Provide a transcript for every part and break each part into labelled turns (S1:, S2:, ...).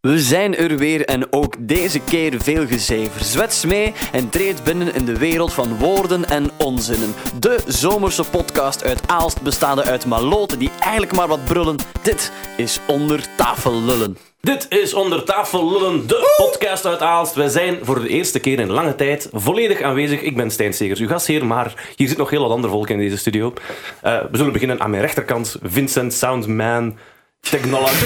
S1: We zijn er weer en ook deze keer veel gezever. Zwets mee en treed binnen in de wereld van woorden en onzinnen. De zomerse podcast uit Aalst bestaande uit maloten die eigenlijk maar wat brullen. Dit is Onder Tafel Lullen.
S2: Dit is Onder Tafel Lullen, de podcast uit Aalst. Wij zijn voor de eerste keer in lange tijd volledig aanwezig. Ik ben Stijn Segers, uw gastheer, maar hier zit nog heel wat ander volk in deze studio. Eh, we zullen beginnen aan mijn rechterkant. Vincent Soundman, Technology.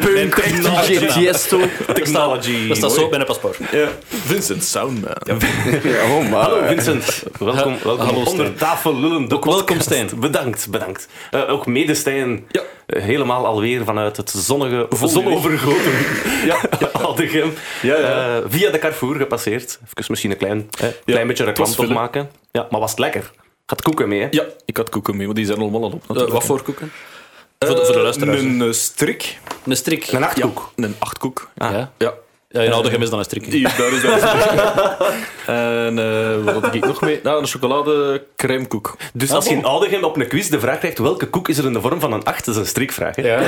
S1: Punt, DJ Tiesto.
S2: Technology.
S3: Dat staat zo bij een paspoort.
S4: Vincent Soundman.
S1: Oh, maar.
S2: Hallo Vincent, welkom, welkom
S3: Hallo, Stijn.
S2: onder tafel lullen. de
S3: Welkom,
S2: podcast.
S3: Stijn.
S2: Bedankt, bedankt. Eh, ook mede Stijn,
S3: Ja.
S2: Eh, helemaal alweer vanuit het zonnige, zonovergoten ja. Aldegem.
S4: Ja, ja.
S2: Eh, via de Carrefour gepasseerd. Even misschien een klein, eh, klein beetje reclame toch
S4: vullen.
S2: maken. Ja, maar was het lekker? Gaat koeken mee, hè?
S3: Ja.
S4: Ik had koeken mee, want die zijn allemaal al op.
S3: Eh,
S4: natuurlijk.
S3: wat voor koeken? voor, de, voor de luisteraars.
S4: Een eh, strik.
S3: Een strik.
S2: Een nachtkoek.
S4: Een achtkoek.
S3: Ah. Ja.
S4: Ja. Eh,
S3: ja, in Oudegem is dan een strik.
S4: Hier, daar is dat. en eh, wat had ik nog mee? Nou, een chocoladecremekoek.
S2: Dus als je in Aldegem op een quiz de vraag krijgt welke koek is er in de vorm van een acht, dat is een strikvraag. Hè?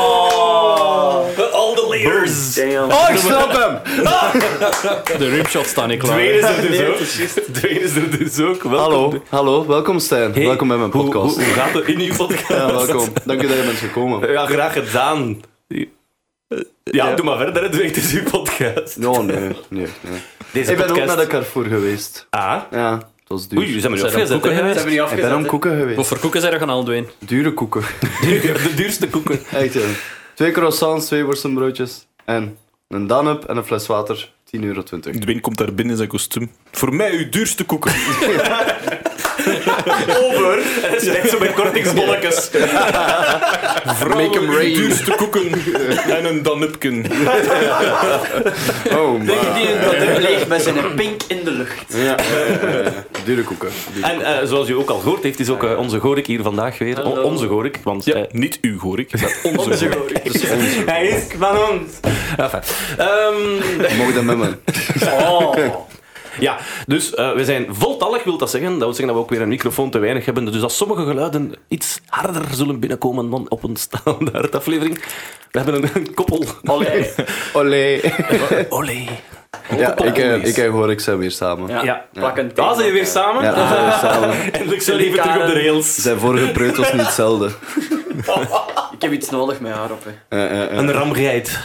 S2: Oh. All the layers.
S1: Oh, ik snap hem!
S3: De rimshots staan niet klaar.
S2: Dwayne is er dus ook. Dwayne is er dus ook. Welkom.
S5: Hallo, hallo, welkom Stijn.
S2: Hey,
S5: welkom bij mijn
S2: hoe-
S5: podcast.
S2: Hoe, hoe gaat het in uw podcast?
S5: Ja, welkom. Dank je dat je bent gekomen.
S2: Ja, graag gedaan. Ja, doe maar verder. hè. Doe echt eens uw podcast.
S5: Oh nee, nee, nee.
S2: Deze
S5: Ik ben ook
S2: podcast...
S5: naar de Carrefour geweest.
S2: Ah.
S5: Ja, dat was duur.
S2: Oei, jullie zijn maar
S3: Zijn er
S2: afgezet.
S3: koeken
S2: hè.
S3: geweest?
S4: niet
S5: Ik ben om koeken
S3: Wat
S5: geweest.
S3: voor koeken zijn er gaan al, Dwayne?
S5: Dure koeken.
S2: De duurste koeken.
S5: Echt, ja. Twee croissants, twee worstenbroodjes en een danup en een fles water. 10,20 euro.
S4: Dwayne komt daar binnen in zijn kostuum. Voor mij uw duurste koeken.
S2: Over. En dat is echt zo met kortingsbolletjes.
S4: Vooral
S5: Make 'em
S4: uw
S5: rain.
S4: duurste koeken. en een danupken.
S5: Oh man.
S1: Die dat leeg met zijn pink in de lucht.
S5: Ja, dure koeken. Dure-
S2: En eh, zoals u ook al gehoord heeft, is ook eh, onze Gorik hier vandaag weer. O- onze Gorik, want...
S4: Ja,
S2: eh,
S4: niet uw Gorik, maar onze Gorik.
S2: hij is van ons. Enfin. Ehm,
S5: Mocht dat met me.
S1: Oh,
S2: Ja, dus eh, we zijn voltallig, wil dat zeggen. Dat wil zeggen dat we ook weer een microfoon te weinig hebben. Dus als sommige geluiden iets harder zullen binnenkomen dan op een standaard aflevering. We hebben een, een koppel.
S5: Oh,
S2: Olé.
S5: Olé.
S2: Olé.
S5: Ja, ik, eh, ik en Gorik zijn weer samen. Ja,
S2: Ja. Daar zijn we weer samen.
S5: we zijn weer samen.
S2: Eindelijk zijn we even terug op de rails.
S5: Zijn vorige preut was niet hetzelfde.
S6: Ik heb iets nodig met haar op. Hè.
S5: Eh, eh, eh.
S2: Een ramgeit.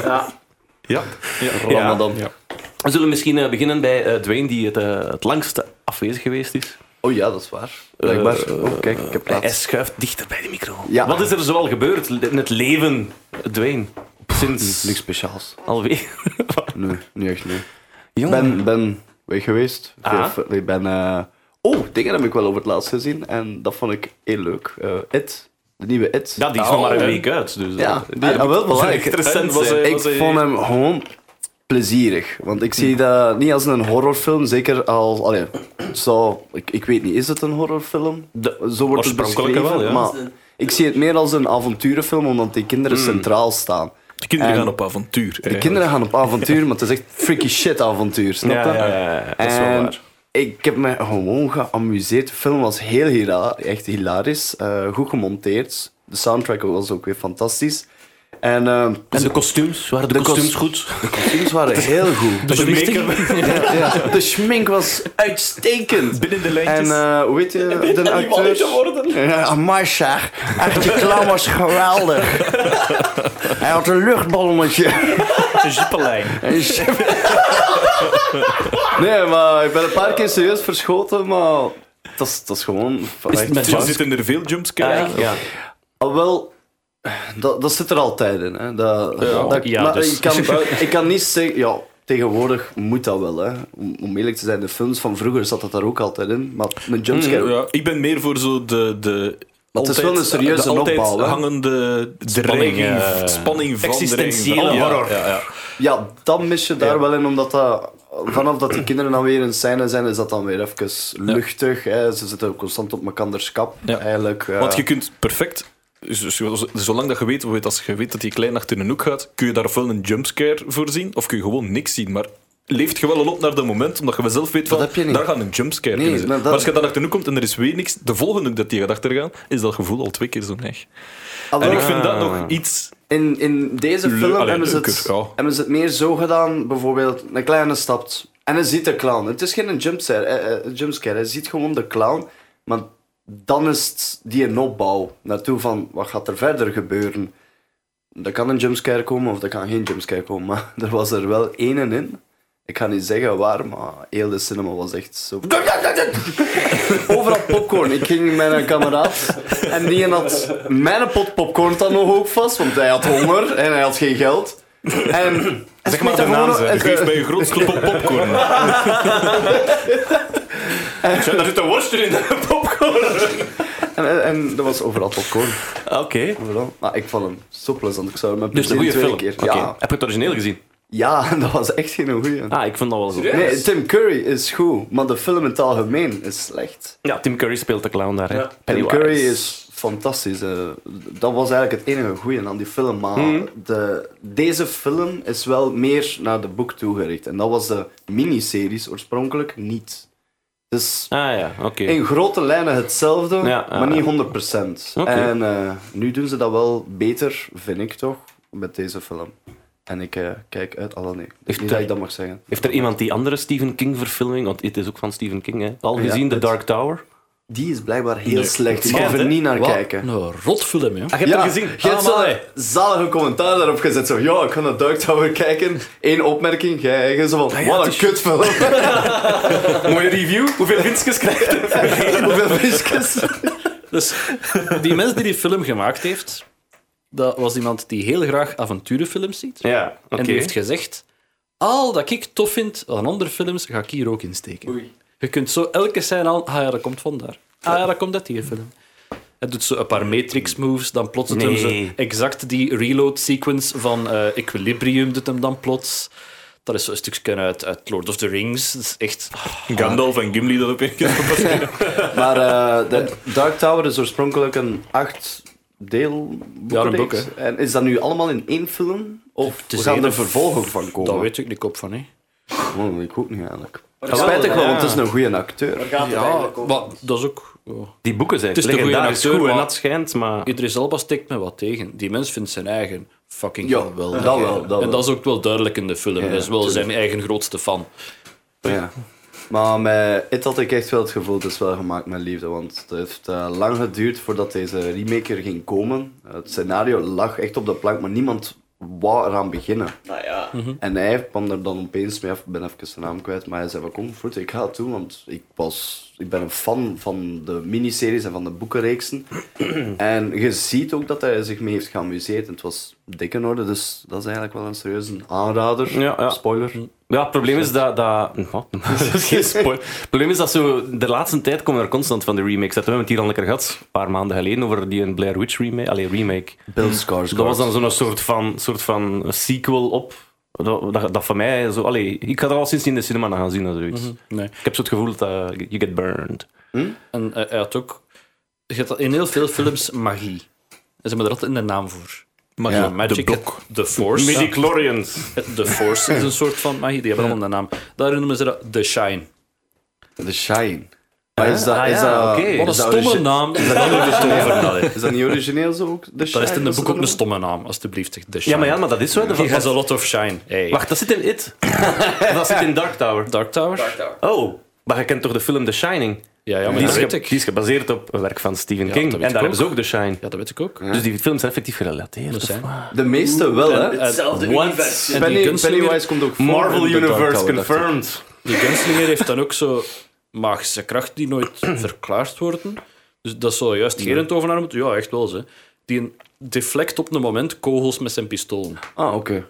S6: Ja.
S4: Ja.
S5: Ramadan.
S2: We zullen misschien eh, beginnen bij eh, Dwayne, die het, eh, het langste afwezig geweest is.
S5: Oh ja, dat is waar. Blijkbaar.
S2: Eh,
S5: oh, kijk, ik heb plaats.
S2: Hij schuift dichter bij de micro.
S5: Ja.
S2: Wat is er zoal gebeurd in het leven, Dwayne? Sinds
S5: Niks speciaals.
S2: alweer.
S5: Nee, niet echt, nee. Ik
S2: Jongen.
S5: ben, ben weg geweest.
S2: Ah.
S5: Veel- Ik ben... eh, Oh, dingen heb ik wel over het laatst gezien. En dat vond ik heel leuk. Eh, It. De nieuwe It.
S2: Ja, die is nog maar een week uit. Dus
S5: Ja,
S2: dat-
S5: die, ah, wel belangrijk.
S2: interessant
S4: was,
S2: zijn.
S4: eh,
S5: Ik
S4: was, eh,
S5: vond hem gewoon plezierig. Want ik zie dat niet als een horrorfilm. Zeker als... Allee, zo, ik, ik weet niet, is het een horrorfilm? zo wordt het
S2: oorspronkelijke
S5: beschreven.
S2: wel, ja. Hmm.
S5: Maar ik zie het meer als een avonturenfilm, omdat die kinderen centraal staan.
S4: De
S3: Eh,
S4: kinderen
S5: En-
S4: gaan op avontuur.
S5: De
S4: eigenlijk.
S5: kinderen gaan op avontuur, maar het is echt freaky shit avontuur, snap je?
S2: Ja, ja, ja, ja, dat is wel
S5: En
S2: waar.
S5: Ik heb me gewoon geamuseerd. De film was heel hila echt hilarisch. eh, goed gemonteerd. De soundtrack was ook weer fantastisch. En eh,
S2: En de kostuums, waren de,
S5: De
S2: kostuums
S5: kos-
S2: goed?
S5: de kostuums waren heel goed.
S2: De
S5: Ja, ja. De schmink was uitstekend.
S2: Binnen de
S5: En eh, hoe weet je, de acteur... Ja, amai, zeg. Echt, die clown was geweldig. Hij had een luchtballonnetje.
S3: Een jippenlijn.
S5: Nee, maar ik ben een paar keer serieus verschoten, maar dat is, dat is gewoon...
S3: het met
S4: Er
S3: jou?
S4: zitten er veel jumpscares.
S2: Ja.
S5: Al Ah, wel, dat, dat zit er altijd in. Hè. Dat, dat,
S3: ja,
S5: maar
S3: dus.
S5: ik, kan, ik kan niet zeggen... Ja, tegenwoordig moet dat wel. Hè. Om, om eerlijk te zijn, de films van vroeger zat dat daar ook altijd in. Maar een jumpscare...
S4: Mm-hmm, Ja, ik ben meer voor zo de. de
S5: Maar het is wel een serieuze
S4: de altijd
S5: opbouw, hè?
S4: hangende
S3: Spanning,
S4: dreiging,
S3: eh,
S4: spanning van
S3: existentiële
S4: dreiging van- ja,
S3: horror.
S4: Ja, ja.
S5: Ja, dan mis je daar wel in, omdat dat, vanaf dat die kinderen dan weer in scène zijn, is dat dan weer even luchtig. Hè. Ze zitten ook constant op mekaanders kap,
S4: Ja.
S5: eigenlijk. eh.
S4: Want je kunt perfect, dus, z- z- zolang dat je weet, weet, als je weet dat die klein achter een hoek gaat, kun je daar ofwel een jumpscare voor zien, of kun je gewoon niks zien. Maar leeft je wel al op naar dat moment, omdat je wel zelf weet van,
S5: heb je niet.
S4: daar gaat een jumpscare
S5: Nee,
S4: in zijn.
S5: maar
S4: Maar,
S5: dat-
S4: als je dan achter een hoek komt en er is weer niks, de volgende dat die gaat achtergaan, is dat gevoel al twee keer zo neig. En
S5: Alhoewel,
S4: ik vind dat nog iets...
S5: in, in deze
S4: Le-
S5: film
S4: Allee,
S5: hebben, ze het,
S4: leuker, ja.
S5: hebben ze het meer zo gedaan, bijvoorbeeld een kleine stap. En hij ziet de clown. Het is geen jumpscare, eh, eh, jumpscare. Hij ziet gewoon de clown. Maar dan is het die een opbouw naartoe van wat gaat er verder gebeuren. Er kan een jumpscare komen of er kan geen jumpscare komen. Maar er was er wel één in. Ik ga niet zeggen waar, maar heel de cinema was echt zo... Overal popcorn. Ik ging met een kameraad en die had mijn pot popcorn dan nog ook vast, want hij had honger en hij had geen geld. En
S4: Zeg maar de naam, zeg. Geef mij je grootste pop popcorn.
S2: Daar zit een worst in de popcorn.
S5: En, en, en dat was overal popcorn.
S2: Oké.
S5: Overal. Maar ik vond hem zo plezant. Ik zou hem met
S2: Dus een
S5: plezier
S2: dus goede film.
S5: tweede keer.
S2: Oké.
S5: Ja.
S2: Heb je het origineel gezien?
S5: ja, dat was echt geen goeie.
S2: Ah, ik vond dat wel goed.
S5: Nee, Tim Curry is goed, maar de film in het algemeen is slecht.
S2: Ja, Tim Curry speelt de clown daar. hè.
S7: Ja.
S5: Tim
S2: Pennywise.
S5: Curry is fantastisch. eh. dat was eigenlijk het enige goede aan die film. Maar
S2: Hmm.
S5: de, deze film is wel meer naar de boek toegericht. En dat was de miniseries oorspronkelijk niet. Dus
S2: Ah ja, oké.
S5: in grote lijnen hetzelfde,
S2: Ja, ja,
S5: maar niet
S2: ja.
S5: 100%.
S2: Oké.
S5: En eh, nu doen ze dat wel beter, vind ik toch, met deze film. En ik eh, kijk uit. Allee, nee. Ik
S2: Heeft
S5: denk niet dat
S2: er-
S5: ik dat mag zeggen.
S2: Heeft er iemand die andere Stephen King verfilming, want het is ook van Stephen King, hè, al
S5: Ja,
S2: gezien, The
S5: het-
S2: Dark Tower?
S5: Die is blijkbaar heel slecht. Je
S2: schijnt,
S5: mag er
S2: hè?
S5: niet naar kijken.
S7: Een rotfilm, ja.
S2: je
S5: ja, Je hebt zo'n zalige commentaar daarop gezet. Zo, ja, ik ga naar Dark Tower kijken. Eén opmerking. Jij jij zo van, wat een kutfilm.
S2: Mooie review. Hoeveel winstjes krijgt hij?
S5: Hoeveel visjes.
S7: Dus die mens die die film gemaakt heeft, dat was iemand die heel graag avonturenfilms ziet.
S2: Ja, oké.
S7: En die heeft gezegd: al dat ik tof vind aan andere films, ga ik hier ook insteken.
S1: Oei.
S7: Je kunt zo elke scène al. Ah ja, dat komt vandaar. Ah ja, dat komt uit die film. Het doet zo een paar Matrix moves, dan plots doet hem
S2: Nee.
S7: ze exact die reload sequence van eh, Equilibrium doet hem dan plots. Dat is zo'n stukje uit, uit Lord of the Rings. Dat is echt...
S5: Ah,
S4: Gandalf en Gimli dat op één keer.
S5: Maar eh, de Dark Tower is oorspronkelijk een acht deel
S7: Ja, een
S5: boek.
S7: boek,
S5: reeks. en is dat nu allemaal in één film? Of
S7: is
S5: gaan
S7: één
S5: er
S7: of-
S5: vervolgen van komen?
S7: Daar weet ik niet op van, hè.
S5: Oh, ik ook niet eigenlijk.
S1: gaat
S5: Spijtig
S1: het,
S5: wel,
S1: ja?
S5: want het is een goede acteur.
S1: Waar gaat het eigenlijk over?
S7: Maar dat is ook... ja.
S2: Die boeken zijn
S7: Het is de goede
S2: legendarisch
S7: acteur,
S2: goed en
S7: maar-
S2: dat schijnt, maar...
S7: Idris Elba steekt me wat tegen. Die mens vindt zijn eigen fucking
S5: Ja,
S7: fan wel.
S5: dat wel, dat
S7: en
S5: wel.
S7: dat is ook wel duidelijk in de film. dat is wel zijn eigen grootste fan.
S5: Ja. Maar met It had ik echt wel het gevoel, het is wel gemaakt met liefde. Want het heeft eh, lang geduurd voordat deze remake er ging komen. Het scenario lag echt op de plank, maar niemand wou eraan beginnen.
S1: Nou ja.
S2: Mhm.
S5: En hij kwam er dan opeens mee af, ik ben even zijn naam kwijt, maar hij zei van kom, goed, ik ga het doen, want ik, was, ik ben een fan van de miniseries en van de boekenreeksen. en je ziet ook dat hij zich mee heeft geamuseerd. En het was dik in orde, dus dat is eigenlijk wel een serieuze aanrader.
S2: Ja, Mhm. ja.
S5: Spoiler.
S2: Ja, het probleem is dat... dat... Wat? dat is geen spoil. Het probleem is dat zo... De laatste tijd komen er constant van de remakes. Dat hebben we het hier al lekker gehad, een paar maanden geleden, over die een Blair Witch remake. Allee, remake.
S5: Bill Skarsgård.
S2: Dat was dan zo'n soort van, soort van sequel op. Dat, dat, dat van mij zo. Allee, ik ga er al sinds niet in de cinema naar gaan zien of zoiets.
S7: Nee.
S2: Ik heb zo het gevoel dat eh, you get burned.
S7: En eh, hij had ook... Je hebt in heel veel films magie. En ze hebben er altijd een naam voor.
S4: Maar
S7: Ja,
S4: ja, de
S7: magic,
S4: blok.
S7: The Force.
S2: midi chlorians
S7: Eh, The Force is een soort van magie. Die hebben allemaal een naam. Daar noemen ze dat The Shine.
S5: The Shine. Maar is dat,
S2: Ah,
S5: is
S2: ja,
S5: dat,
S2: oké.
S5: is
S7: Wat een
S5: dat
S7: stomme
S2: dus-
S5: origi-
S7: naam. Daar hebben we het over. Nou, hè.
S5: Is dat niet origineel zo ook? The
S7: Dat is in
S5: Shine,
S7: de boek
S5: dat
S7: ook een
S5: nog?
S7: stomme naam, alstublieft. zeg, The Shine.
S2: Ja, maar ja, maar dat is zo. hè.
S7: He
S2: Dat-
S7: has
S2: dat-
S7: a lot of shine. Hey.
S2: wacht, dat zit in It. dat zit in Dark Tower.
S7: Dark Tower?
S1: Dark Tower.
S2: Oh, maar je kent toch de film The Shining?
S7: Ja, ja, maar
S2: die,
S7: dat
S2: is
S7: weet
S2: ge-
S7: ik.
S2: die is gebaseerd op een werk van Stephen
S7: Ja,
S2: King.
S7: dat
S2: En
S7: weet
S2: daar
S7: ik
S2: hebben ze ook The Shine.
S7: Ja, dat weet ik ook.
S2: Dus die films zijn effectief gerelateerd.
S7: Dat
S2: of
S7: zijn.
S2: wat?
S5: De meeste wel, hè?
S1: Hetzelfde
S2: what?
S1: universum.
S7: Eh, En die
S5: Penny,
S7: gunslinger-
S5: Pennywise komt ook voor
S2: Marvel
S5: in de Dark
S2: Universe
S5: Tower, dacht ik.
S2: confirmed.
S7: Die gunslinger heeft dan ook zo magische kracht die nooit verklaard worden. Dus dat zou juist Gerend over naar moeten. Ja, echt wel. Ze. Die deflect op een moment kogels met zijn pistool.
S5: Ah, oké.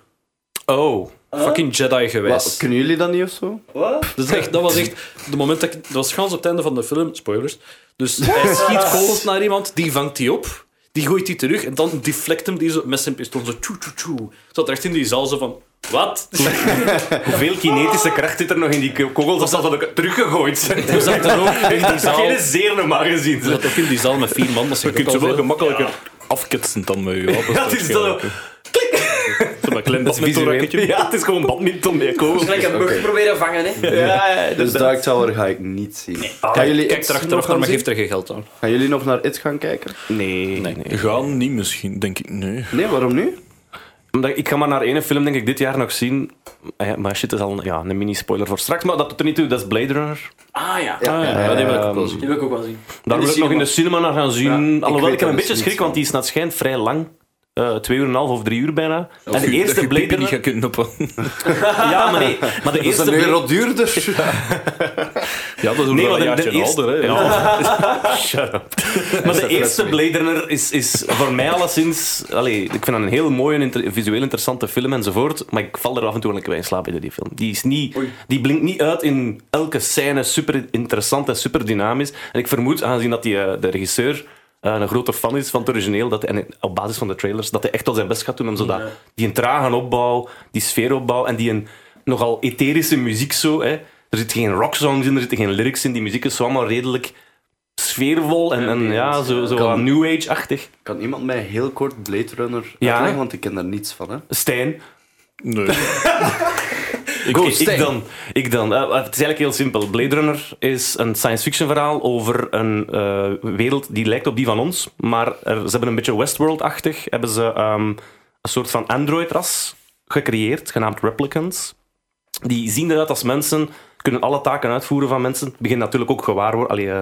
S2: Oh.
S7: Fucking Jedi
S5: Wat,
S7: geweest.
S5: Kunnen jullie dat niet of zo?
S1: Wat?
S7: Dus echt, dat was echt. De moment dat ik, dat was gans op het einde van de film. Spoilers. Dus hij schiet kogels naar iemand, die vangt die op, die gooit die terug en dan deflect hem die zo met zijn pistool. Zo tjoe tjoe tjoe. Zat er echt in die zaal zo van. Wat?
S2: Hoeveel kinetische kracht zit er nog in die ko- kogels als dat dat ook teruggegooid zijn?
S7: We zaten ook in die zaal.
S2: Geen zeer normaal gezien.
S7: We zaten ook in die zaal met vier man. Dat
S4: Je
S7: zegt
S4: kunt
S7: ook
S4: ze
S7: al
S4: wel
S7: veel.
S4: gemakkelijker afketsen dan met je wapens.
S2: Dat is zo.
S4: waarschijnlijk. zo met klein badmintonrakketje.
S2: Ja, het is gewoon badminton met
S6: Dus
S2: kogel.
S6: gelijk een mug proberen vangen, hè.
S5: Dus Dark Tower ga ik niet zien.
S2: Ah,
S5: gaan, jullie
S3: Kijk
S5: It
S3: er
S5: nog
S3: achteraf naar,
S5: gaan,
S3: maar
S5: zien?
S3: geeft er geen geld aan.
S5: gaan jullie nog naar It gaan kijken?
S2: Nee, nee, nee.
S4: Gaan niet misschien, denk ik. Nee.
S5: Nee, waarom nu?
S2: Omdat ik ga maar naar één film, denk ik, dit jaar nog zien. Ah ja, Maar shit, dat is al een, ja, een mini-spoiler voor straks. Maar dat doet er niet toe, dat is Blade Runner.
S6: Ah ja.
S5: Ja, ja, ja,
S2: die wil ik
S5: ja.
S2: ook wel zien.
S6: Die wil ik ook wel zien.
S2: Daar
S6: de
S2: wil ik nog in de cinema naar gaan zien.
S5: ik
S2: Alhoewel,
S5: weet
S2: ik heb een
S5: dat
S2: beetje
S5: dus
S2: schrik,
S5: niet,
S2: want die is naar het schijnt vrij lang. Eh, twee uur en een half of drie uur bijna. en de
S4: dat
S2: eerste
S4: je
S2: Blade
S4: pipi
S2: Runner...
S4: niet gaat kunnen ophouden.
S2: Ja, maar nee. Maar de
S5: Dat is
S2: eerste
S5: een
S2: Blade-
S5: euro duurder.
S4: Ja, dat doen we
S2: Nee,
S4: wel een
S2: maar de- de
S4: jaartje
S2: eerste-
S4: ouder. Hè. Ja.
S2: Maar de eerste Blade Runner is, is voor mij alleszins... Allee, ik vind dat een heel mooie, inter- visueel interessante film enzovoort. Maar ik val er af en toe wel een keer bij in slaap bij die film. Die, is niet, die blinkt niet uit in elke scène. Super interessant en super dynamisch. En ik vermoed, aangezien dat die, eh, de regisseur eh, een grote fan is van het origineel... Dat, en op basis van de trailers, dat hij echt al zijn best gaat doen om zo dat, die een trage opbouw, die sfeeropbouw en die een nogal etherische muziek zo... Hè. Er zit geen rocksongs in, er zitten geen lyrics in. Die muziek is zo allemaal redelijk sfeervol en, en ja, zo, zo aan New Age-achtig.
S5: Kan iemand mij heel kort Blade Runner
S2: Ja.
S5: uitleggen? Want ik ken daar niets van, hè.
S2: Stijn.
S4: Nee.
S2: Ik, ik- ik
S6: Stijn.
S2: dan. Ik dan. Eh, eh, het is eigenlijk heel simpel. Blade Runner is een science fiction verhaal over een eh, wereld die lijkt op die van ons. Maar er- ze hebben een beetje Westworld-achtig. Hebben ze ehm, een soort van android-ras gecreëerd, genaamd Replicants. Die zien eruit als mensen, kunnen alle taken uitvoeren van mensen. Beginnen natuurlijk ook gewaar worden. Allee, eh,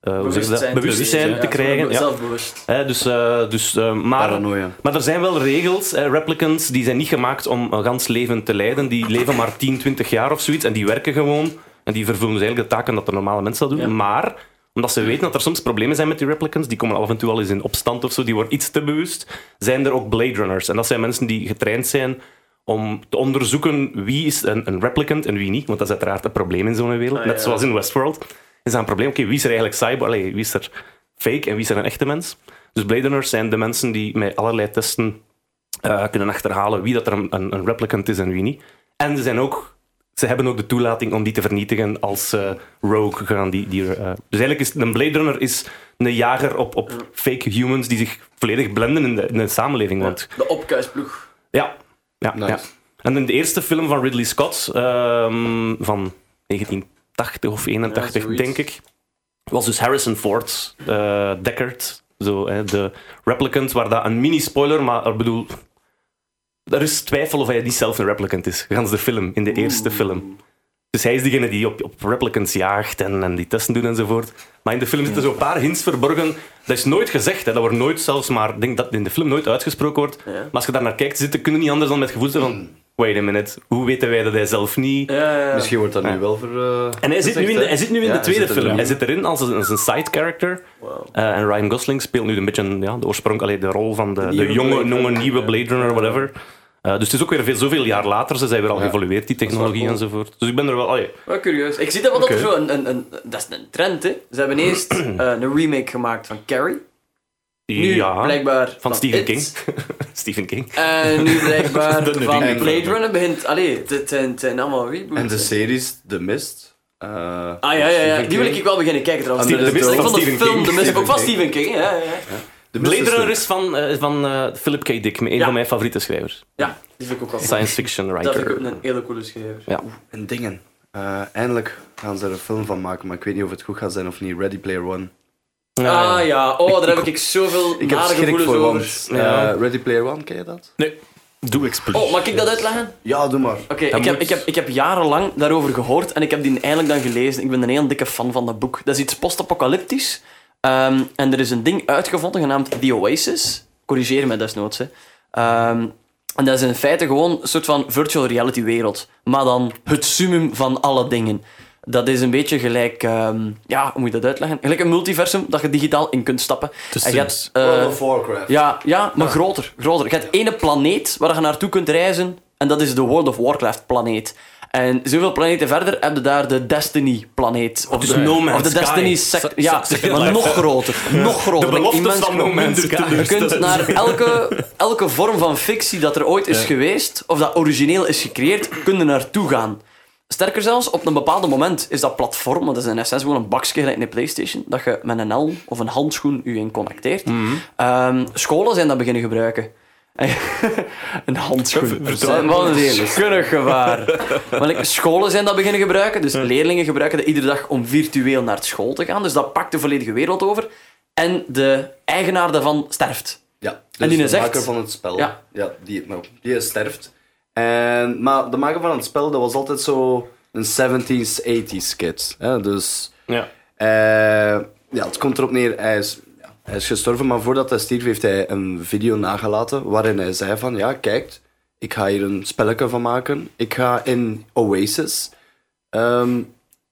S2: eh, hoe zeg je dat? bewustzijn te krijgen. Ja.
S6: Zelfbewust.
S2: Hè, dus, eh, dus, eh, maar,
S5: Paranoia.
S2: maar er zijn wel regels. eh, replicants die zijn niet gemaakt om een gans leven te leiden. Die leven maar 10, 20 jaar of zoiets. En die werken gewoon. En die vervullen dus eigenlijk de taken dat de normale mens zou doen. Maar omdat ze weten dat er soms problemen zijn met die replicants, die komen af en toe al eens in opstand of zo, die worden iets te bewust, zijn er ook Blade Runners. En dat zijn mensen die getraind zijn om te onderzoeken wie is een, een replicant en wie niet. Want dat is uiteraard een probleem in zo'n wereld. Net zoals in Westworld. Is dat een probleem? Oké, wie is er eigenlijk cyber? Allee, wie is er fake en wie is er een echte mens? Dus Blade Runners zijn de mensen die met allerlei testen eh, kunnen achterhalen wie dat er een, een, een replicant is en wie niet. En ze, zijn ook, ze hebben ook de toelating om die te vernietigen als eh, rogue gaan. Die, die, eh, dus eigenlijk is een Blade Runner is een jager op, op fake humans die zich volledig blenden in de, in de samenleving. Want
S6: De opkuisploeg.
S2: ja. Ja, ja. En in de eerste film van Ridley Scott, ehm, van 1980 of 81,
S6: Ja, zoiets.
S2: denk ik, was dus Harrison Ford, eh Deckard, zo, hè, de replicant, waar dat een mini-spoiler, maar ik bedoel, er is twijfel of hij niet zelf een replicant is, gans de film, in de eerste film. Dus hij is diegene die op, op replicants jaagt en, en die testen doet enzovoort. Maar in de film zitten zo'n paar hints verborgen. Dat is nooit gezegd, hè. dat wordt nooit zelfs maar... Ik denk dat het in de film nooit uitgesproken wordt. Maar als je daar naar kijkt, zitten kunnen niet anders dan met het gevoel te van... Wait a minute, hoe weten wij dat hij zelf niet...
S5: Misschien wordt dat nu wel voor... eh,
S2: En hij zit,
S5: gezegd,
S2: nu in de,
S5: hè.
S2: hij zit nu in
S5: Ja,
S2: de tweede
S5: hij zit er
S2: film.
S5: nu
S2: Hij
S5: in.
S2: zit erin als een, als een side character. Eh, en Ryan Gosling speelt nu een beetje ja, de oorsprong, allee, de rol van de, de,
S6: nieuwe
S2: jonge,
S6: Blade
S2: jonge
S6: Runner.
S2: nieuwe Blade Runner, whatever. Eh, dus het is ook weer veel, zoveel jaar later. Ze zijn weer al geëvolueerd, die technologie enzovoort. Dus ik ben er wel... allee,
S6: Wel curieus. Ik zie dat wat dat er zo een, een, een... Dat is een trend, hè. Ze hebben eerst eh, een remake gemaakt van Carrie. Nu
S2: ja,
S6: blijkbaar
S2: van Stephen
S6: It.
S2: King. Stephen King.
S6: En nu blijkbaar
S4: De
S6: van
S4: remake.
S6: Blade Runner begint... Allee, het zijn, het zijn allemaal reboots.
S5: En de series The Mist. eh,
S6: Ah ja, ja, ja. Die wil
S5: King.
S6: ik wel beginnen kijken trouwens.
S5: Under the
S6: Ik
S5: Dome.
S6: vond de
S2: Stephen
S6: film,
S2: King.
S6: de mis, ook van
S5: Stephen
S6: Stephen King. Ja, ja, ja.
S5: The Mist
S2: Blade
S5: is
S2: Runner
S5: leuk.
S2: is van, eh, van eh, Philip K. Dick, een
S6: Ja.
S2: van mijn favoriete schrijvers.
S6: ja, die vind ik ook wel
S2: Science fiction
S6: Dat vind ik ook
S2: writer.
S6: een hele coole schrijver.
S2: Ja.
S5: En dingen. Eh, eindelijk gaan ze er een film van maken, maar ik weet niet of het goed gaat zijn of niet. Ready Player One.
S2: Ja.
S6: Ah ja, oh, daar heb ik zoveel
S5: Ik heb
S6: nare
S5: schrik
S6: gevoelens
S5: voor,
S6: over.
S5: want
S2: Ja.
S5: eh, Ready Player One, ken je dat?
S4: nee. Doe expliciet.
S6: Oh, mag ik dat uitleggen?
S5: Ja, doe maar.
S6: Oké, ik, heb,
S4: moet-
S6: ik, heb, ik heb jarenlang daarover gehoord en ik heb die eindelijk dan gelezen. Ik ben een heel dikke fan van dat boek. Dat is iets post-apocalyptisch. Ehm, en er is een ding uitgevonden genaamd The Oasis. Corrigeer me desnoods. Hè. Ehm, en dat is in feite gewoon een soort van virtual reality wereld. Maar dan het summum van alle dingen. Dat is een beetje gelijk... ehm, ja, hoe moet je dat uitleggen? Gelijk een multiversum dat je digitaal in kunt stappen. en je hebt, eh,
S5: World of Warcraft.
S6: ja, ja maar groter, groter. Je hebt ene planeet waar je naartoe kunt reizen. En dat is de World of Warcraft planeet. En zoveel planeten verder heb je daar de Destiny planeet. Of
S2: Dus
S6: de,
S2: No Man's
S6: of de
S2: Sky.
S6: Destiny sect. Ja, maar nog groter. Nog groter. met
S2: beloftes
S6: immens
S2: van No Man's
S6: grote-
S2: Sky.
S6: Je kunt naar elke, elke vorm van fictie dat er ooit is geweest, of dat origineel is gecreëerd, kunnen naartoe gaan. Sterker zelfs, op een bepaald moment is dat platform, want dat is in essentie gewoon een bakje gelijk in een PlayStation, dat je
S4: Mhm.
S6: met een helm of een handschoen je in connecteert. Ehm, scholen zijn dat beginnen gebruiken. een handschoen.
S4: Vertel.
S6: Wat een skunnig gevaar. Maar like, scholen zijn dat beginnen gebruiken. Dus leerlingen gebruiken dat iedere dag om virtueel naar school te gaan. Dus dat pakt de volledige wereld over. En de eigenaar daarvan sterft.
S5: Ja, dus
S6: En die
S5: de
S6: is echt-
S5: maker van het spel.
S6: Ja.
S5: Ja. die, nou, die sterft. En, maar de maker van het spel, dat was altijd zo een 70s, 80s kid. Hè? Dus
S2: Ja.
S5: eh, ja, het komt erop neer, hij is, ja, hij is gestorven, maar voordat hij stierf heeft hij een video nagelaten waarin hij zei van, ja, kijk, ik ga hier een spelletje van maken. Ik ga in Oasis ehm,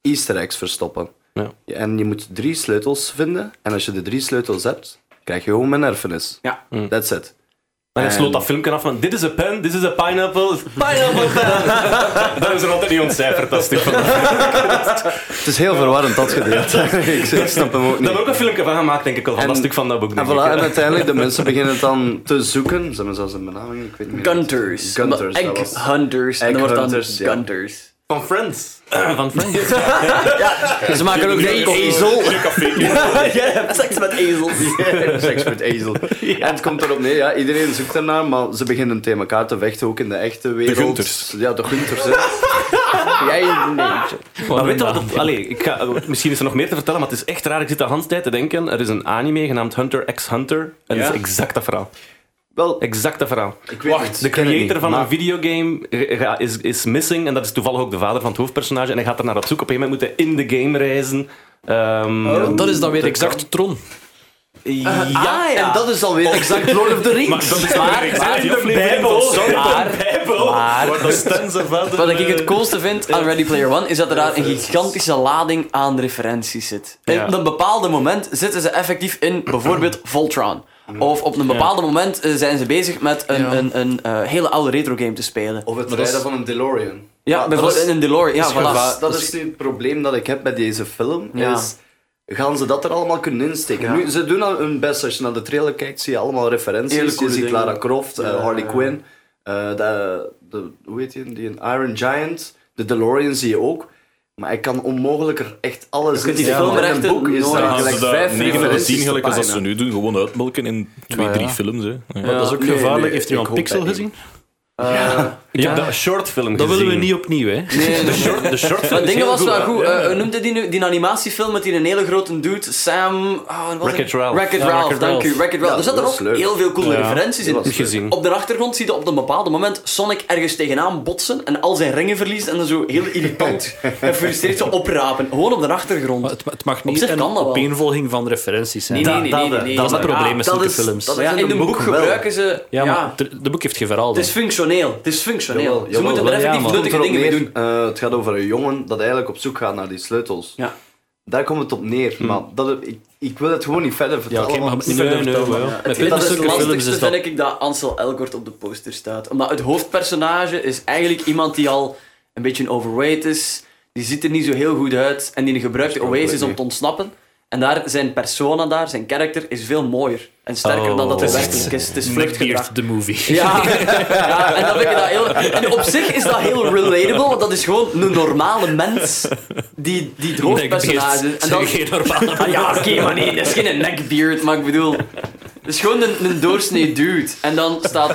S5: easter eggs verstoppen.
S2: Ja.
S5: En je moet drie sleutels vinden. En als je de drie sleutels hebt, krijg je gewoon mijn erfenis.
S6: Ja.
S5: That's it.
S2: En hij sloot dat filmpje af van dit is een pen, dit is een pineapple, pineapple pen. dat is er altijd niet ontcijferd, dat stuk van dat filmpje.
S5: Het is heel verwarrend, dat gedeelte. ik, ik snap hem ook
S2: Daar hebben
S5: niet.
S2: we ook een filmpje van gemaakt, denk ik al, van
S5: En-
S2: dat stuk van dat boek.
S5: En
S2: denk
S5: voilà,
S2: ik, hè.
S5: en uiteindelijk, de mensen beginnen het dan te zoeken. Ze hebben zelfs een benaming, ik weet niet meer.
S6: Gunters.
S5: Gunters, dat was-
S6: Egghunters. En dan wordt dan
S5: Egghunters, ja.
S6: Gunters.
S2: Van Friends. van Friends.
S6: Ze maken ook een ezel. Jij hebt seks met ezels.
S5: Seks met ezel. En het komt erop neer, ja, iedereen zoekt ernaar, maar ze beginnen tegen elkaar te vechten, ook in de echte wereld.
S4: Gunters.
S5: Ja, de Gunters. hè. Jij, nee.
S2: Maar weet je wat? het- Allee, ik ga, eh, misschien is er nog meer te vertellen, maar het is echt raar. Ik zit de hele tijd te denken. Er is een anime genaamd Hunter x Hunter. En dat is exact dat verhaal.
S5: Wel,
S2: Exact dat verhaal.
S5: ik weet Wacht,
S2: De creator van een videogame eh, ga- is, is missing. En dat is toevallig ook de vader van het hoofdpersonage. En hij gaat er naar op zoek. Op een gegeven moment moet hij in de game reizen. Ehm,
S6: Dat is dan weer
S3: Exact Tron.
S2: ja,
S6: Ja, ja.
S5: En dat is alweer exact Lord of the Rings.
S2: Maar dat is maar, maar
S4: die
S2: de
S4: aflevering
S2: Bijbel.
S4: van Sander.
S2: Maar- de Bijbel.
S4: Waar dat Stan zijn vader...
S6: Wat ik
S4: eh,
S6: het coolste vind aan Ready Player One is dat er daar een gigantische lading aan referenties zit. En
S2: Ja.
S6: Op een bepaald moment zitten ze effectief in bijvoorbeeld Voltron. Of op een bepaald moment eh, zijn ze bezig met een, een, een eh, hele oude retro game te spelen.
S5: Of het rijden van een DeLorean.
S6: Ja,
S5: Maar
S6: bijvoorbeeld
S5: dat is-
S6: in een DeLorean. Ja,
S5: dat, is,
S6: voilà.
S5: dat is nu het probleem dat ik heb bij deze film.
S6: Ja.
S5: Is, gaan ze dat er allemaal kunnen insteken? Nu, ze doen al hun best. Als je naar de trailer kijkt, zie je allemaal referenties.
S6: Hele
S5: je
S6: coole
S5: ziet
S6: dingen.
S5: Lara Croft, eh, Harley Quinn, eh, de, de, hoe heet die? die een Iron Giant, de DeLorean zie je ook. Maar ik kan onmogelijk er echt alles in
S6: kunt die
S5: steken. En
S6: filmrechten
S5: een boek is
S6: nooit-
S5: daar
S4: Als
S5: gelijk
S4: ze dat
S5: vijf
S4: 9 of 10
S5: referenties
S4: gelijk als
S5: per
S4: dat ze
S5: pagina.
S4: nu doen, gewoon uitmelken in 2, 3 films. Hè. Ja.
S3: dat is ook
S5: nee,
S3: gevaarlijk.
S5: nee,
S3: Heeft
S5: ik
S3: iemand
S5: hoop
S3: Pixel
S5: dat niet.
S3: gezien?
S2: Ik heb dat shortfilm
S3: Dat willen we
S2: gezien.
S3: niet opnieuw, hè?
S6: Nee, nee.
S2: De shortfilm
S6: Dat
S2: is
S6: ding
S2: heel
S6: was wel
S2: hè.
S6: goed.
S2: Ja.
S6: Eh, hoe noemde die nu? Die animatiefilm met die een hele grote dude, Sam... Oh, wat was
S2: Wreck-It
S6: het?
S2: Ralph.
S6: Wreck-It
S3: Ja,
S6: Ralph,
S3: Wreck-It
S6: dank u.
S3: Ralph.
S6: Wreck-It Ralph.
S5: Ja,
S6: er zaten
S5: dat is
S6: ook
S5: leuk.
S6: heel veel coole referenties in.
S5: Dat was
S2: Niet gezien.
S6: Op de achtergrond zie je op een bepaald moment Sonic ergens tegenaan botsen en al zijn ringen verliest en dan zo heel irritant en frustreerd zo oprapen. Gewoon op de
S3: Maar
S6: achtergrond.
S3: het, het mag
S6: Op
S3: niet
S6: zich
S3: een
S6: kan dat wel.
S3: opeenvolging van referenties zijn.
S6: Nee, nee, nee, nee, nee, nee. Ah,
S3: dat is het
S6: Maar
S3: probleem
S6: ja,
S3: met
S5: dat
S3: zulke
S5: is-
S3: films.
S5: dat
S6: Maar ja, in een boek
S5: wel.
S6: gebruiken ze...
S3: Ja,
S6: Ja,
S3: maar de, de boek heeft geen verhaal.
S6: Het
S3: dan.
S6: is functioneel. Het is functioneel.
S5: Jawel,
S6: ze
S5: jawel.
S6: moeten er
S3: Ja,
S6: effectief
S3: maar-
S5: Het komt
S6: nuttige
S5: erop
S6: dingen mee doen.
S5: neer, eh, het gaat over een jongen dat eigenlijk op zoek gaat naar die sleutels.
S6: Ja.
S5: Daar komt het op neer. Maar dat, ik, ik wil het gewoon niet verder
S3: Ja,
S5: vertellen.
S3: oké, maar
S5: want-
S3: niet verder vertellen.
S2: wel.
S3: Met
S6: Het,
S3: veel
S6: dat is het
S3: zulke films
S6: lastigste,
S3: is
S6: vind
S3: dat.
S6: ik, dat Ansel Elgort op de poster staat. Omdat het hoofdpersonage is eigenlijk iemand die al een beetje overweight is. Die ziet er niet zo heel goed uit. En die gebruikt de Oasis om te ontsnappen. En daar, zijn persona daar, zijn karakter, is veel mooier en sterker dan dat het
S2: Oh.
S6: werkelijk is. Het is vluchtgedrag.
S3: Beard the movie.
S6: Ja, ja, en, dat vind ik dat heel, en op zich is dat heel relatable, want dat is gewoon een normale mens die, die het hoofdpersonage is. En
S3: dat
S6: dan,
S3: is geen normale
S6: Ah ja, oké, maar nee, dat is geen neckbeard, maar ik bedoel... Het is gewoon een, een doorsnee dude. En dan staat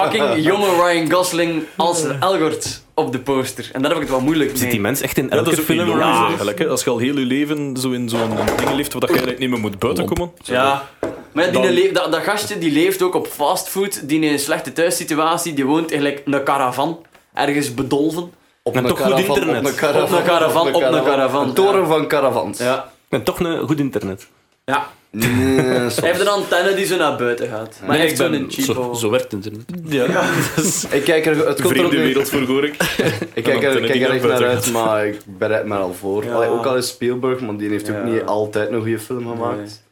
S6: fucking jonge Ryan Gosling als een Elgort op de poster. En daar heb ik het wel moeilijk mee.
S2: Zit die mens echt in
S4: Dat
S2: elke
S4: is ook
S2: film?
S4: logisch
S6: ja.
S4: eigenlijk. Hè. Als je al heel je leven zo in zo'n ding leeft waar je eigenlijk niet meer moet buiten komen.
S6: Ja. Maar ja, die
S4: Dan-
S6: le- dat, dat gastje die leeft ook op fastfood, die in een slechte thuissituatie, die woont eigenlijk in een caravan, ergens bedolven.
S5: Op
S2: En
S5: een
S2: toch goed
S5: caravan,
S2: internet.
S5: Op een caravan,
S6: Op een caravan, op een caravan.
S5: Een toren van caravans.
S6: Ja.
S2: En toch een goed internet.
S6: ja.
S5: Nee, soms.
S6: Hij heeft een antenne die zo naar buiten gaat. Maar hij heeft
S3: ben-
S6: zo'n cheapo.
S3: Zo, zo werkt het.
S5: ik kijk er, het komt erop
S4: Vreemde
S5: neer.
S4: wereld voor Gorik.
S5: Ik kijk
S4: Dan
S5: er,
S4: kunnen
S5: ik kijk
S4: die
S5: er echt
S4: naar
S5: naar
S4: buiten
S5: uit, maar ik bereid me er al voor.
S6: Ja.
S5: Allee, ook al is Spielberg, want die heeft ook
S6: Ja.
S5: niet altijd een goede film gemaakt.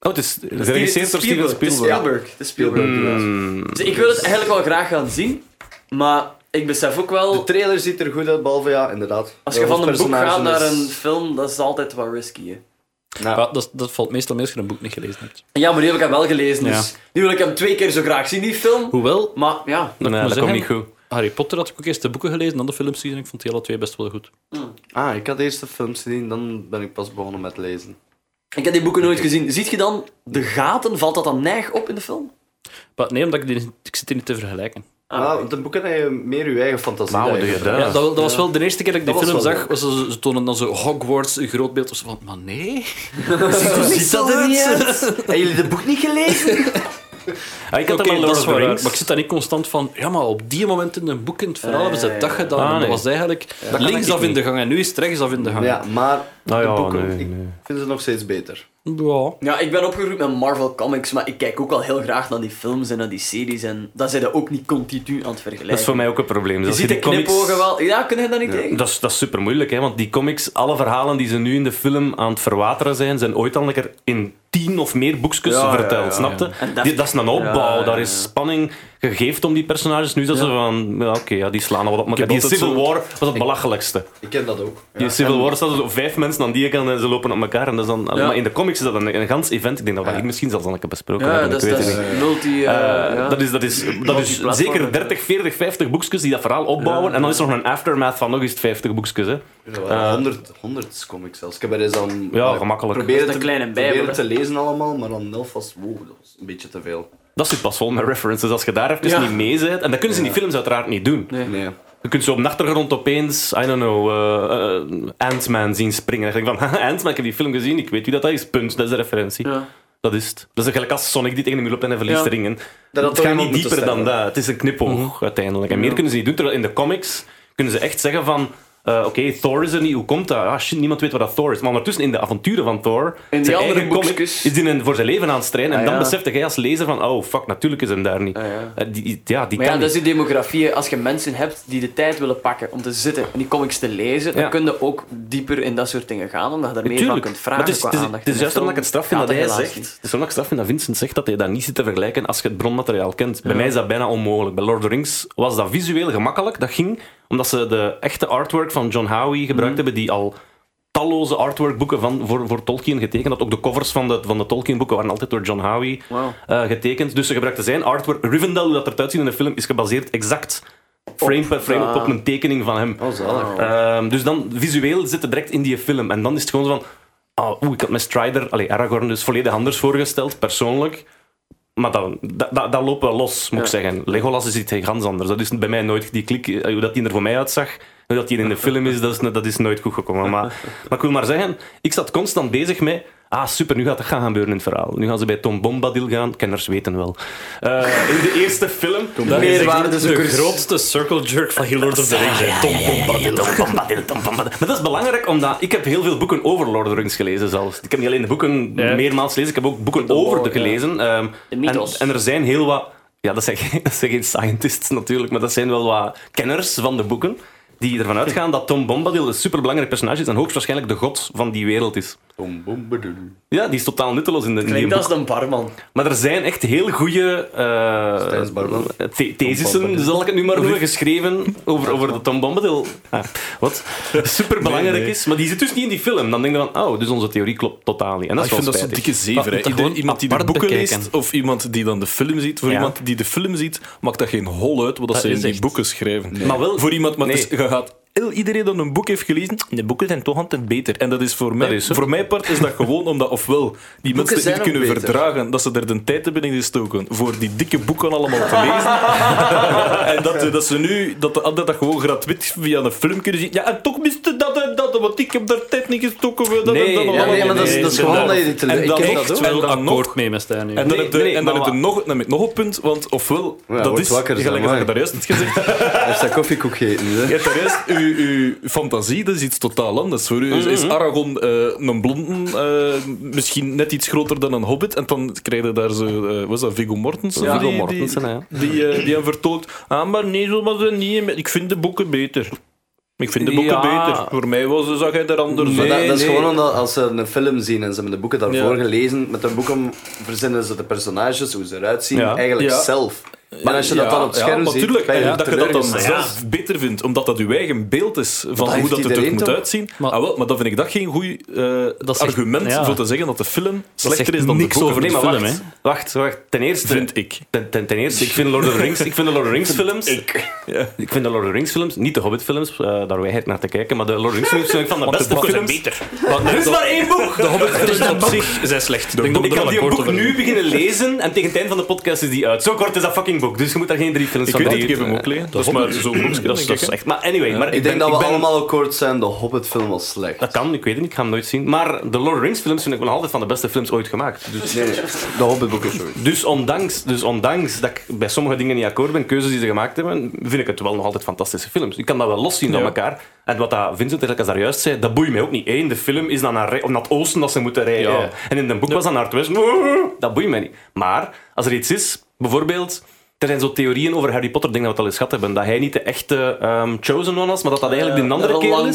S2: Oh, het is geregisseerd Hmm, door Steven
S6: Het is
S2: Spielberg.
S6: Spielberg. Het is Spielberg. Dus ik wil het eigenlijk wel graag gaan zien, maar ik besef ook
S5: De
S6: wel,
S5: trailer ziet er goed uit, behalve ja, inderdaad.
S6: als je
S5: Ja,
S6: van een boek
S5: personage
S6: gaat naar
S5: is-
S6: een film, dat is altijd wat risky. Hè.
S5: Nou,
S3: Ja, dat, dat valt meestal mee als je een boek niet gelezen hebt.
S6: Ja, maar die heb ik hem wel gelezen, dus nu wil ik hem twee keer zo graag zien, die film.
S3: Hoewel,
S6: Maar ja,
S2: Nee, dat
S3: zeggen-
S2: komt niet goed.
S3: Harry Potter had ik ook eerst de boeken gelezen, dan de films gezien. en Ik vond die alle twee best wel goed.
S5: Ah, ik had eerst de films gezien, dan ben ik pas begonnen met lezen.
S6: ik heb die boeken nooit gezien. Ziet je dan de gaten? Valt dat dan neig op in de film?
S3: Maar nee, omdat ik, die, ik zit die niet te vergelijken.
S5: Ah, want dan boeken heb je meer je eigen fantasie.
S2: Nou, de
S5: eigenlijk.
S2: gedaan.
S3: Ja, dat, dat was wel de eerste keer dat ik die
S5: Dat was
S3: film
S5: wel
S3: zag. Was ze, ze tonen dan zo Hogwarts, een groot beeld. of zo van, maar nee.
S5: Ziet dat er niet uit? Hebben jullie de boek niet gelezen?
S2: Ah, ik had
S3: Oké,
S2: hem al
S3: dat
S2: Lord
S3: is
S2: of the
S3: waar,
S2: Rings.
S3: Maar ik zit daar niet constant van. Ja, maar op die moment in een boek in het verhaal
S5: Ja,
S3: hebben ze
S5: ja,
S3: dat
S5: ja.
S3: gedaan.
S2: Ah,
S3: en
S2: nee.
S3: Dat was eigenlijk
S2: kan
S3: linksaf
S2: ik
S3: in de gang en nu is het rechtsaf in de gang.
S5: Ja, maar
S2: Nou ja,
S5: de boeken,
S2: nee,
S5: ik
S2: nee.
S5: vind ze nog steeds beter.
S3: Ja.
S6: Ja, ik ben opgegroeid met Marvel Comics, maar ik kijk ook wel heel graag naar die films en naar die series. En daar zijn ze ook niet continu aan het vergelijken.
S2: Dat is voor mij ook een probleem.
S6: Je
S2: Als
S6: ziet de
S2: die comics-
S6: knipogen wel. Ja, kun je dat niet tegen?
S2: Dat is, dat is super moeilijk, hè? want die comics, alle verhalen die ze nu in de film aan het verwateren zijn, zijn ooit al een keer in tien of meer boekjes
S5: Ja, ja,
S2: verteld,
S5: ja.
S2: snapte?
S6: En dat-
S2: Die- Dat is een opbouw,
S6: Ja, ja,
S2: daar
S6: ja.
S2: is spanning gegeven om die personages. Nu is dat ze van, ja, oké, ja, die slaan al wat op elkaar.
S4: heb
S2: Die
S4: altijd
S2: Civil
S4: zo-
S2: War was het belachelijkste.
S5: Ik ken dat ook.
S2: Die Civil War staat er zo vijf mensen aan die kant en ze lopen op elkaar. En dat is dan,
S3: Ja.
S2: Maar in de comics is dat een, een gans event. Ik denk dat we hier misschien zelfs al een keer besproken
S6: Eh,
S2: hebben,
S6: dus
S2: ik weet het niet.
S6: multi... eh,
S2: Eh,
S6: ja.
S2: Dat is, dat is, dat is
S6: Multiplatform, ja.
S2: zeker 30, 40, 50 boekjes die dat verhaal opbouwen. En dan is er nog een aftermath van nog eens 50 boekjes. Hè.
S5: Ja, 100, 100 comics zelfs. Ik heb er eens aan...
S2: Ja, gemakkelijk.
S5: Proberen
S6: Dat
S5: te,
S6: is een kleine
S5: proberen
S6: bijbel,
S5: te lezen allemaal, maar dan elf was... Wow, dat was een beetje te veel.
S2: Dat zit pas vol met references. Als je daar even
S6: Ja.
S2: niet mee bent. En dat kunnen ze in die films uiteraard niet doen.
S6: Nee.
S5: Nee.
S2: Je kunt zo op de achtergrond opeens, I don't know, eh, eh, Ant-Man zien springen. En dan denk ik van, haha, Ant-Man, ik heb die film gezien, ik weet wie dat is. Punt, dat is de referentie.
S6: Ja.
S2: Dat is het. Dat is eigenlijk als Sonic die tegen de muur loopt en hij verliest
S6: Ja.
S2: de ringen.
S5: Dat had
S2: het gaat
S5: iemand
S2: niet
S5: moeten
S2: dieper dan
S5: stemmen.
S2: dat. Het is een knipoog
S6: Mhm.
S2: uiteindelijk. En meer kunnen ze niet doen. Terwijl in de comics kunnen ze echt zeggen van... eh, Oké, Thor is er niet. Hoe komt dat? Ah, shit, niemand weet wat dat Thor is. Maar ondertussen in de avonturen van Thor...
S6: die
S2: zijn
S6: andere
S2: eigen comic,
S6: boekjes.
S2: Is die een voor zijn leven aan het strijden. En
S6: Ah,
S2: dan
S6: ja.
S2: besefte jij als lezer van... Oh, fuck, natuurlijk is hem daar niet.
S6: Ah, ja.
S2: Eh, die, die- ja, die
S6: Maar
S2: kan
S6: ja, dat is
S2: niet.
S6: die demografie. hè. Als je mensen hebt die de tijd willen pakken om te zitten en die comics te lezen,
S2: Ja.
S6: dan kun je ook dieper in dat soort dingen gaan, omdat je daar meer van
S2: Tuurlijk.
S6: kunt
S2: Maar
S6: vragen
S2: het is,
S6: qua
S2: het is,
S6: aandacht.
S2: het is
S6: En
S2: juist
S6: de
S2: omdat ik het
S6: film
S2: straf vind
S6: gaat
S2: dat hij
S6: helaas
S2: zegt.
S6: niet.
S2: Het is omdat ik straf vind dat Vincent zegt dat hij dat niet zit te vergelijken als je het bronmateriaal kent. Bij mij is dat bijna onmogelijk. Bij Lord of the Rings was dat visueel gemakkelijk. Dat ging omdat ze de echte artwork van John Howie gebruikt
S6: Mhm.
S2: hebben, die al talloze artworkboeken van, voor, voor Tolkien getekend had. Ook de covers van de, van de Tolkien-boeken waren altijd door John Howie
S6: Wauw.
S2: eh, getekend. Dus ze gebruikten zijn artwork. Rivendell, hoe dat eruit ziet in de film, is gebaseerd exact frame per frame op,
S6: ah.
S2: op een tekening van hem.
S5: Oh, zalig.
S2: Ehm, dus dan visueel zit het direct in die film. En dan is het gewoon zo van. ah, Oeh, ik had mijn Strider, allee, Aragorn, dus volledig anders voorgesteld, persoonlijk. Maar dat, dat, dat, dat loopt wel los, moet ik zeggen. Legolas is iets ganz anders. Dat is bij mij nooit die klik, eh, hoe dat die er voor mij uitzag. Hoe dat die in de film is, dat is, dat is nooit goed gekomen. Maar, maar ik wil maar zeggen, ik zat constant bezig met. Ah, super, nu gaat dat gaan gebeuren in het verhaal. Nu gaan ze bij Tom Bombadil gaan. Kenners weten wel. Eh, in de eerste film.
S3: Dat is echt de
S6: Meerwaardezoekers.
S3: grootste circle jerk van heel Lord of the Rings. hè. Tom Bombadil.
S2: Maar dat is belangrijk, omdat ik heb heel veel boeken over Lord of the Rings gelezen zelfs. Ik heb niet alleen de boeken
S3: Ja.
S2: meermaals gelezen, ik heb ook boeken over de gelezen. Ehm,
S6: De
S2: en,
S6: mythos.
S2: en er zijn heel wat... Ja, dat zijn, geen- dat zijn geen scientists natuurlijk, maar dat zijn wel wat kenners van de boeken. Die ervan uitgaan dat Tom Bombadil een superbelangrijk personage is en hoogstwaarschijnlijk de god van die wereld is.
S5: Boom, boom, badoe.
S2: Ja, die is totaal nutteloos in de in die
S6: Klinkt
S2: boeken.
S6: als een barman.
S2: Maar er zijn echt heel goede eh
S5: Stijns Barman.
S2: the- thesissen, zal ik het nu maar noemen, geschreven over, over de Tom Bombadil. Ah, wat superbelangrijk is, maar die zit dus niet in die film. Dan denk je van, oh, dus onze theorie klopt totaal niet. En dat
S4: Ah, ik
S2: is wel
S4: vind dat zo'n
S2: spijtig.
S4: dikke
S3: Maar
S4: zever. hè.
S3: moet dat
S4: Ieder-
S3: gewoon
S4: iemand die de
S3: apart
S4: boeken
S3: bekijken.
S4: leest of iemand die dan de film ziet. Voor
S2: Ja.
S4: iemand die de film ziet, maakt dat geen hol uit wat dat ze
S3: is
S4: in die
S3: echt-
S4: boeken schrijven.
S2: Maar wel-
S4: voor iemand, maar het is-
S2: Nee.
S4: je gaat heel iedereen dat een boek heeft gelezen, de boeken zijn toch altijd beter. En dat is voor mij,
S2: is zo.
S4: voor mijn part is dat gewoon omdat ofwel die mensen het
S5: zijn
S4: niet
S5: ook
S4: kunnen
S5: beter.
S4: verdragen dat ze er de tijd hebben in gestoken voor die dikke boeken allemaal te lezen. en dat, eh, dat ze nu dat de anderen dat gewoon gratuit via een film kunnen zien. Ja, en toch miste dat en dat, want ik heb daar tijd niet gestoken. voor Dat en
S2: Nee,
S4: dat
S2: ja,
S5: Ja, nee, maar dat is,
S3: nee,
S5: dat is
S3: nee,
S5: gewoon
S3: nee.
S5: dat je dit te
S4: En dan
S5: ik ken
S4: echt
S5: dat ook.
S4: wel
S3: Wel
S4: dan nog.
S3: akkoord mee met Stijn nu.
S4: En dan
S2: Nee,
S4: heb je,
S2: nee,
S4: en dan
S2: maar
S4: heb je
S2: wa-
S4: nog, dan heb je nog een punt, want ofwel, dat
S5: word
S4: is,
S5: wakker, zeg
S4: gelijk als
S5: maar.
S4: je daar juist hebt gezegd,
S5: Hij heeft zijn koffiekoek gegeten. hè.
S4: je hebt daar juist, uw, uw fantasie, dat is iets totaal anders. Voor u is,
S2: Mhm.
S4: is Aragon eh, een blonde, eh, misschien net iets groter dan een hobbit, en dan krijg je daar zo, eh, wat is dat, Viggo Mortensen?
S2: Ja,
S4: Die-
S2: Viggo Mortensen,
S4: Die,
S2: ja.
S4: die, eh, die hem vertolkt, ah, maar nee, zo was het niet, ik vind de boeken beter. Ik vind de boeken
S2: Ja.
S4: beter. Voor mij was, zag hij er anders
S5: Maar
S4: uit.
S5: dat, dat is
S2: nee.
S5: gewoon omdat als ze een film zien en ze hebben de boeken daarvoor
S4: Ja.
S5: gelezen, met de boeken verzinnen ze de personages, hoe ze eruit zien,
S2: Ja.
S5: eigenlijk
S4: Ja.
S5: zelf. Maar als je dat dan op het scherm ziet,
S4: natuurlijk,
S5: ben je
S4: dat je dat dan
S5: teleurgesteld.
S4: zelf beter vindt, omdat dat je eigen beeld is van hoe
S5: heeft
S4: dat er terug
S5: iedereen
S4: moet
S5: toch?
S4: uitzien. Maar,
S7: Maar-
S4: wel, maar dan vind ik dat geen goed eh,
S7: Dat zegt-
S4: argument
S7: ja.
S4: voor te zeggen dat de film slechter
S7: zegt
S4: is dan de
S7: niks
S4: boeken.
S7: over de
S4: Nee, maar
S7: film,
S4: wacht.
S7: hè.
S2: Wacht, wacht. Ten eerste...
S4: Vind ik.
S2: Ten, ten, ten eerste, ik vind Lord of the Rings, ik vind de Lord of the Rings films... Ik. vind de Lord of the Rings films, niet de Hobbit films, eh, daar wij het naar te kijken, maar de Lord of the Rings films vind ik van de beste
S7: boeken zijn
S2: films. Want er is maar één boek!
S7: De Hobbit-films op zich zijn slecht. Ik denk dat we
S2: ik
S7: er
S2: kan
S7: wel
S2: die
S7: akkoord
S2: boek
S7: over zijn.
S2: nu beginnen lezen en tegen het eind van de podcast is die uit. Zo kort is dat fucking boek, dus je moet daar geen drie films
S4: Ik
S2: van
S4: weet het,
S2: maken.
S4: ik heb hem ook liggen. Dat is maar zo'n boekje.
S2: Dat is, dat is echt. Maar anyway, maar
S5: Ik denk
S2: ben-
S5: dat we
S2: ben-
S5: allemaal akkoord zijn, de Hobbit-film was slecht.
S2: Dat kan, ik weet het niet, ik ga hem nooit zien. Maar de Lord of the Rings films vind ik nog altijd van de beste films ooit gemaakt. Dus,
S5: Nee, nee, de Hobbit-boeken, sorry.
S2: dus, ondanks, dus ondanks dat ik bij sommige dingen niet akkoord ben, keuzes die ze gemaakt hebben, vind ik het wel nog altijd fantastische films. Ik kan dat wel loszien van elkaar. En wat dat Vincent eigenlijk daar juist zei, dat boeit mij ook niet. Eén, de film is dan naar, rij- naar het oosten dat ze moeten rijden. En in de boek was dat naar het westen. Dat boeit mij niet. Maar als er iets is, bijvoorbeeld... Er zijn zo theorieën over Harry Potter, dingen dat we al eens gehad hebben. Dat hij niet de echte ehm, Chosen One was, maar dat dat eigenlijk die andere kerel is.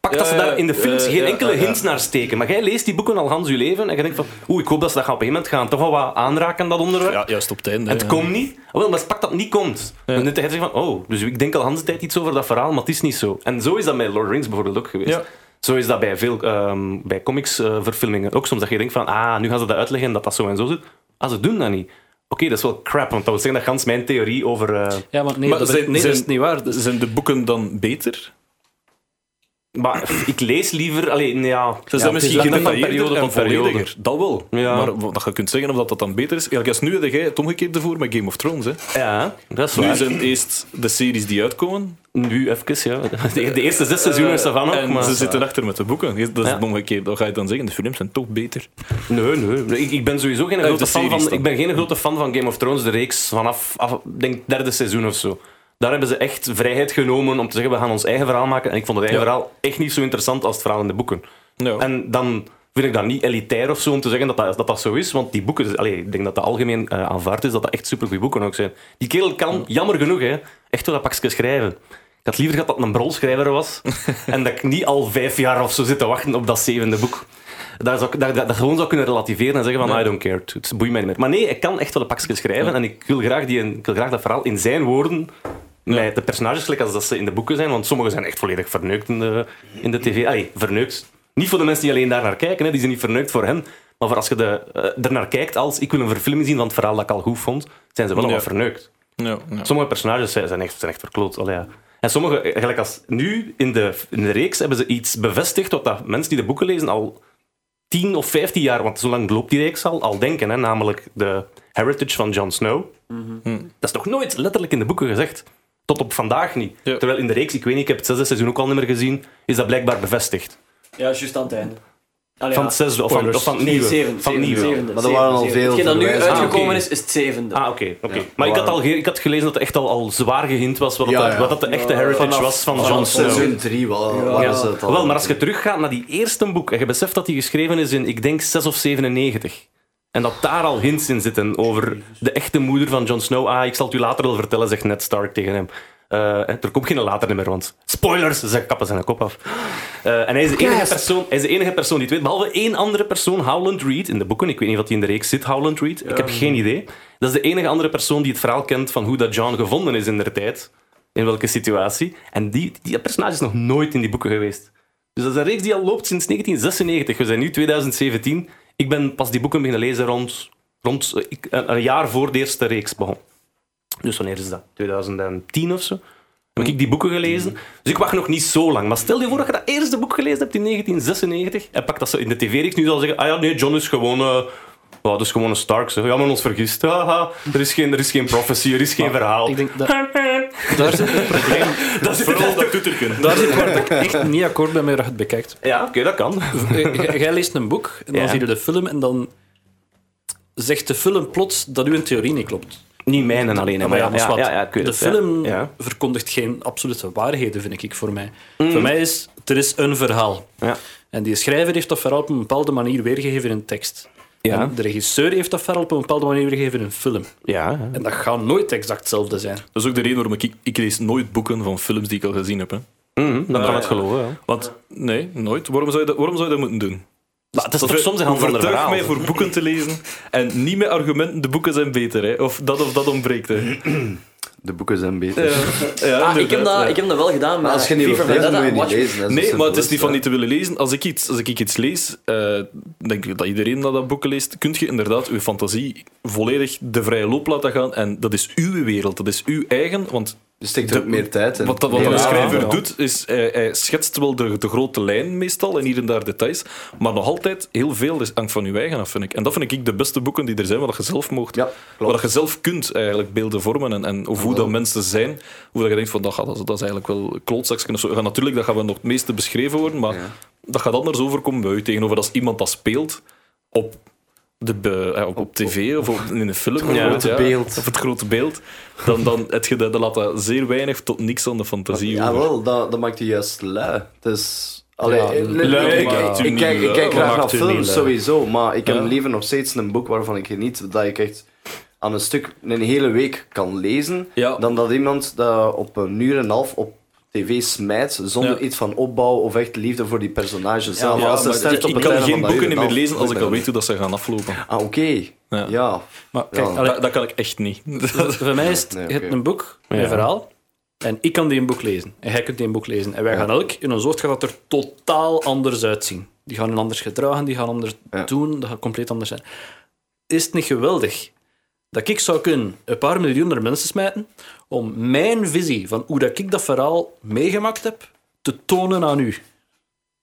S2: Pak dat ze
S4: Ja, ja,
S2: daar in de films
S4: ja,
S2: geen
S4: ja,
S2: enkele
S4: ja, ja.
S2: hints naar steken. Maar jij leest die boeken al gans je leven en je denkt van... Oeh, ik hoop dat ze dat gaan op een gegeven moment gaan toch wel wat aanraken, dat onderwerp.
S4: Ja, juist op het einde.
S2: En het
S4: ja.
S2: komt niet. Ah, Wel, maar pak dat het niet komt. Dan denk je van... Oh, dus ik denk al hans de tijd iets over dat verhaal, maar het is niet zo. En zo is dat met Lord of the Rings bijvoorbeeld ook geweest.
S4: Ja.
S2: Zo is dat bij veel ehm, bij comics-verfilmingen ook soms. Dat je denkt van... Ah, nu gaan ze dat uitleggen dat dat zo en zo zit. Ah, ze doen dat niet. Oké, dat is wel crap, want dat wil zeggen dat gans mijn theorie over... eh,
S7: Ja, maar nee,
S4: Maar
S7: dat,
S4: zijn-
S7: nee,
S4: zijn-
S7: dat is niet waar. Dus-
S4: Zijn de boeken dan beter?
S2: maar pff, ik lees liever... Alleen, ja... ja,
S4: Zijn ze
S2: het
S4: dan
S2: is
S4: misschien
S2: wel net
S4: gedetailleerder en
S2: periode.
S4: vollediger? Dat wel.
S2: Ja.
S4: Maar wat- dat je kunt zeggen of dat, dat dan beter is. Ja, als nu heb jij het omgekeerde voor met Game of Thrones. Hè.
S2: Ja, dat is waar.
S4: Nu zijn eerst de series die uitkomen.
S2: Nu even, ja. De, de eerste zes seizoenen is er van ook,
S4: en
S2: maar...
S4: ze zitten achter met de boeken. Dat is
S2: Ja.
S4: het omgekeerde. Dan ga je dan zeggen, de films zijn toch beter.
S2: Nee, nee. Ik, ik ben sowieso geen
S4: de
S2: grote fan
S4: series
S2: van...
S4: dan.
S2: Ik ben geen grote fan van Game of Thrones, de reeks, vanaf, af, denk, derde seizoen of zo. Daar hebben ze echt vrijheid genomen om te zeggen, we gaan ons eigen verhaal maken. En ik vond het eigen
S4: Ja.
S2: verhaal echt niet zo interessant als het verhaal in de boeken.
S4: Ja.
S2: En dan vind ik dat niet elitair of zo om te zeggen dat dat, dat, dat zo is. Want die boeken, dus, allee, ik denk dat dat algemeen eh, aanvaard is, dat dat echt supergoeie boeken ook zijn. Die kerel kan, jammer genoeg, hè, echt wel dat pakje schrijven. Ik had liever gehad dat het een brolschrijver was en dat ik niet al vijf jaar of zo zit te wachten op dat zevende boek. Daar zou, ik- daar, daar, dat gewoon zou kunnen relativeren en zeggen van I don't care, het boeit mij niet meer. Maar nee, ik kan echt wel een pakje schrijven en ik wil, graag die, ik wil graag dat verhaal in zijn woorden met de personages gelijk als dat ze in de boeken zijn, want sommige zijn echt volledig verneukt in de, in de tv. Allee, verneukt. Niet voor de mensen die alleen daar naar kijken, hè. die zijn niet verneukt voor hen. Maar voor als je de, eh, er naar kijkt als ik wil een verfilming zien van het verhaal dat ik al goed vond, zijn ze wel
S4: Ja.
S2: allemaal verneukt.
S4: Ja, ja.
S2: Sommige personages zijn zijn echt, zijn echt verkloot. Allee, ja. En sommige, eh, gelijk als nu in de, in de reeks, hebben ze iets bevestigd wat dat mensen die de boeken lezen al 10 of 15 jaar, want zo lang loopt die reeks al, al denken. Hè, namelijk de heritage van Jon Snow.
S5: Mhm.
S2: Dat is nog nooit letterlijk in de boeken gezegd. Tot op vandaag niet.
S4: Ja.
S2: Terwijl in de reeks, ik weet niet, ik heb het zesde seizoen ook al niet meer gezien, is dat blijkbaar bevestigd.
S6: Ja, juist aan het einde. Allee,
S2: Van
S6: ja.
S2: het zesde of van, of van het
S6: Nee,
S2: nieuwe.
S6: zevende,
S2: van het nieuwe.
S6: zevende, zevende,
S5: Maar er waren al
S6: zevende.
S5: veel
S6: Hetgeen dat nu
S5: verwijzingen.
S6: uitgekomen
S2: Ah, oké.
S6: is, is het zevende.
S2: Ah, oké. oké. maar ik had, al, ge- ik had gelezen dat het echt al, al zwaar gehind was wat, dat-
S5: Ja, ja.
S2: wat dat de echte heritage was van Jon
S5: Van
S2: Snow.
S5: seizoen 3
S2: Ja.
S5: was het al.
S2: Wel, maar als je teruggaat naar die eerste boek en je beseft dat die geschreven is in, ik denk, 6 of 97. En dat daar al hints in zitten over de echte moeder van Jon Snow. Ah, ik zal het u later wel vertellen, zegt Ned Stark tegen hem. Eh, er komt geen later meer, want spoilers, ze kappen zijn kop af. Eh, en hij is, de enige persoon, hij is de enige persoon die het weet, behalve één andere persoon, Howland Reed, in de boeken. Ik weet niet wat hij in de reeks zit, Howland Reed. Ik heb geen idee. Dat is de enige andere persoon die het verhaal kent van hoe dat John gevonden is in de tijd. In welke situatie. En die, die personage is nog nooit in die boeken geweest. Dus dat is een reeks die al loopt sinds 1996. We zijn nu 2017. Ik ben pas die boeken beginnen lezen rond, rond eh, ik- een, een jaar voor de eerste reeks begon. Dus wanneer is dat? 2010 of zo? Heb ik die boeken gelezen? Dus ik wacht nog niet zo lang. Maar stel je voor dat je dat eerste boek gelezen hebt in 1996 en pak dat ze in de tv-reeks nu zal zeggen: Ah ja, nee, John is gewoon. eh ja, dat is gewoon een Stark. Zeg. Ja, maar ons vergist. Haha, er, is geen, er is geen prophecy, er is geen verhaal.
S7: Ik denk dat... Daar zit het probleem.
S2: dat is vooral dat toeterken.
S7: Daar zit waar ik echt niet akkoord ben met hoe je het bekijkt.
S2: Ja, oké, dat kan.
S7: Eh, g- Jij leest een boek en dan
S2: Ja.
S7: zie je de film en dan zegt de film plots dat uw theorie niet klopt.
S2: Niet mijn en alleen. hè,
S7: Ah, Maar ja, maar
S2: ja,
S7: zwart.
S2: ja, ja, ik weet
S7: de
S2: het, ja.
S7: film
S2: Ja. Mm.
S7: verkondigt geen absolute waarheden, vind ik, voor mij. Voor mij is, er is een verhaal.
S2: Ja.
S7: En die schrijver heeft dat verhaal op een bepaalde manier weergegeven in een tekst.
S2: Ja.
S7: En de regisseur heeft dat verhaal op een bepaalde manier weergegeven in een film.
S2: Ja, ja.
S7: En dat gaat nooit exact hetzelfde zijn.
S4: Dat is ook de reden waarom ik, ik, lees nooit boeken van films die ik al gezien heb. Hè.
S2: Mhm, dan kan het geloven. Ja.
S4: Want nee, nooit. Waarom zou, je dat, waarom zou je dat moeten doen?
S2: Maar het is toch soms een heel ander
S4: Overtuig
S2: verhaal.
S4: mij voor boeken te lezen en niet met argumenten, de boeken zijn beter. Hè. Of dat of dat ontbreekt. Hè.
S5: De boeken zijn beter.
S4: Ja,
S6: Ah, ik, heb
S4: inderdaad, ja.
S6: dat, ik heb dat wel gedaan, maar
S5: Maar als je niet
S6: FIFA
S5: wilt lezen,
S6: Vendetta,
S5: moet je niet
S6: Watchmen-
S5: lezen. hè. Zo
S4: Nee,
S5: simpel
S4: maar het is niet van
S5: hè.
S4: niet te willen lezen. Als ik iets, als ik iets lees, eh, denk ik dat iedereen dat, dat boeken leest, kun je inderdaad je fantasie volledig de vrije loop laten gaan. En dat is uw wereld, dat is uw eigen. Want
S5: Je steekt er ook meer tijd in.
S4: wat, dat- wat
S5: Ja.
S4: een schrijver
S2: ja.
S4: doet, is eh, hij schetst wel de, de grote lijn meestal en hier en daar details. Maar nog altijd heel veel is- hangt van uw eigen af, vind ik. En dat vind ik de beste boeken die er zijn, waar dat je zelf mocht.
S5: Ja,
S4: waar
S5: klopt.
S4: dat je zelf kunt eigenlijk beelden vormen en, en of hoe dat mensen zijn. Hoe dat je denkt van "Ah, dat, gaat, dat, is- dat is eigenlijk wel klootzaksken of zo. Ja, natuurlijk, dat gaat wel nog het meeste beschreven worden, maar
S5: Ja.
S4: dat gaat anders overkomen bij u. Tegenover als iemand dat speelt op, de, be- eh, op, op tv of op- in een film. bijvoorbeeld,
S5: grote beeld.
S4: Of het grote beeld. Dan, dan het ge- dat laat dat zeer weinig tot niks aan de fantasie
S5: Ja,
S4: over.
S5: wel, dat, dat maakt je juist lui. Het is... Allee, eh, nee,
S4: lui,
S5: nee, ik,
S4: maar-
S5: ik, ik kijk, ik kijk
S4: Wat
S5: graag
S4: maakt
S5: naar
S4: u niet
S5: films
S4: lui?
S5: sowieso, maar ik heb
S4: Ja.
S5: liever nog steeds een boek waarvan ik geniet dat ik echt aan een stuk een hele week kan lezen,
S4: Ja.
S5: dan dat iemand dat op een uur en een half op tv smijt zonder
S4: Ja.
S5: iets van opbouw of echt liefde voor die personage zelf.
S4: Ja,
S5: als ze
S4: maar
S5: sterft op
S4: ik
S5: het
S4: kan
S5: einde
S4: geen
S5: van dat
S4: boeken
S5: uur
S4: niet meer
S5: en een
S4: lezen
S5: half,
S4: als ik al
S5: ben-
S4: weet hoe dat ze gaan aflopen.
S5: Ah, oké.
S4: Ja.
S5: Ja.
S7: Maar kijk,
S5: Ja.
S7: allee,
S4: Dat, dat kan ik echt niet.
S7: voor mij is het,
S5: Nee,
S7: je hebt
S5: oké.
S7: een boek, een verhaal, en ik kan die een boek lezen, en jij kunt die een boek lezen. En wij gaan elk, in ons hoofd gaat dat er totaal anders uitzien. Die gaan hun anders gedragen, die gaan anders
S5: Ja.
S7: doen, dat gaat compleet anders zijn. Is het niet geweldig dat ik zou kunnen een paar miljoen naar mensen smijten om mijn visie van hoe dat ik dat verhaal meegemaakt heb, te tonen aan u?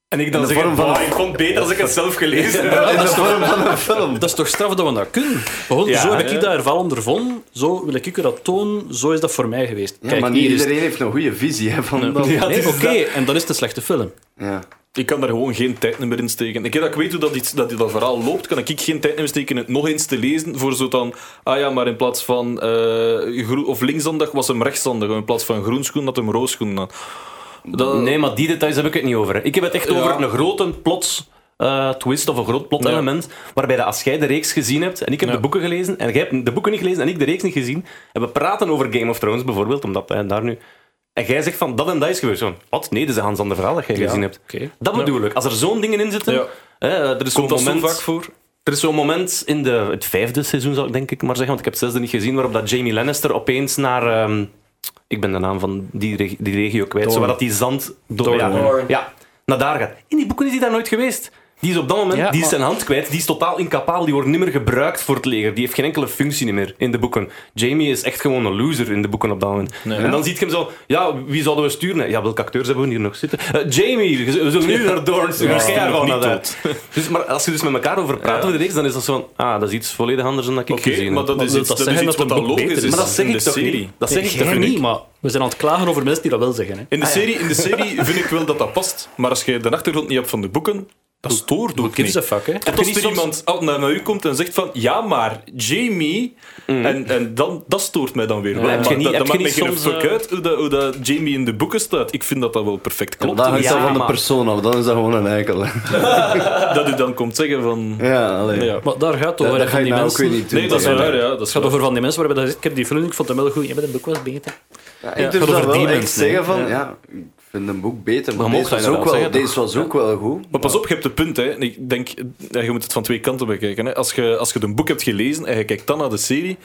S4: En ik dan
S5: de vorm van een-
S4: ik vond het beter als ik het zelf gelezen heb.
S5: in de vorm van een film.
S7: Dat is toch straf dat we dat kunnen? Gewoon,
S4: Ja,
S7: zo heb ik
S4: ja.
S7: dat ervan ondervonden, zo wil ik u dat tonen, zo is dat voor mij geweest.
S5: Ja,
S7: Kijk,
S5: maar niet
S7: hier is het.
S5: iedereen heeft een goede visie hè, van dat.
S7: Nee,
S4: het is
S7: oké, en dan is het een slechte film.
S5: Ja.
S4: Ik kan daar gewoon geen tijd meer in steken. Ik dat ik weet hoe dat, iets, dat, dat verhaal loopt, kan ik geen tijd meer steken het nog eens te lezen voor zo dan... Ah ja, maar in plaats van eh, groen- of linkshandig was hem rechtshandig. In plaats van groenschoen had hem rooschoen aan. Dat-
S2: Nee, maar die details heb ik het niet over. hè. Ik heb het echt over een grote plots eh, twist of een groot plot element. Waarbij dat als jij de reeks gezien hebt en ik heb de boeken gelezen en jij hebt de boeken niet gelezen en ik de reeks niet gezien. En we praten over Game of Thrones bijvoorbeeld, omdat eh, daar nu. En jij zegt van dat en dat is gebeurd. Zo, wat? Nee, dat is een Hans Ander verhaal dat jij gezien hebt.
S7: oké.
S2: Dat bedoel ik. Als er zo'n dingen in zitten.
S4: Ja.
S2: hè, er is zo'n
S4: Komt dat
S2: moment.
S4: zo vaak voor?
S2: Er is zo'n moment in de, het vijfde seizoen, zou ik denk ik maar zeggen, want ik heb het zesde niet gezien, waarop dat Jamie Lannister opeens naar... ehm, ik ben de naam van die, reg- die regio kwijt, zodat die zand... door ja,
S6: Doorn.
S2: ja, naar daar gaat. In die boeken is hij daar nooit geweest. Die is op dat moment,
S7: Ja,
S2: die is
S7: maar-
S2: zijn hand kwijt, die is totaal incapabel, die wordt niet meer gebruikt voor het leger, die heeft geen enkele functie meer in de boeken. Jamie is echt gewoon een loser in de boeken op dat moment. En dan ziet je hem zo, ja, wie zouden we sturen? Ja, welke acteurs hebben we hier nog zitten? Eh, Jamie, we zullen nu naar Dorne sturen, jij gaat gewoon naar daar. Dus, maar als je dus met elkaar over praat over de reeks, dan is dat zo van, ah, dat is iets volledig anders dan dat ik
S4: Oké,
S2: gezien
S4: maar
S2: heb.
S4: dat is
S7: wil
S4: iets,
S7: dat
S4: dat is
S7: zeggen
S4: iets
S7: dat
S4: wat dan
S7: het boek
S4: logisch
S7: beter
S4: is.
S7: is?
S2: Maar dat zeg
S4: in
S2: ik
S4: de
S2: toch
S4: serie.
S2: niet? Dat zeg ik toch
S7: Jij
S2: niet?
S7: niet, maar we zijn aan het klagen over mensen die dat wel zeggen. Hè.
S4: In de, serie, in de serie vind ik wel dat dat past. Maar als je de achtergrond niet hebt van de boeken, dat stoort ook niet.
S7: Kids the fuck, hè?
S4: Tot er iemand al- naar, naar u komt en zegt van ja, maar Jamie. En, en dan, dat stoort mij dan weer wel.
S2: Mhm. Heb je
S4: Maar
S2: niet-
S4: dat,
S2: heb
S4: dat
S2: je
S4: maakt mij
S2: niet
S4: geen
S2: soms,
S4: fuck
S2: eh,
S4: uit hoe dat, hoe dat Jamie in de boeken staat. Ik vind dat dat wel perfect klopt. Dus
S5: Dat hangt
S2: Ja,
S5: dan van de
S2: maar-
S5: persoon af, dan is dat gewoon een eikel. hè.
S4: Dat u dan komt zeggen van.
S5: Ja, allee.
S4: Ja.
S7: Maar daar gaat het
S5: Dat, dat
S7: over. hè,
S5: ga
S7: van
S5: je
S7: die
S5: nou ook
S7: mensen.
S5: weer niet doen.
S4: Nee, dat is
S5: Ja.
S4: waar, ja. Dat is
S7: Het gaat
S4: waar.
S7: over van die mensen waarbij dat zegt, ik heb die film, ik vond hem wel goed, jij bent een boek wel beter.
S5: Ja, ik durf
S7: gaat
S5: dat
S7: over
S5: wel
S7: die
S5: echt
S7: mensen,
S5: zeggen van, ja. ik vind een boek beter, maar,
S2: Maar
S5: deze
S2: mocht dat
S5: was, ook
S2: inderdaad
S5: wel,
S2: zeggen,
S5: deze was ook wel goed.
S4: Maar pas op, je hebt het punt. Hè. En Ik denk, ja, je moet het van twee kanten bekijken. Hè. Als je als je een boek hebt gelezen en je kijkt dan naar de serie,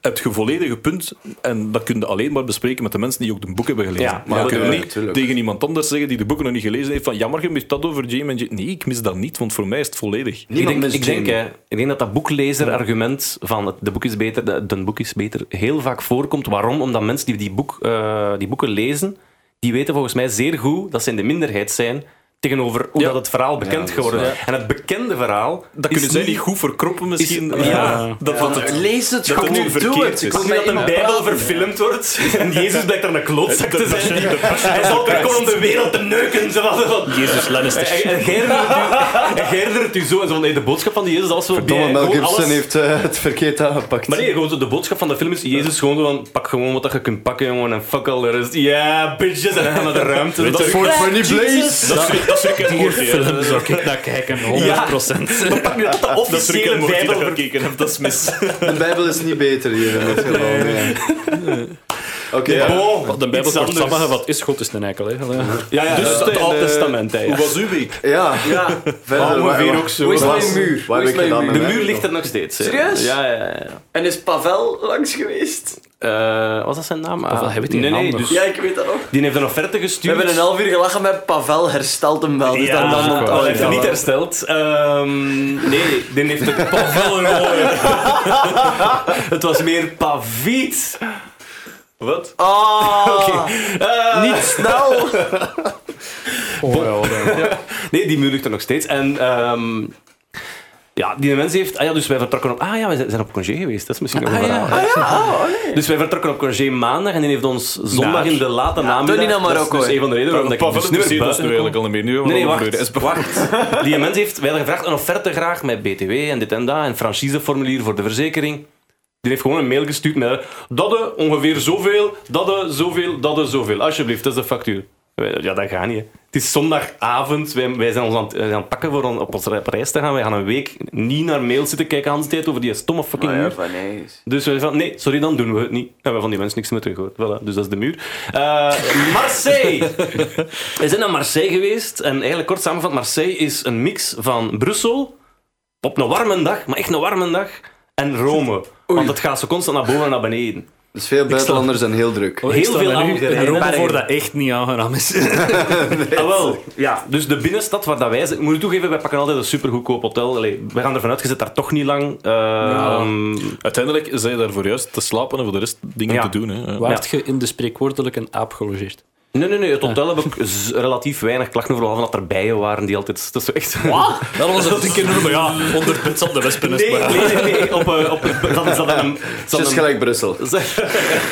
S4: heb je volledige punt. En dat kun je alleen maar bespreken met de mensen die ook een boek hebben gelezen.
S2: Ja,
S4: maar dat kun je
S5: tuurlijk,
S4: niet
S5: tuurlijk.
S4: tegen iemand anders zeggen die de boeken nog niet gelezen heeft van jammer, je mist dat over Jamie en Jane. Nee, ik mis dat niet, want voor mij is het volledig.
S2: Ik denk,
S5: Niemand
S2: ik,
S5: mist
S2: denk, eh,
S5: Jamie.
S2: hè, ik denk dat dat boeklezer-argument van het, de boek is beter, de, de boek is beter, heel vaak voorkomt. Waarom? Omdat mensen die die, boek, eh, die boeken lezen, die weten volgens mij zeer goed dat ze in de minderheid zijn tegenover hoe dat het verhaal bekend geworden is. En het bekende verhaal...
S4: Dat kunnen zij niet goed verkroppen misschien.
S2: is- ja.
S4: dat wat het
S5: Lees het
S4: dat het nu verkeerd is.
S5: kom
S2: Als dat een bijbel verfilmd wordt en Jezus blijkt daar een klootzak te zijn. Hij zal er komen om de wereld te neuken. Jezus Lannister. En Gerdert u zo. en zo van, hey, De boodschap van die Jezus, dat was zo...
S5: Domme
S2: die-
S5: Mel
S2: gewoon
S5: Gibson
S2: alles-
S5: heeft eh, het verkeerd aangepakt.
S2: Maar nee, gewoon zo, de boodschap van de film is Jezus gewoon zo van, pak gewoon wat dat je kunt pakken, jongen, en fuck al de rest. Ja, bitches, en dan naar de ruimte. Dat
S5: Voor Funny Blaze!
S4: Dat is- dat is Rick en Morty. hè.
S7: zou ik naar kijken, 100%.
S2: we pakken dat de
S4: Dat is Rick
S2: officiële
S4: en Morty
S2: Bijbel.
S4: dat ik gekeken heb, dat is mis.
S5: De Bijbel is niet beter hier in dit geval. nee.
S2: Oh,
S4: Bo,
S7: De Bijbel
S4: iets
S7: wordt
S4: anders.
S7: samengevat. Is God is een eikel, hè. Allee.
S4: Ja, ja,
S2: Dus
S4: dus
S2: het
S4: het
S2: Oude
S4: eh,
S2: Testament, hè, ja.
S4: Hoe was uw week?
S5: Ja,
S2: Ja.
S5: verder.
S2: ongeveer
S5: waar-
S2: ook zo.
S5: waar-
S2: Hoe is
S5: waar-
S2: mijn
S1: muur?
S5: waar
S1: Hoe
S5: heb
S1: is
S5: ik
S1: mijn
S5: gedaan
S1: muur?
S2: De
S5: met
S2: muur
S5: mij?
S2: ligt er nog steeds. hè.
S1: Serieus?
S2: Ja, ja, ja.
S1: En is Pavel langs geweest?
S2: Eh, was dat zijn naam? Ah,
S7: heb ik die
S2: nee,
S7: naam
S2: nee,
S7: nog?
S2: dus
S1: Ja, ik weet dat nog.
S2: Die heeft een offerte
S6: We
S2: gestuurd.
S6: hebben een half uur gelachen met Pavel, herstelt hem wel. Dus daar dan
S2: al heeft hij niet hersteld. Ehm, nee, die heeft het Pavel gehoord. het was meer Paviet. Wat?
S6: Ah,
S2: Eh,
S6: niet snel.
S2: nee, die muur ligt er nog steeds. En ehm, ja, die mens heeft... Ah ja, dus wij vertrokken op... Ah ja, we zijn zijn op congé geweest. Dat is misschien nog een verhaal. Dus wij vertrokken op congé maandag en die heeft ons zondag in de late namiddag...
S6: Tony naar Marokko,
S2: Dat is dus
S6: hè.
S2: een van de redenen waarom ik
S4: Pavel
S2: dus nu weer
S4: interesseert ons nu
S2: buiten
S4: eigenlijk al niet meer. Nu hebben we
S2: Nee, nee,
S4: al
S2: wacht.
S4: gebeurd. Is-
S2: wacht. Die mens heeft, wij hadden gevraagd een offerte graag met BTW en dit en dat en franchiseformulier voor de verzekering. Die heeft gewoon een mail gestuurd met dat er ongeveer zoveel, dat er zoveel, dat er zoveel. Alsjeblieft, dat is de factuur. Wij- Ja, dat gaat niet. Hè. Het is zondagavond, wij, wij zijn ons aan het, eh, aan het pakken voor on- op onze reis te gaan. Wij gaan een week niet naar mail zitten kijken aan de tijd over die stomme fucking muur.
S6: van nee.
S2: Dus wij van, nee, sorry, dan doen we het niet. En we van die mensen niks meer teruggehoord. Voilà, dus dat is de muur. Eh, Marseille! we zijn naar Marseille geweest. En eigenlijk kort samengevat, Marseille is een mix van Brussel, op een warme dag, maar echt een warme dag, en Rome. Want het gaat zo constant naar boven en naar beneden.
S5: Dus veel buitenlanders zijn heel druk.
S2: Heel veel
S7: En
S2: andere
S7: Rome voor dat echt niet aangenaam is.
S2: Ah, wel. Ja, dus de binnenstad waar dat wij zijn... Ik moet toegeven, wij pakken altijd een supergoedkoop hotel. Allee, we gaan ervan uit, je zit daar toch niet lang. Eh,
S4: Uiteindelijk zijn je daarvoor juist te slapen en voor de rest dingen
S2: Ja.
S4: te doen. Hè. Ja.
S7: Waart je in de spreekwoordelijke aap gelogeerd?
S2: Nee, nee, nee. Het hotel heb ik z- relatief weinig klachten voor, behalve dat er bijen waren die altijd... Dat is zo echt...
S7: Dat was een dikke nummer, maar ja, onderpunt op de wespen.
S2: Nee, nee, nee, nee. Op, eh, op, dat is dat een...
S5: Het is gelijk Brussel.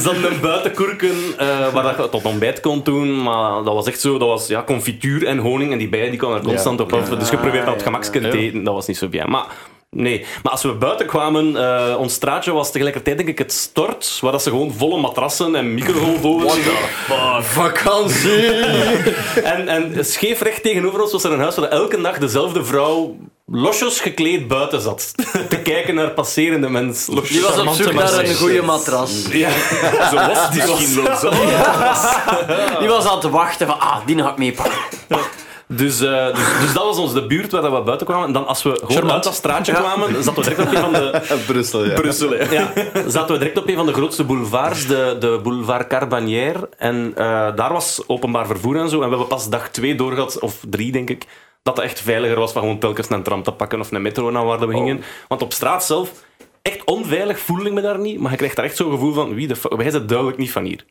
S2: Ze hadden een buitenkurken eh, waar dat je tot ontbijt kon doen, maar dat was echt zo, dat was ja, confituur en honing en die bijen die kwamen er constant op af. Dus je probeert dat op het gemakske te eten, dat was niet zo bien. Maar nee, maar als we buiten kwamen, eh, ons straatje was tegelijkertijd denk ik het stort, waar dat ze gewoon volle matrassen en microgolfovens...
S5: Vakantie!
S2: En, en scheefrecht tegenover ons was er een huis waar elke dag dezelfde vrouw losjes gekleed buiten zat. Te kijken naar passerende mensen.
S6: Die was op zoek naar een goede matras.
S2: Ja, zo was die misschien wel zo.
S6: Die was aan het wachten van, ah, die ga ik meepakken.
S2: Dus, eh, dus, dus dat was ons de buurt waar dat we buiten kwamen. En dan als we gewoon uit dat straatje kwamen, zaten we direct op een van de...
S5: Brussel, ja.
S2: Brussel, ja. Zaten we direct op een van de grootste boulevards, de, de boulevard Carbanière. En eh, daar was openbaar vervoer en zo. En we hebben pas dag twee doorgehad, of drie denk ik, dat het echt veiliger was van gewoon telkens een tram te pakken of een metro naar waar dat we gingen. Want op straat zelf, echt onveilig voelde ik me daar niet. Maar je krijgt daar echt zo'n gevoel van, wie de fuck, wij zijn duidelijk niet van hier.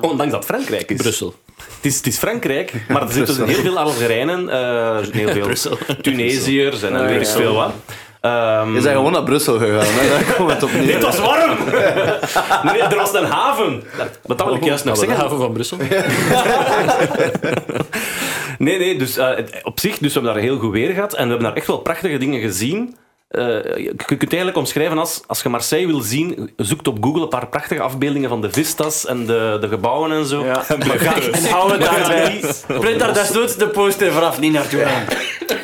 S2: Ondanks dat het Frankrijk is.
S7: Brussel.
S2: Het is, het is Frankrijk, maar er zitten dus heel veel Algerijnen, eh, heel veel Tunesiërs en dan weet ik veel wat. Ehm,
S5: Je bent gewoon naar Brussel gegaan, hè? daar komt het op neer.
S2: het was warm! nee, er was een haven. Wat dat wil ik juist nog
S7: De
S2: zeggen.
S7: haven van Brussel.
S2: Nee, nee, dus eh, het- op zich, dus we hebben daar heel goed weer gehad en we hebben daar echt wel prachtige dingen gezien. Eh, je je kunt het eigenlijk omschrijven als, als je Marseille wil zien, zoekt op Google een paar prachtige afbeeldingen van de vistas en de, de gebouwen en zo. Maar ga-
S6: En hou het daarbij. Print daar desnoods de poster vanaf niet naartoe.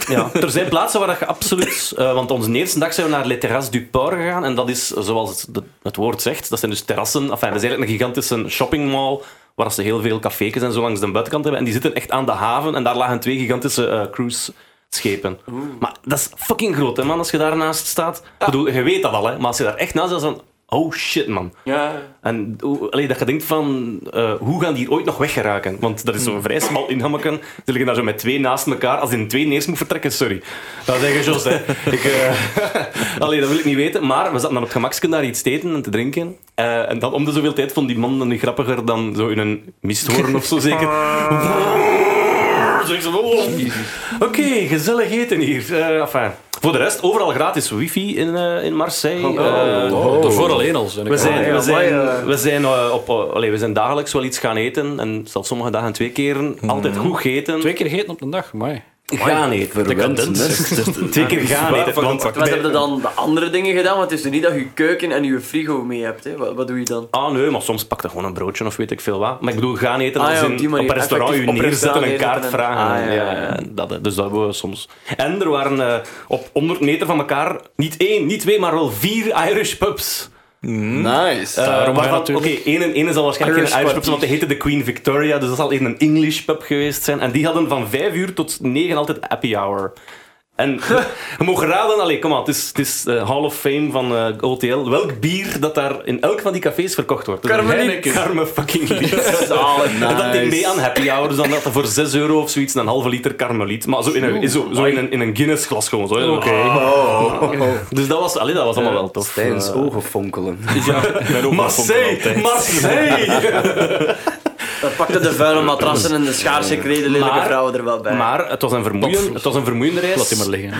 S2: Ja, er zijn plaatsen waar dat je absoluut... eh, want onze eerste dag zijn we naar Les Terrasses du Port gegaan. En dat is, zoals het, de- het woord zegt, dat zijn dus terrassen. Enfin, dat is eigenlijk een gigantische shoppingmall waar ze heel veel cafékes en zo langs de buitenkant hebben. En die zitten echt aan de haven. En daar lagen twee gigantische eh, cruiseschepen. Maar dat is fucking groot, hè, man, als je daarnaast staat. Ik bedoel, je weet dat al, hè. Maar als je daar echt naast staat, dan... Oh shit, man.
S6: Ja.
S2: En hoe- allee, dat je denkt van, eh, hoe gaan die hier ooit nog weggeraken? Want dat is zo'n vrij smal inhammeken. Ze liggen daar zo met twee naast elkaar. Als die in twee neers moet vertrekken, sorry. Dat zeg je, Jos, hè. Ik, eh, allee, dat wil ik niet weten. Maar we zaten dan op het gemakske daar iets te eten en te drinken. Eh, en dan om de zoveel tijd vond die man dan niet grappiger dan zo in een misthoorn of zo zeker. Zeg ze, oh. Oké, gezellig eten hier. Eh, enfin, voor de rest, overal gratis wifi in, eh, in Marseille. Eh,
S7: Daarvoor alleen al. zijn ik
S2: we
S7: al.
S2: zijn,
S5: ja,
S2: we
S5: maar,
S2: zijn,
S5: eh,
S2: we zijn, eh, op, eh, allee, we zijn dagelijks wel iets gaan eten. En zelfs sommige dagen twee keren. Altijd
S5: Mhm.
S2: goed gegeten.
S7: Twee keer gegeten op een dag, maar.
S2: gaan eten. Twee keer gaan eten. Want,
S6: Wat hebben dan de andere dingen gedaan? Want het is er niet dat je keuken en je frigo mee hebt. Hè. Wat, wat doe je dan?
S2: ah nee, maar soms pak je gewoon een broodje of weet ik veel wat. Maar ik bedoel, gaan eten
S6: Ah,
S2: als
S6: ja, op
S2: in,
S6: die manier.
S2: op een restaurant je
S6: Effectief op
S2: neerzetten, een
S6: restaurant
S2: kaart
S6: neerzetten en-
S2: vragen.
S6: Ah, ja,
S2: ja, ja, dat, eh, dus dat hebben we soms. En er waren eh, op 100 meter van elkaar niet één, niet twee, maar wel vier Irish pubs.
S6: Hmm.
S5: Nice.
S6: Ah,
S2: Eh, waarvan- Oké, één, één zal waarschijnlijk geen Irish pub zijn, want die heette de Queen Victoria, dus dat zal eerder een English pub geweest zijn. En die hadden van 5 uur tot 9 altijd happy hour. En we mogen raden, allee, kom aan, het is, het is eh, Hall of Fame van eh, OTL, welk bier dat daar in elk van die cafés verkocht wordt. Dus een
S5: Carmeliet.
S2: Heineken. Carme fucking lief. En dat ding mee aan happy hour, dus dan dat er voor 6 euro of zoiets een halve liter karmeliet. Maar zo in een, zo, zo in een, in een Guinness glas gewoon. Oké. Dus dat was, allee, dat was allemaal wel tof.
S5: Tijdens ogen fonkelen.
S2: Marseille! Marseille!
S6: Dan pakte de vuile matrassen en de schaarse kreden lelijke
S2: Maar-
S6: vrouwen er wel bij.
S2: Maar het was een, vermoeien, het was een vermoeiende reis.
S7: Eh, Laat die maar liggen.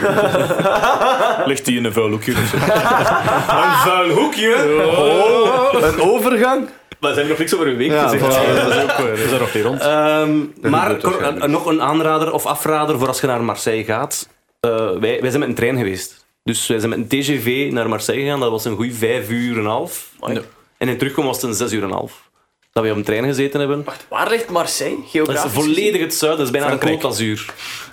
S4: Ligt die in een vuil hoekje of zo?
S2: Een vuil hoekje!
S7: Oh.
S2: Oh.
S5: Een overgang?
S2: We zijn nog niks over een week
S5: Ja,
S2: gezegd.
S5: voilà.
S7: eh, We zijn nog niet rond.
S2: Ehm, maar
S5: doet het
S2: Cor-
S5: waarschijnlijk.
S2: een- nog een aanrader of afrader voor als je naar Marseille gaat. Eh, wij, wij zijn met een trein geweest. Dus wij zijn met een TGV naar Marseille gegaan. Dat was een goede vijf uur en een half.
S7: Ah,
S2: En in terugkomen was het een zes uur en een half. Dat we op een trein gezeten hebben.
S6: Waar ligt Marseille?
S2: Dat is
S6: Geografisch?
S2: volledig het zuiden. Dat is bijna de Côte d'Azur.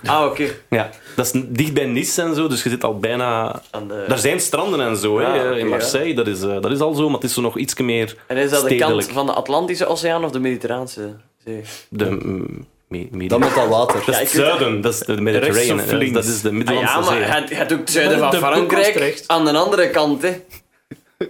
S6: Ah, oké.
S2: Ja, dat is dicht bij Nice en zo. Dus je zit al bijna...
S6: Aan de-
S2: Daar zijn stranden en zo hè, eh,
S6: Ah, oké,
S2: in Marseille. Dat, is, eh, dat is al zo, maar het is zo nog iets meer
S6: En is dat de
S2: stedelijk.
S6: kant van de Atlantische Oceaan of de Mediterraanse Zee?
S2: De, mm, me- me-
S5: Dan moet dat water.
S2: Dat is
S6: Ja, ik
S2: het
S6: weet het.
S2: zuiden, dat is de Mediterranean.
S4: Rechts of
S2: hè.
S4: links?
S2: Dat is de
S6: Ah
S2: Middellandse
S6: ja, maar
S2: Zee. hè.
S6: het het ook het zuiden van
S7: boek was
S6: Frankrijk
S7: recht.
S6: aan de andere kant, hè.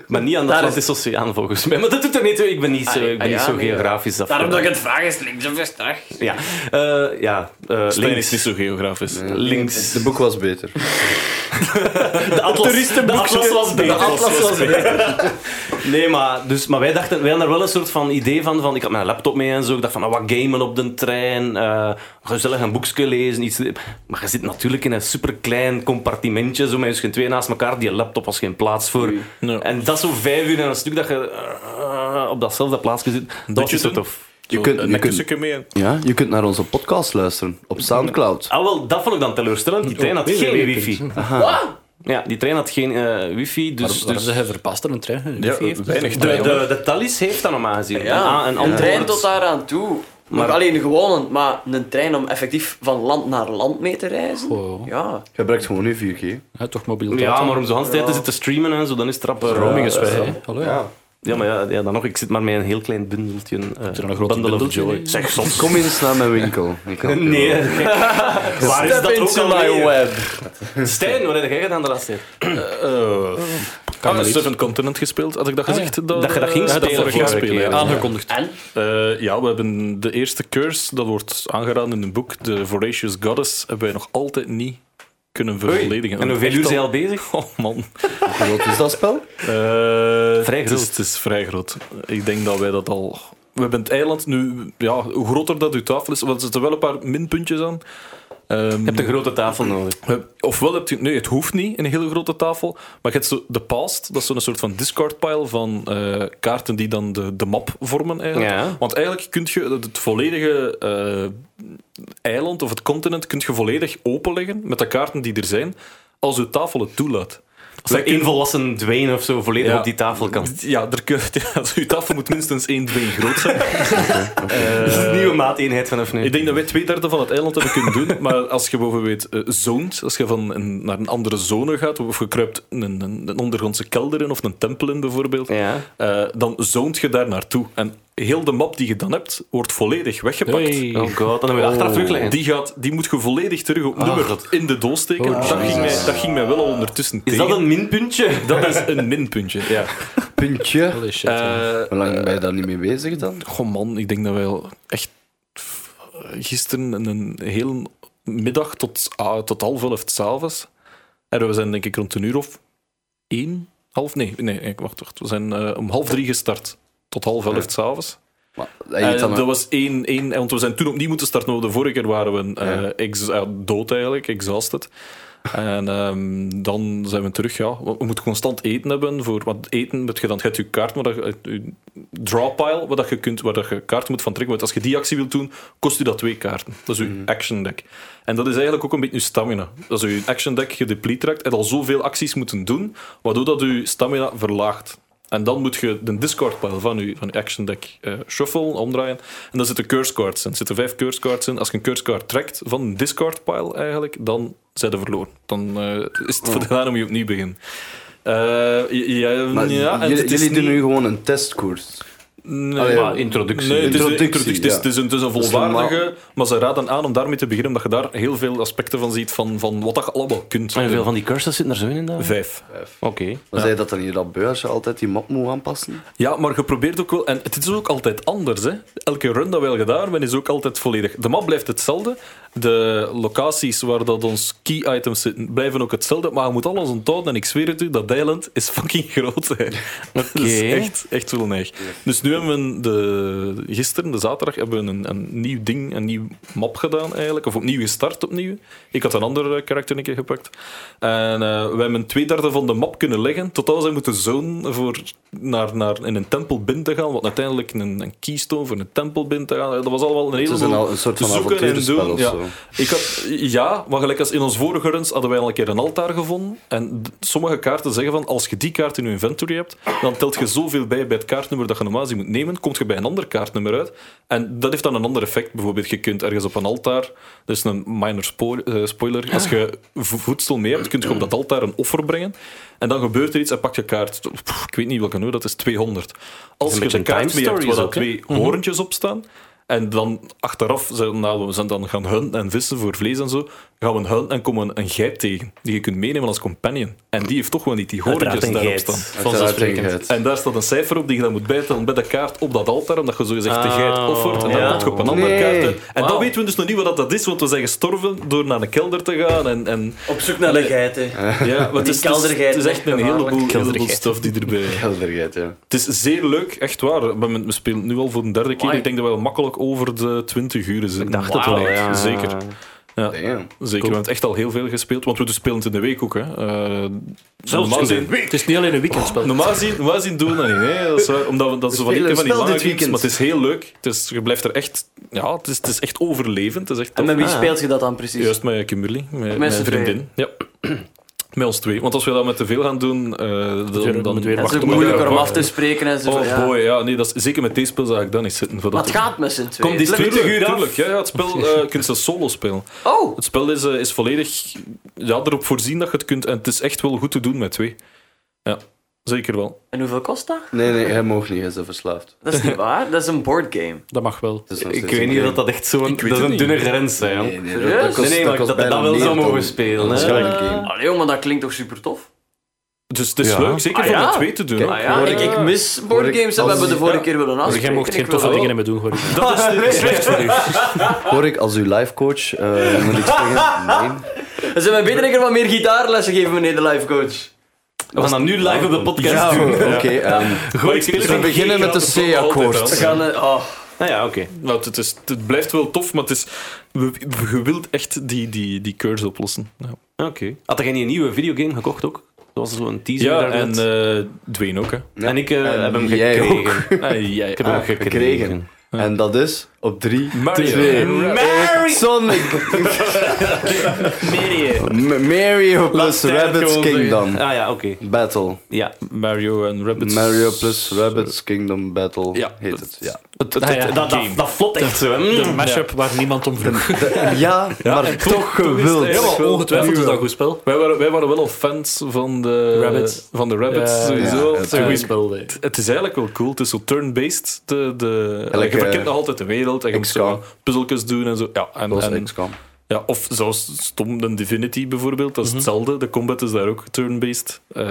S2: Maar niet aan de
S6: Daar
S2: Atlantische Oceaan volgens mij. Maar dat doet er niet toe. Ik ben niet zo, ik ben
S6: ah
S2: niet
S6: ja,
S2: zo
S6: nee, ja.
S2: geografisch. af-
S6: Daarom dat ik het vraag is links of is rechts.
S2: Ja, Eh, ja. eh,
S4: Stijn is
S2: links.
S4: niet zo geografisch.
S2: links.
S5: De boek was beter.
S2: De atlas, de atlas was beter. Nee, maar, dus, maar wij dachten, wij hadden er wel een soort van idee van, van. Ik had mijn laptop mee en zo. Ik dacht van, ah, wat gamen op de trein. eh, gezellig een boekje lezen. Iets. Maar je zit natuurlijk in een superklein compartimentje. Zo met je twee naast elkaar. Die laptop was geen plaats voor.
S4: Nee.
S2: En dat zo vijf uur en een stuk dat je eh, op datzelfde plaatsje zit. Dat was niet zo eh,
S4: doen?
S2: tof.
S5: Je kunt, je,
S4: Een
S5: kunt,
S4: kussentje mee.
S5: ja, je kunt naar onze podcast luisteren op Soundcloud.
S2: Ah, wel, dat vond ik dan teleurstellend. Die trein had geen wifi. Ja, die trein had geen eh, wifi. Dus,
S7: Dus
S2: dus
S7: hij verpast er een trein. Ja,
S4: weinig.
S2: de, de, de Thalys heeft dat normaal gezien.
S6: Ja,
S2: Ah,
S6: een,
S2: antwoord.
S6: trein tot daaraan toe. Maar alleen een gewone, maar een trein om effectief van land naar land mee te reizen. Ja.
S5: Je gebruikt gewoon nu 4G.
S7: toch mobiel.
S2: Ja, maar om zo'n tijd te zitten streamen en zo, dan is het rap. eh,
S7: Roaming is
S2: eh,
S7: weg, hè. Hallo, ja.
S2: Ja, maar ja, ja, dan nog, ik zit maar met een heel klein bundeltje. eh,
S7: een grote
S2: bundle of
S7: bundeltje
S2: joy.
S7: in?
S2: Zeg, soms.
S5: Kom eens naar mijn winkel. Ik help je
S2: Nee,
S5: wel.
S2: gek. waar is dat ook al
S5: my
S2: mee?
S5: web.
S2: Stijn, wat heb jij gedaan de laatste tijd?
S4: Ah, Seven Continent gespeeld, had ik dat gezegd?
S2: Ah, Dat je dat ging
S4: Ja,
S2: spelen
S4: vorig jaar
S2: vorige
S4: spelen,
S2: keer,
S4: ja.
S7: Aangekondigd.
S6: En?
S4: Eh, ja, we hebben de eerste curse, dat wordt aangeraden in een boek, de Voracious Goddess, hebben wij nog altijd niet kunnen vervolledigen.
S2: En hoeveel
S4: Echt
S2: uur zijn
S4: al-
S2: al bezig?
S4: Oh man.
S5: Hoe groot is dat spel?
S4: Eh,
S2: Vrij
S4: Het is,
S2: groot.
S4: het is vrij groot. Ik denk dat wij dat al... We hebben het eiland nu... Ja, hoe groter dat uw tafel is, want er zitten wel een paar minpuntjes aan. Ehm,
S2: Je hebt een grote tafel nodig.
S4: we- Eh, Ofwel heb je... Nee, het hoeft niet, een hele grote tafel. Maar je hebt zo de past, dat is zo'n soort van discard pile van eh, kaarten die dan de, de map vormen eigenlijk.
S2: Ja.
S4: Want eigenlijk kun je het- het volledige eh, eiland of het continent kun je volledig openleggen met de kaarten die er zijn, als je tafel het toelaat.
S2: Als er
S4: Wij
S2: één volwassen dwijn of zo volledig
S4: Ja.
S2: op die tafel kan.
S4: Ja, er, kun- ja, uw tafel moet minstens één been groot zijn.
S2: Dat is een nieuwe maateenheid vanaf nu.
S4: Ik denk dat wij twee derde van het eiland hebben kunnen doen. Maar als je bijvoorbeeld eh zoont, als je van een, naar een andere zone gaat, of je kruipt een, een, een ondergrondse kelder in of een tempel in bijvoorbeeld,
S2: Ja.
S4: eh, dan zoont je daar naartoe. En heel de map die je dan hebt, wordt volledig weggepakt.
S7: Hey.
S2: Oh god, dan hebben we achteraf terugleggen.
S4: Die, gaat, die moet je volledig terug op
S2: Ah,
S4: nummer in de doos steken. dat, ging mij, dat ging mij wel al ondertussen
S2: Oh, Is
S4: tegen.
S2: dat een minpuntje?
S4: dat is een minpuntje, ja.
S5: Puntje.
S7: Holy shit.
S4: Eh,
S5: Hoe lang ben je daar niet mee bezig dan?
S4: Goh man, ik denk dat wij al echt f- gisteren een- een hele middag tot, ah, tot half elf s'avonds. En we zijn denk ik rond een uur of één, half nee, nee, ik wacht, wacht. We zijn eh, om half drie gestart tot half elf s'avonds.
S5: Maar,
S2: Eh,
S5: hij eet dan
S4: dat
S5: een-
S4: was één, één, want we zijn toen opnieuw moeten starten. want De vorige keer waren we eh, ex- eh, dood eigenlijk, exhausted. En ehm, dan zijn we terug, ja. We we moeten constant eten hebben. Voor, want eten moet je dan, je hebt je kaart, maar dat, je- je drawpile, waar, dat je kunt, waar dat je kaart moet van trekken. Want als je die actie wilt doen, kost je dat twee kaarten. Dat is je
S5: Mhm.
S4: action deck. En dat is eigenlijk ook een beetje je stamina. Als je action deck gedeplete raakt, en al zoveel acties moeten doen, waardoor dat je stamina verlaagt. En dan moet je de discard pile van je, van je action deck eh shuffle, omdraaien. En daar zitten curse cards in. Er zitten vijf curse cards in. Als je een curse card trekt van een
S5: Oh.
S4: discard pile eigenlijk, dan zijn ze verloren. Dan eh, is het gedaan om je opnieuw te beginnen. Eh, ja, ja,
S5: Maar
S4: ja, en
S5: jullie-
S4: het is
S5: jullie
S4: niet-
S5: doen nu gewoon een testkoers.
S4: Nee,
S5: Allee,
S2: Maar introductie.
S4: Nee, het is, een,
S5: Introductie,
S4: introductie, het is,
S5: ja.
S4: het is een, het is een
S5: is
S4: volwaardige, maar ze raden aan om daarmee te beginnen, omdat je daar heel veel aspecten van ziet van, van wat dat je allemaal kunt.
S2: En hoeveel van die cursus zitten er zo in? in dat?
S4: Vijf.
S2: Oké.
S5: Maar zei je dat dan niet dat beurs altijd die map moet aanpassen?
S4: Ja, maar geprobeerd ook wel. En het is ook altijd anders. Hè. Elke run dat we gedaan hebben, is ook altijd volledig. De map blijft hetzelfde. De locaties waar dat ons key items zitten, blijven ook hetzelfde. Maar je moet alles onthouden. En ik zweer het u, dat eiland is fucking groot. Hè. Dat is
S2: Oké.
S4: echt, echt wel neig. Dus nu hebben we de, gisteren, de zaterdag, hebben we een, een nieuw ding, een nieuw map gedaan eigenlijk. Of opnieuw gestart opnieuw. Ik had een ander eh, karakter een keer gepakt. En eh, we hebben twee derde van de map kunnen leggen. Totdat we moeten zonen voor naar, naar in een tempel binnen te gaan. Wat uiteindelijk een, een keystone voor een tempel binnen te gaan. Dat was allemaal een
S5: Het
S4: hele
S5: is een, al- een soort van
S4: zoeken en
S5: avonturenspel
S4: doen,
S5: of
S4: ja.
S5: zo.
S4: ik had, ja, maar gelijk als in ons vorige runs hadden wij al een keer een altaar gevonden. En d- sommige kaarten zeggen van, als je die kaart in je inventory hebt, dan telt je zoveel bij bij het kaartnummer dat je normaal gezien moet nemen, komt je bij een ander kaartnummer uit. En dat heeft dan een ander effect. Bijvoorbeeld, je kunt ergens op een altaar, dat is een minor spo- eh, spoiler, als je vo- voedsel mee hebt, kun je op dat altaar een offer brengen. En dan gebeurt er iets en pak je kaart, pff, ik weet niet welke nummer, dat is 200. Als je
S2: beetje
S4: de kaart
S2: time
S4: mee hebt waar
S2: stories
S4: dat
S2: ook, hè?
S4: twee hoorntjes op staan. En dan achteraf, zijn, nou, we zijn dan gaan hunten en vissen voor vlees en zo. Gaan we hunten en komen een geit tegen. Die je kunt meenemen als companion. En die heeft toch wel niet die
S2: Uiteraard
S4: hoorntjes
S2: een
S4: daarop
S2: geit.
S4: staan.
S5: Vanzelfsprekend.
S4: En daar staat een cijfer op die je dan moet bijtellen bij de kaart op dat altaar. Omdat je zogezegd de geit offert. En
S2: Oh.
S4: dan
S2: ja.
S4: komt je op een andere
S5: Nee.
S4: kaart uit. En
S2: Wauw.
S4: dan weten we dus nog niet wat dat is. Want we zijn gestorven door naar een kelder te gaan. En, en
S6: Op zoek naar de geiten.
S4: ja, maar het,
S6: Die
S4: is, het is-
S6: keldergeit
S4: het is echt
S6: echt
S4: een
S6: gevaarlijk.
S4: heleboel, heleboel
S2: Keldergeit.
S4: stuff die erbij...
S5: Helderheid, ja.
S4: Het is zeer leuk, echt waar. We we spelen nu al voor de derde keer.
S6: Amai.
S4: Ik denk dat we wel makkelijk over de 20 uur zitten. Ik
S2: dacht het wel, ja.
S4: Zeker. Ja, zeker.
S5: Damn.
S4: We hebben het echt al heel veel gespeeld, want we dus spelen het in de week ook. Hè. Eh, normaal
S2: in de
S4: gezien-
S7: Het is niet alleen een weekendspel.
S4: Normaal zien, normaal gezien doen we dat niet. Hè. Dat is waar, omdat we, dat is zo van die,
S5: spelen
S4: van die
S5: spel
S4: lange games,
S5: dit weekend.
S4: maar het is heel leuk. Het is, je blijft er echt... Ja, het is, het is echt overlevend. Het is echt
S6: En
S4: tof.
S6: met wie speelt je dat dan precies?
S4: Juist met Kimberly, met, mijn
S6: z'n
S4: vriendin. Ja. Met ons twee. Want als we dat met te veel gaan doen, eh, dan, dan
S6: het is
S4: wachten
S6: ook
S4: we-
S6: moeilijker om
S4: wachten-
S6: af te spreken en zo.
S4: Oh
S6: ja.
S4: boy, ja, nee, dat is, zeker met deze spel zou ik dan niet zitten. Voor
S6: Maar
S4: dat
S6: het gaat met z'n tweeën.
S4: Kom, die is
S6: Tuurlijk,
S4: 20 uur
S6: tuurlijk.
S4: tuurlijk. Ja, ja, het spel eh, je kunt ze solo spelen.
S6: Oh,
S4: Het spel is, eh, is volledig ja, erop voorzien dat je het kunt. En het is echt wel goed te doen met twee. Ja, zeker wel.
S6: en hoeveel kost dat?
S5: Nee, nee, hij mag niet, hij is een verslaafd.
S6: Dat is niet waar, dat is een boardgame.
S7: Dat mag wel.
S5: Het is nog
S2: Ik
S5: steeds
S2: weet niet
S5: een
S2: of dat echt zo'n... Dat
S4: weet
S2: is
S4: het
S2: een
S4: niet.
S2: dunne grens, hè. jong.
S5: game. Nee, nee, dat,
S6: Serieus?
S5: dat kost,
S2: Nee, nee, maar
S5: kost
S2: dat dat
S5: bijna
S2: wel
S5: meer
S2: zo
S5: dan-
S2: mogen spelen,
S5: Dat is
S2: hè.
S5: wel een game.
S6: Allee, joh, maar dat klinkt toch super tof?
S4: Dus het is
S2: Ja.
S4: leuk, zeker
S6: Ah,
S4: voor
S6: ja.
S4: met twee te doen.
S6: Ah ja, ik, ik mis boardgames en
S5: als-
S6: we hebben de vorige keer willen afspreken.
S7: Dus Jij mocht
S6: Ik
S7: geen
S6: wil
S7: toffe
S6: wel-
S7: dingen hebben doen, hoor.
S4: Dat is niet slecht voor u.
S5: Hoor ik als uw lifecoach, eh moet ik zeggen, nee.
S6: Dan zijn we beter dat ik Oh, er wat meer gitaarlessen geven, meneer de lifecoach.
S2: We gaan dat nu live op de podcast
S5: Ja,
S2: doen.
S5: oké. ehm,
S4: Goed, ik speel
S5: we
S4: geen
S5: beginnen met
S4: gratis
S5: de
S4: spel,
S5: C-akkoord.
S4: altijd
S6: We
S4: wel.
S6: gaan... eh, oh.
S2: Nou ja, oké.
S4: Nou, het, is, het blijft wel tof, maar het is, we- we- je wilt echt die, die, die curse oplossen. Ja,
S2: Oké. Had jij niet een nieuwe videogame gekocht ook? Dat was zo'n teaser
S4: ja
S2: daarnet.
S4: en eh Dwayne ook. Hè.
S2: en ik eh,
S5: en
S2: heb hem
S5: jij
S2: gekregen.
S4: Ah, jij-
S2: Ik heb hem
S5: Ah,
S2: gekregen.
S5: gekregen. En dat is op 3,
S4: Mario.
S5: 2,
S2: Mary!
S5: Sonic,
S2: Mary!
S5: M- Mario plus
S2: Laat het
S5: Rabbit's
S2: gewoon zeggen.
S5: Kingdom
S2: Ah ja, oké.
S5: Battle.
S2: Ja.
S4: Mario en Rabbits.
S5: Mario plus Rabbit's Kingdom Battle
S4: Ja,
S5: heet
S4: dat-
S5: het. Ah, Ja,
S2: Het- het- het- dat, dat, dat vlot echt zo. hè. Mm.
S7: De mashup waar niemand om vroeg.
S5: ja maar toch gewild.
S4: Ja, maar
S7: Ongetwijfeld is dat een goed spel.
S4: Wij waren, wij waren wel al fans van de
S7: Rabbids.
S4: Van de Rabbits,
S7: Ja,
S4: sowieso.
S5: ja,
S4: het, is
S5: het-
S4: een
S7: Goed
S4: goeie-
S7: spel, nee.
S4: het is eigenlijk wel cool. Het is zo turn-based. De, de, je verkent nog altijd de wereld. En je moet zo
S5: XCOM.
S4: puzzeltjes doen en zo. Ja, en,
S5: Dat
S4: en-
S5: was XCOM.
S4: ja, of zoals stom de Divinity bijvoorbeeld.
S5: Mhm.
S4: Dat is hetzelfde. De combat is daar ook turn-based. Eh,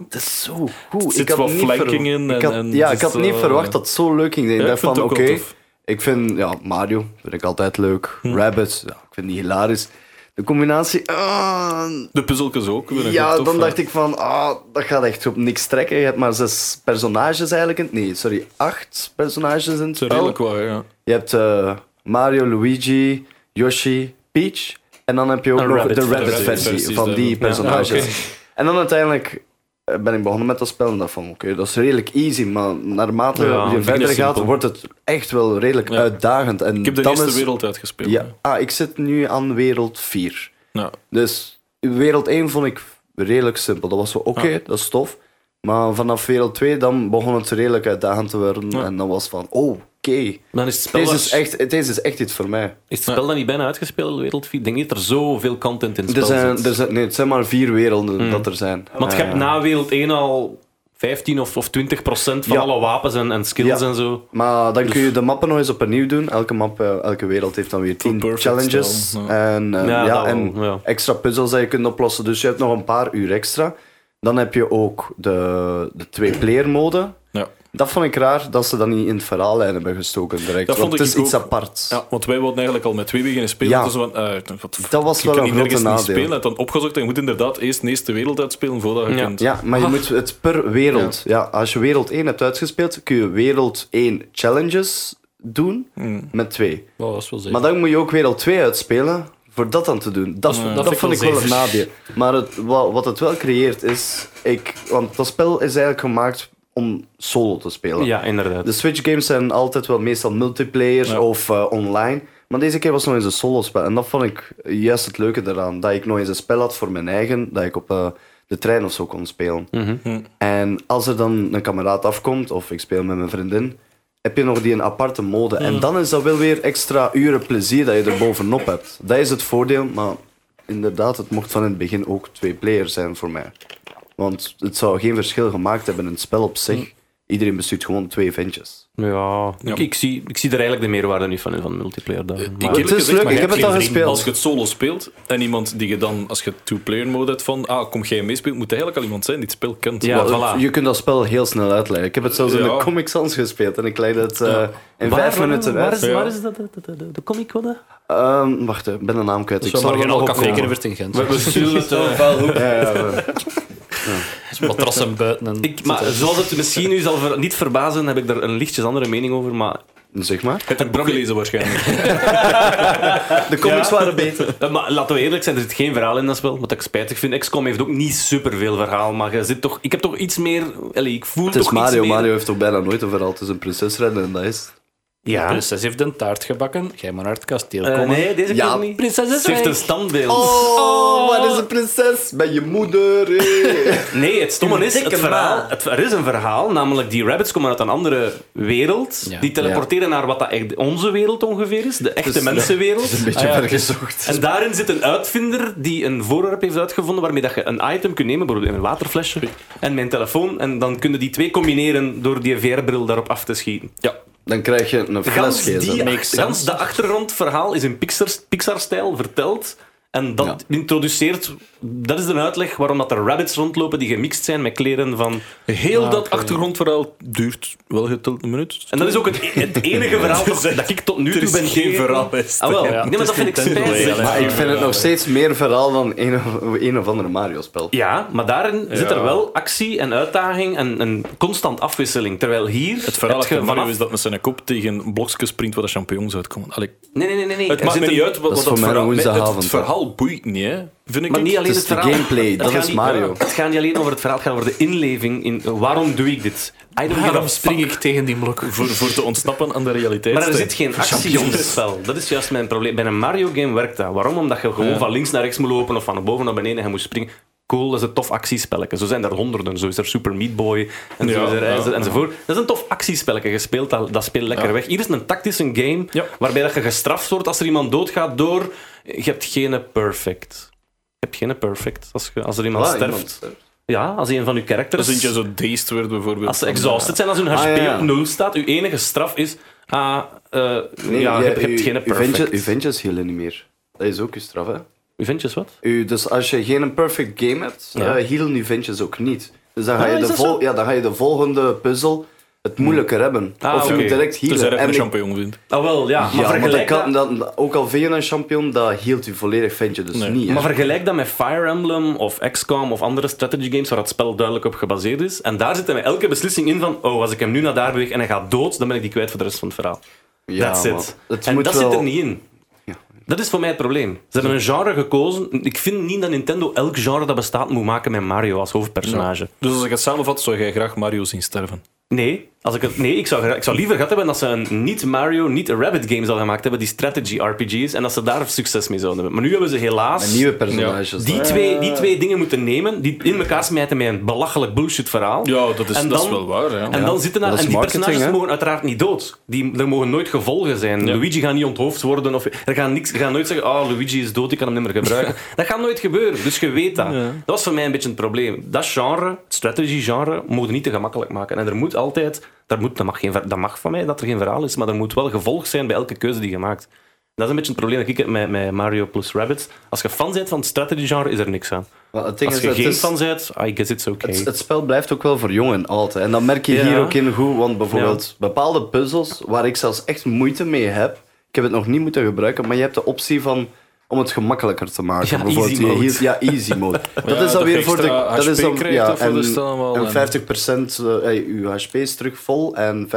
S5: Het is zo goed.
S4: zit wat
S5: niet
S4: flanking
S5: verwa-
S4: in en-
S5: Ik had,
S4: en
S5: ja,
S4: het
S5: ik had
S4: is,
S5: niet
S4: eh,
S5: verwacht dat het zo leuk ging. zijn.
S4: ja,
S5: Ik
S4: ik vind
S5: dacht van,
S4: het
S5: oké,
S4: ook wel tof. Hm.
S5: ik vind ja, Mario vind ik altijd leuk. Rabbits, ja, ik vind die hilarisch. De combinatie, ah,
S4: de puzzeltjes ook. vind ik ook
S5: ja,
S4: tof,
S5: dan
S4: hè.
S5: dacht ik van, ah, dat gaat echt op niks trekken. Je hebt maar zes personages eigenlijk. in- Nee, sorry, acht personages in het
S4: Het is
S5: spel.
S4: redelijk waar, ja.
S5: Je hebt eh, Mario, Luigi, Yoshi, Peach. En dan heb je ook nog de
S4: rabbit
S5: Rabbit-versie
S4: versies
S5: van die
S4: daarvan. Ja.
S5: personages.
S4: Ah, oké.
S5: En dan uiteindelijk eh, ben ik begonnen met dat spel en dacht van, oké, dat is redelijk easy. Maar naarmate
S2: Ja, ik
S5: je
S2: vind
S5: verder
S4: het
S5: gaat,
S4: simpel.
S5: wordt het echt wel redelijk uitdagend. En
S4: Ik heb de
S5: dan
S4: eerste
S5: is,
S4: wereld uitgespeeld.
S5: Ja, ah, ik zit nu aan wereld 4.
S4: Ja.
S5: Dus wereld 1 vond ik redelijk simpel. Dat was zo, oké, dat is tof. Maar vanaf wereld 2 dan begon het redelijk uitdagend te worden. En dan was van, oh, oké,
S2: Dan is het spel,
S5: Deze
S2: dan-
S5: is echt- Deze is echt iets voor mij.
S2: is het spel dan niet bijna uitgespeeld, de wereld? Ik denk niet dat er zoveel content in het
S5: Er
S2: spel
S5: zijn,
S2: zit.
S5: er zijn, nee, het zijn maar vier werelden
S4: Mm.
S5: dat er zijn.
S2: Want je
S5: Eh,
S2: hebt na wereld 1 al 15 of, of 20 procent van
S5: Ja.
S2: alle wapens en, en skills
S5: Ja.
S2: en zo.
S5: Maar
S4: Dus-
S5: dan kun je de mappen nog eens opnieuw doen. Elke map, eh, elke wereld heeft dan weer tien
S4: perfect
S5: challenges.
S4: spel,
S5: En, eh,
S2: Ja,
S5: ja,
S2: dat wel,
S5: en
S2: ja.
S5: extra puzzels dat je kunt oplossen. Dus je hebt nog een paar uur extra. Dan heb je ook de, de twee-player mode.
S4: Ja.
S5: Dat vond ik raar dat ze dat niet in het verhaallijn hebben gestoken direct.
S4: Dat
S5: want
S4: vond
S5: het
S4: ik
S5: is
S4: ook.
S5: iets aparts.
S4: Ja, want wij wilden eigenlijk al met twee wegen spelen.
S5: Ja.
S4: Dus we waren, eh, wat,
S5: Dat was
S4: je
S5: wel
S4: kan
S5: een
S4: hier
S5: grote
S4: nergens niet
S5: nadeel.
S4: spelen. En dan opgezocht en je moet inderdaad eerst de eerste wereld uitspelen voordat je
S2: Ja.
S4: kunt...
S5: Ja, maar je moet het per wereld. Ja. als je wereld 1 hebt uitgespeeld, kun je wereld 1 challenges doen met twee.
S7: Oh, dat is wel zeker.
S5: Maar dan moet je ook wereld 2 uitspelen voor dat dan te doen. Dat, dat, vond ik wel een nadeel. Maar het, wa- wat het wel creëert is... Ik, want dat spel is eigenlijk gemaakt om solo te spelen.
S2: Ja, inderdaad.
S5: De Switch games zijn altijd wel meestal multiplayer of eh, online. Maar deze keer was het nog eens een solo spel. En dat vond ik juist het leuke eraan. Dat ik nog eens een spel had voor mijn eigen. Dat ik op eh, de trein of zo kon spelen. En als er dan een kameraad afkomt, of ik speel met mijn vriendin, heb je nog die een aparte mode. En dan is dat wel weer extra uren plezier dat je er bovenop hebt. Dat is het voordeel, maar inderdaad, het mocht van in het begin ook twee players zijn voor mij. Want het zou geen verschil gemaakt hebben in het spel op zich. Iedereen bestuurt gewoon twee ventjes.
S2: Ja, Ik, ik zie, ik zie er eigenlijk de meerwaarde niet van in, van multiplayer. Dan. Maar-
S5: het is leuk, ik heb het
S4: Als
S5: al
S4: je
S5: gespeeld.
S4: het solo speelt en iemand die je dan, als je two-player mode hebt van, ah, kom jij meespeelt, moet eigenlijk al iemand zijn die het spel kent.
S2: Ja,
S4: Want-
S2: voilà.
S5: Je kunt dat spel heel snel uitleggen. Ik heb het zelfs in
S4: Ja.
S5: de Comic Sans gespeeld en ik leidde het eh, in vijf minuten
S2: waar
S5: uit.
S2: is, waar
S4: Ja.
S2: is dat, de, de, de, de comic code?
S5: Ehm, wacht, ik ben de naam kwijt. Ik zal er nog op komen.
S2: eh,
S7: werd in Gent.
S2: We, we zullen het, eh,
S5: Ja, ja, ja.
S7: Matrassen buiten en...
S2: ik, maar zoals het misschien u zal ver- niet verbazen, heb ik er een lichtjes andere mening over. Maar,
S5: Zeg maar.
S4: Je hebt het boek gelezen waarschijnlijk.
S5: De comics waren beter.
S2: Eh, maar laten we eerlijk zijn, er zit geen verhaal in dat spel. Wat ik spijtig vind. XCOM heeft ook niet superveel verhaal, maar je zit toch, ik heb toch iets meer... Allee, ik voel
S5: Het is
S2: toch iets
S5: Mario.
S2: meer-
S5: Mario heeft toch bijna nooit een verhaal. Het is een prinses redden en dat is...
S2: Ja.
S7: Prinses heeft een taart gebakken. Jij maar naar het kasteel
S2: Eh,
S7: komen.
S2: nee, deze
S5: Ja.
S2: keer niet.
S7: Prinses is
S2: Ze heeft
S7: weg.
S2: een standbeeld.
S5: Oh, waar is de prinses? Bij je moeder.
S2: Ah,
S5: hé.
S2: Nee, het stomme is,
S5: dikke
S2: het verhaal,
S5: ma.
S2: het, er is een verhaal, namelijk die rabbits komen uit een andere wereld.
S7: Ja.
S2: Die teleporteren naar wat dat echt onze wereld ongeveer is, de echte
S5: Dus, ja.
S2: mensenwereld.
S5: Een beetje vergezocht.
S2: En daarin zit een uitvinder die een voorwerp heeft uitgevonden waarmee dat je een item kunt nemen, bijvoorbeeld een waterflesje en mijn telefoon. En dan kunnen die twee combineren door die VR-bril daarop af te schieten. Ja.
S5: Dan krijg je een
S2: Gans,
S5: flesgezel.
S2: die, gans dat achtergrondverhaal is in Pixar- Pixar-stijl verteld. En dat introduceert... Dat is de uitleg waarom dat er rabbits rondlopen die gemixt zijn met kleren van...
S4: Heel
S5: Ah,
S4: dat achtergrondverhaal duurt wel geteld een minuut.
S2: Ah, En dat is ook het, e-, het enige verhaal toch, dat ik tot nu toe ben
S4: geen
S2: tegen.
S4: verhaal, best.
S2: Ah, wel.
S7: Ja,
S2: nee, maar
S7: het
S2: dat
S7: is
S2: vind ik
S7: Nintendo,
S2: spijtig.
S7: hè.
S5: Maar ik vind het nog steeds meer verhaal dan een of, een of andere Mario-spel.
S2: Ja, maar daarin zit er wel actie en uitdaging en, en constant afwisseling. Terwijl hier...
S4: Het verhaal
S2: heb je
S4: van Mario
S2: vanaf-
S4: is dat met zijn kop tegen blokjes springt waar de champignons uitkomen. Allee,
S2: Nee, nee, nee. nee, nee.
S4: het
S2: Er
S4: maakt
S2: zit
S4: me
S2: een-
S4: niet uit wat,
S5: dat is
S4: wat
S5: voor
S4: dat
S5: mij
S4: verhaal...
S5: een
S4: Nee, het,
S5: woensdagavond, hè.
S4: verhaal boeit niet, hè, vind ik.
S2: Maar niet alleen
S5: is
S2: het
S5: de
S2: verhaal.
S5: gameplay,
S2: Het
S5: dat
S2: gaat
S5: is
S2: niet-
S5: Mario.
S2: Het gaat niet alleen over het verhaal, het gaat over de inleving in eh, waarom doe ik dit? I don't give a
S7: Waarom
S2: fuck.
S7: spring ik tegen die blok?
S4: voor, voor te ontsnappen aan de realiteit.
S2: Maar er zit geen actie in het spel. Dat is juist mijn probleem. Bij een Mario-game werkt dat. Waarom? Omdat je gewoon van links naar rechts moet lopen of van boven naar beneden en je moet springen. Cool, dat is een tof actiespelletje. Zo zijn er honderden. Zo is er Super Meat Boy en zo
S4: Ja,
S2: is er,
S4: ja,
S2: enzo- enzovoort. Dat is een tof actiespelletje. Je speelt dat, dat speel lekker weg. Hier is een tactische game
S4: Ja.
S2: waarbij dat je gestraft wordt als er iemand doodgaat door... Je hebt geen perfect. Je hebt geen perfect als, je, als er iemand
S5: Voilà,
S2: sterft.
S5: iemand sterft.
S2: Ja, als een van uw
S4: Als
S2: characters...
S4: je zo dazed werd bijvoorbeeld.
S2: Als ze exhausted zijn, als hun HP
S5: Ah, ja, ja.
S2: op nul staat, uw enige straf is... Ah, eh,
S5: Nee,
S2: ja, je hebt- je
S5: uw-
S2: hebt geen
S5: uw
S2: perfect.
S5: ventje- Uw ventjes healen niet meer. Dat is ook je straf, hè?
S2: Uw ventjes wat?
S5: U, dus als je geen perfect game hebt,
S2: Ja.
S5: eh, healen je ventjes ook niet. Dus dan ga,
S2: Ah,
S5: je
S2: is
S5: de
S2: dat zo?
S5: vol, ja, dan ga je de volgende puzzel het moeilijker hebben.
S2: Ah,
S5: of je
S2: oké.
S5: moet
S4: Tenzij
S5: direct
S4: dat
S5: healen.
S4: je
S5: En
S4: een
S5: ik-
S4: champignon vindt.
S2: Ah, wel, ja. Maar,
S5: ja, maar dat
S2: vergelijk,
S5: kan,
S2: dat,
S5: dat, ook al vind je een champion, dat hield je volledig ventje dus
S4: Nee.
S5: niet. hè.
S2: maar vergelijk dat met Fire Emblem of XCOM of andere strategy games waar het spel duidelijk op gebaseerd is. En daar zit er met elke beslissing in van... Oh, als ik hem nu naar daar beweeg en hij gaat dood, dan ben ik die kwijt voor de rest van het verhaal.
S5: Ja,
S2: That's
S5: maar
S2: it.
S5: het
S2: en
S5: moet
S2: dat
S5: wel-
S2: zit er niet in. Dat is voor mij het probleem. Ze hebben een genre gekozen. Ik vind niet dat Nintendo elk genre dat bestaat moet maken met Mario als hoofdpersonage.
S4: Dus als ik het samenvat, zou jij graag Mario zien sterven.
S2: Nee, Als ik het, nee, ik zou, gra- ik zou liever gehad hebben dat ze een niet-Mario, niet-Rabbit game zouden gemaakt hebben, die strategy-RPG's, en dat ze daar succes mee zouden hebben. Maar nu hebben ze helaas...
S5: Met nieuwe personages.
S2: Die
S5: hè.
S2: twee, die twee dingen moeten nemen, die in elkaar smijten met een belachelijk bullshit verhaal.
S4: Ja, dat is,
S2: En
S4: dat is
S2: dan-
S4: wel waar. Ja.
S2: En dan zitten daar,
S5: dat is
S2: en die
S5: marketing,
S2: personages
S5: hè?
S2: mogen uiteraard niet dood. Die, er mogen nooit gevolgen zijn. Luigi gaat niet onthoofd worden. Of, er gaan, niks, er gaan nooit zeggen, ah, Luigi is dood, ik kan hem niet meer gebruiken. dat gaat nooit gebeuren, dus je weet dat. Dat was voor mij een beetje het probleem. Dat genre, het strategy-genre, moet je niet te gemakkelijk maken. En er moet altijd, daar moet, dat, mag geen, ver- dat mag van mij dat er geen verhaal is, maar er moet wel gevolg zijn bij elke keuze die je maakt. Dat is een beetje het probleem dat ik heb met, met Mario plus Rabbits. Als je fan bent van het strategy-genre, is er niks aan.
S5: Maar het ding
S2: Als
S5: is,
S2: je
S5: het,
S2: geen
S5: is
S2: fan bent, I guess it's okay.
S5: het, het spel blijft ook wel voor jongen altijd. En dat merk je hier ook in goed, want bijvoorbeeld bepaalde puzzels waar ik zelfs echt moeite mee heb, ik heb het nog niet moeten gebruiken, maar je hebt de optie van om het gemakkelijker te maken.
S2: Ja,
S5: bijvoorbeeld
S2: easy
S5: hier-
S2: mode.
S5: hier- ja, easy mode. dat is dan
S4: dat
S5: weer
S4: je
S5: voor de...
S4: extra
S5: Dat is
S4: HP
S5: dan,
S4: krijgt
S5: ja,
S4: of wat
S5: en,
S4: is het allemaal?
S5: en
S4: En-
S5: 50% eh, hey, uw HP is terug vol en 50%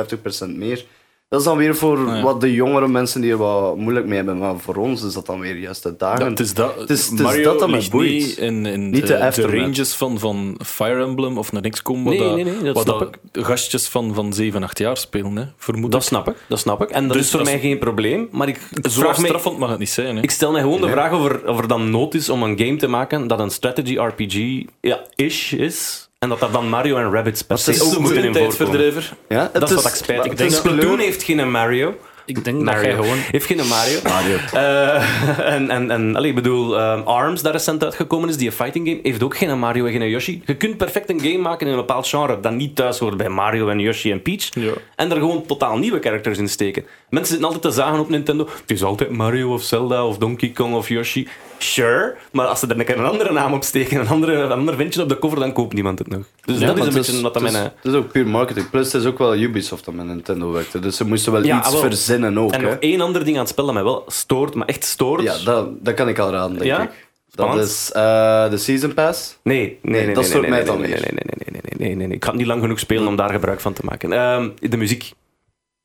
S5: meer. Dat is dan weer voor wat de jongere mensen die er wat moeilijk mee hebben. Maar voor ons is dat dan weer juist uitdagend.
S4: Ja, het is dat,
S5: Het is- het is
S4: Mario
S5: dat dat mij
S4: ligt
S5: boeit.
S4: niet in, in eh,
S5: Niet de
S4: de, de,
S5: aftermath.
S4: ranges van, van Fire Emblem of naar XCOM, wat
S2: Nee,
S4: dat,
S2: nee, nee, dat
S4: wat
S2: snap
S4: dat gastjes van, van 7, 8 jaar spelen, hè, vermoed
S2: Dat
S4: ik.
S2: snap ik, dat snap ik. En dat
S4: Dus
S2: is voor
S4: dat is-
S2: mij geen probleem, maar ik
S4: Zo
S2: vraag me...
S4: straffend mag het niet zijn. Hè.
S2: Ik stel mij gewoon de vraag of er, of er dan nood is om een game te maken dat een strategy RPG ja, ish is. En dat daar dan Mario en Rabbids per se
S5: is
S2: ook
S5: een
S2: moeten in voorkomen.
S4: tijdverdrijver.
S5: ja, het
S2: Dat is wat ik spijt. Ik
S5: het
S2: denk
S5: is
S2: Splatoon
S5: kleur-
S2: heeft geen Mario.
S7: Ik denk dat jij
S2: Mario
S7: gewoon...
S2: heeft geen Mario.
S5: Mario.
S2: Eh, en en, en allee, ik bedoel, ehm, ARMS, dat recent uitgekomen is, die een fighting game, heeft ook geen Mario en geen Yoshi. Je kunt perfect een game maken in een bepaald genre dat niet thuis hoort bij Mario en Yoshi en Peach. En er gewoon totaal nieuwe characters in steken. Mensen zitten altijd te zagen op Nintendo. Het is altijd Mario of Zelda of Donkey Kong of Yoshi. Sure, maar als ze er een keer een andere naam op steken, een, andere, een ander ventje op de cover, dan koopt niemand het nog. Dus dat is
S5: maar
S2: een
S5: het
S2: beetje wat dat
S5: het
S2: mijn... eh,
S5: is- het is ook puur marketing. Plus, het is ook wel Ubisoft dat met Nintendo werkte. Dus ze moesten wel
S2: Ja,
S5: iets
S2: ah, wel.
S5: verzinnen ook.
S2: En
S5: hè.
S2: nog één ander ding aan het spel dat mij wel stoort, maar echt stoort.
S5: Ja, dat, dat kan ik al raden, denk
S2: Ja?
S5: ik.
S2: Spannend.
S5: Dat is eh, de Season Pass.
S2: Nee, nee, nee.
S5: dat
S2: nee,
S5: stoort
S2: nee,
S5: mij
S2: nee,
S5: dan
S2: nee,
S5: weer.
S2: Nee, nee, nee, nee, nee, nee, nee, nee. Ik ga het niet lang genoeg spelen om daar gebruik van te maken. Ehm, de muziek.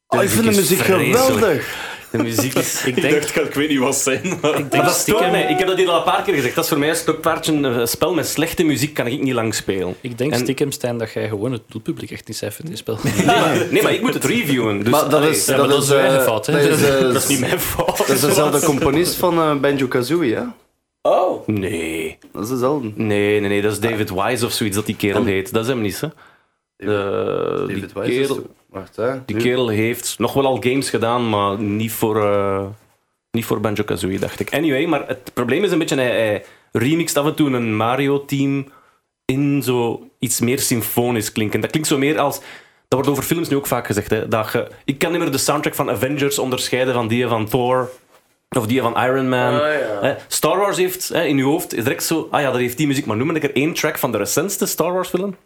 S5: Oh, ik vind de muziek
S2: vreselijk.
S5: geweldig.
S2: De muziek is... ik denk...
S4: dacht, ik weet niet wat zijn.
S2: Maar dat stoort mij. Ik heb dat hier al een paar keer gezegd. Dat is voor mij een stokpaardje. Een spel met slechte muziek kan ik niet lang spelen.
S7: Ik denk
S2: En-
S7: stiekem, Stijn, dat jij gewoon het doelpubliek echt niet cijfert in dit spel.
S2: Nee, maar, Ah, nee, maar ik moet het reviewen. Dus,
S5: Maar dat
S2: allee,
S5: is...
S7: ja, maar dat is
S5: eh,
S7: uw eigen fout, hè.
S5: Dat is, eh,
S2: dat is niet mijn fout.
S5: dat is dezelfde componist van eh, Banjo-Kazooie, hè?
S2: Nee.
S5: Dat is dezelfde.
S2: Nee, nee, nee. Dat is David Wise of zoiets dat die kerel heet. Dat is hem niet, hè. De-
S5: David
S2: die
S5: Wise is
S2: kerel-
S5: toe. Wacht, hè.
S2: Die
S5: Nu.
S2: kerel heeft nog wel al games gedaan, maar niet voor, eh, niet voor Banjo-Kazooie, dacht ik. Anyway, maar het probleem is een beetje, hij, hij remixt af en toe een Mario-team in zo iets meer symfonisch klinken. Dat klinkt zo meer als... Dat wordt over films nu ook vaak gezegd, hè. Dat je, ik kan niet meer de soundtrack van Avengers onderscheiden van die van Thor of die van Iron Man. Hè, Star Wars heeft hè, in je hoofd is direct zo... Ah ja, dat heeft die muziek. Maar noem maar een keer één track van de recentste Star Wars film.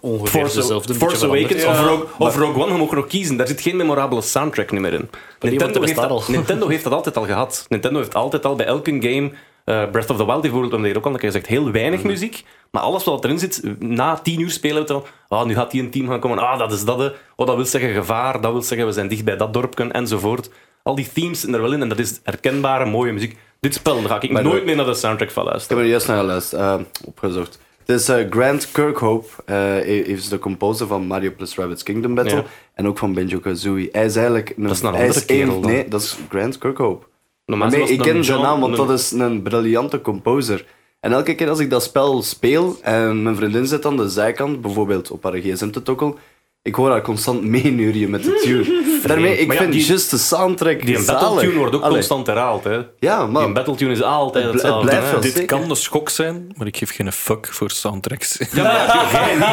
S7: Ongeveer
S2: Force,
S7: dezelfde. een
S2: Force
S7: beetje
S2: Awakens
S7: veranderd.
S2: of, Rogue, of Rogue One, je mag nog kiezen. Daar zit geen memorabele soundtrack meer in. Nintendo
S7: bestaat
S2: heeft, dat,
S7: al.
S2: Nintendo heeft dat altijd al gehad. Nintendo heeft altijd al bij elke game... eh, Breath of the Wild bijvoorbeeld, omdat je ook al een keer zegt, heel weinig
S5: Mhm.
S2: muziek. Maar alles wat erin zit, na tien uur spelen we het dan. Ah, nu gaat die een team gaan komen. Ah, dat is dat. hè. Oh, dat wil zeggen gevaar. Dat wil zeggen we zijn dicht bij dat dorpje, enzovoort. Al die themes zitten er wel in en dat is herkenbare, mooie muziek. Dit spel, daar ga ik
S5: Maar
S2: nooit
S5: de-
S2: meer naar de soundtrack van
S5: Ik
S2: luisteren.
S5: heb er juist naar geluisterd, eh, opgezocht. Het is eh, Grant Kirkhope, eh is de composer van Mario plus Rabbids Kingdom Battle
S2: Ja.
S5: en ook van Banjo-Kazooie. Hij is eigenlijk een,
S2: Dat is een
S5: hij
S2: andere kerel
S5: een-
S2: dan.
S5: Nee, dat is Grant Kirkhope.
S2: Normaal
S5: Nee,
S2: was het
S5: ik
S2: dan
S5: ken zijn
S2: John-
S5: naam, want
S2: een-
S5: dat is een briljante composer. En elke keer als ik dat spel speel en mijn vriendin zit aan de zijkant, bijvoorbeeld op haar gsm te tokkelen, ik hoor haar constant meenurien met de tune. Daarmee, ik
S2: Maar ja,
S5: vind
S2: die-
S5: juist de soundtrack
S2: Die
S5: zalig.
S2: Battletune wordt ook
S5: Allee,
S2: constant herhaald, hè.
S5: Ja, maar
S2: Die Battletune is altijd
S5: Het bl- het
S2: hetzelfde.
S5: blijft
S2: hè.
S5: wel
S4: Dit
S5: zeker.
S4: kan een schok zijn, maar ik geef geen fuck voor soundtracks.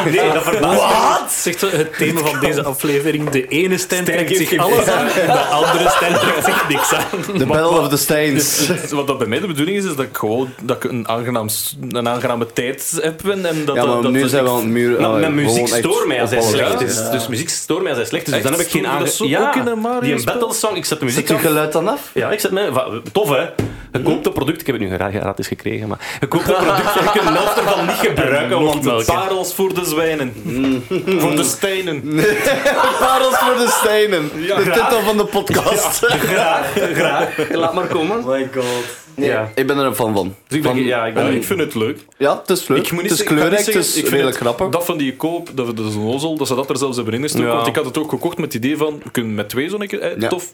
S2: Nee, dat verbaast
S7: Zegt zo, het thema van deze aflevering, de ene Stijn trekt zich
S4: heeft
S7: alles aan, de andere Stijn trekt zich niks aan.
S5: The Battle of the Stains.
S4: Wat dat bij mij de bedoeling is, is dat ik gewoon dat ik een, aangenaam, s- een aangename tijd heb. En en dat,
S5: Ja, maar
S4: dat,
S5: nu
S4: dat
S5: zijn we aan het muur.
S2: Maar,
S5: allee,
S2: maar muziek
S5: gewoon echt
S2: stoort mij als hij
S5: opvallen.
S2: slecht is. Dus muziek stoort mij als hij slecht is. Dus
S4: Echt?
S2: dan heb ik geen
S4: Stoorde dat
S2: aange-
S4: zo ook in een Mario
S2: die
S4: spel?
S2: battle song. Ik zet de
S5: Zet
S2: muziek
S5: je
S2: af.
S5: geluid dan af?
S2: Ja, ik zet mij... wa- Tof, hè? Je koopt een product... Ik heb het nu gera- gratis gekregen, maar... Je koopt een product en je kunt de helft ervan niet gebruiken, want het
S4: Melken.
S2: parels voor de zwijnen.
S5: Mm.
S4: voor de stenen.
S5: Parels voor de Steinen. de titel van de podcast.
S4: Oh
S2: Graag, graag. Laat maar komen.
S5: my god. Nee,
S2: Ja.
S5: ik ben er een fan van.
S2: Dus ik ben,
S5: Van-
S2: ja, ik ben
S4: Ja, ik vind het leuk.
S5: Ja, het is leuk.
S4: Ik moet niet
S5: het is
S4: zeggen- ik kan niet
S5: kleurrijk, het
S4: zeggen,
S5: is
S4: ik vind
S5: redelijk
S4: het-
S5: grappig.
S4: Dat van die koop, dat, dat is een ozel, dat ze dat er zelfs hebben ingestoken.
S2: Ja.
S4: Want ik had het ook gekocht met het idee van, we kunnen met twee zo'n keer... eh,
S5: Ja.
S4: Tof,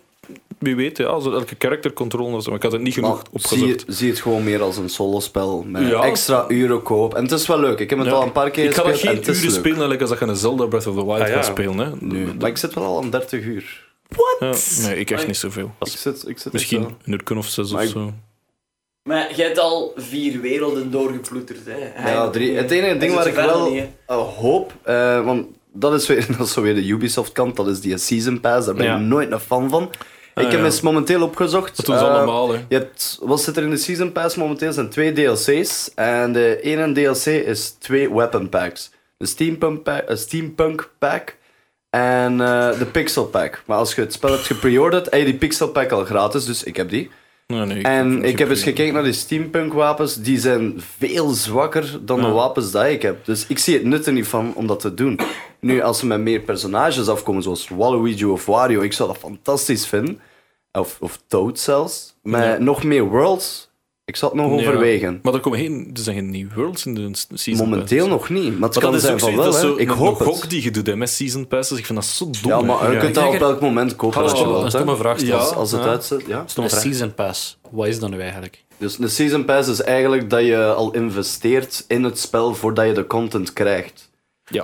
S4: wie weet, ja, als er elke karakter controle maar ik had het niet
S5: Maar
S4: genoeg
S5: zie,
S4: opgezocht.
S5: je- zie het gewoon meer als een solospel met
S4: Ja.
S5: extra uren koop. En het is wel leuk. Ik heb het
S4: Ja.
S5: al een paar keer
S4: Ik ga dat
S5: gespeeld en
S4: geen
S5: het
S4: uren
S5: is leuk.
S4: spelen, eigenlijk als dat je een Zelda Breath of the Wild
S2: Ah, ja.
S4: gaat spelen. Hè.
S5: Nu. Maar ik zit wel al aan 30 uur.
S4: Ja, nee, ik echt niet zoveel.
S5: Ik zit, ik zit
S4: Misschien
S5: echt
S4: een
S5: wel-
S4: uur of zes
S5: Maar
S4: of
S5: ik-
S4: zo.
S6: Maar jij hebt al vier werelden doorgeploeterd, hè?
S5: Ja, drie. Het enige ding waar ik wel eh, hoop, eh, want dat is, weer, dat is zo weer de Ubisoft kant, dat is die Season Pass, daar ben
S2: Ja.
S5: ik nooit een fan van. ik heb
S4: ja.
S5: eens momenteel opgezocht.
S4: Dat doen ze
S5: eh,
S4: allemaal, hè.
S5: Je hebt, wat zit er in de Season Pass momenteel? zijn twee DLC's. En de ene DLC is twee weapon packs. De Steampunk Pack, eh, steampunk pack en eh, de Pixel Pack. Maar als je het spel hebt gepreorderd, heb je die Pixel Pack al gratis, dus ik heb die.
S4: Nee, nee,
S5: En ik heb eens
S4: geen-
S5: gekeken naar die steampunk wapens. Die zijn veel zwakker dan de wapens die ik heb. Dus ik zie het nut er niet van om dat te doen. Nu, als ze met meer personages afkomen, zoals Waluigi of Wario, ik zou dat fantastisch vinden. Of, of Toad zelfs. Maar nog meer worlds, ik zou het nog
S4: Ja.
S5: overwegen.
S4: Maar er, komen geen, er zijn geen nieuwe worlds in de s- season
S5: Momenteel
S4: pass.
S5: nog niet. Maar het
S4: Maar
S5: kan
S4: dat is
S5: zijn
S4: ook
S5: van
S4: zoiets, dat
S5: wel,
S4: is
S5: hè.
S4: zo
S5: Ik
S4: een-
S5: hoop
S4: een gok
S5: het.
S4: die je doet hè, met season passes. Ik vind dat zo dom.
S5: Ja, maar je
S4: Ja.
S5: kunt dat op elk moment kopen als je
S4: Hallo,
S5: wilt.
S4: een
S5: hè.
S4: stomme vraag
S5: Als-
S4: stellen.
S5: Als, het
S4: Ja.
S5: uitzet, ja.
S7: Een season pass. Wat is dat nu eigenlijk?
S5: Dus de Season Pass is eigenlijk dat je al investeert in het spel voordat je de content krijgt.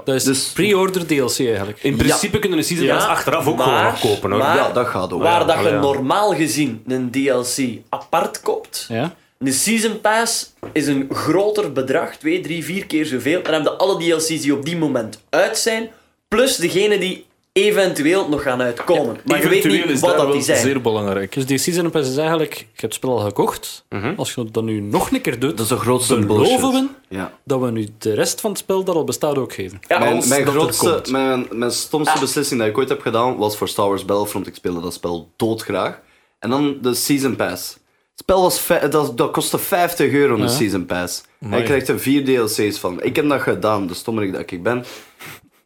S7: Dat is
S5: Dus-
S7: pre-order DLC eigenlijk.
S2: In principe kunnen de season
S6: Ja,
S2: pass achteraf ook
S6: maar-
S2: gewoon afkopen. Hoor.
S6: maar-
S5: ja, dat gaat ook.
S6: Waar dat je
S2: allee, ja.
S6: normaal gezien een DLC apart koopt,
S7: Ja?
S6: de Season Pass is een groter bedrag, twee, drie, vier keer zoveel. Dan hebben alle DLC's die op die moment uit zijn, plus degene die eventueel nog gaan uitkomen. maar je weet
S4: Eventueel
S6: niet
S4: is
S6: wat
S4: daar
S6: dat
S4: wel
S6: die zijn.
S4: zeer belangrijk.
S7: Dus die season pass is eigenlijk... Je hebt het spel al gekocht.
S2: Mhm.
S7: Als je dat nu nog een keer doet,
S5: Dat is de grootste bullshit.
S7: beloven we
S5: Ja.
S7: dat we nu de rest van het spel dat al bestaat ook geven.
S6: Ja,
S5: Mijn, mijn,
S7: dat er
S5: grootste,
S7: komt.
S5: mijn, mijn stomste
S4: Ah.
S5: beslissing die ik ooit heb gedaan was voor Star Wars Battlefront. Ik speelde dat spel doodgraag. En dan de Season Pass. Het spel was vij- dat, dat kostte 50 euro, de Season Pass. En je krijgt er vier DLC's van. Ik heb dat gedaan, de stommerik dat ik ben.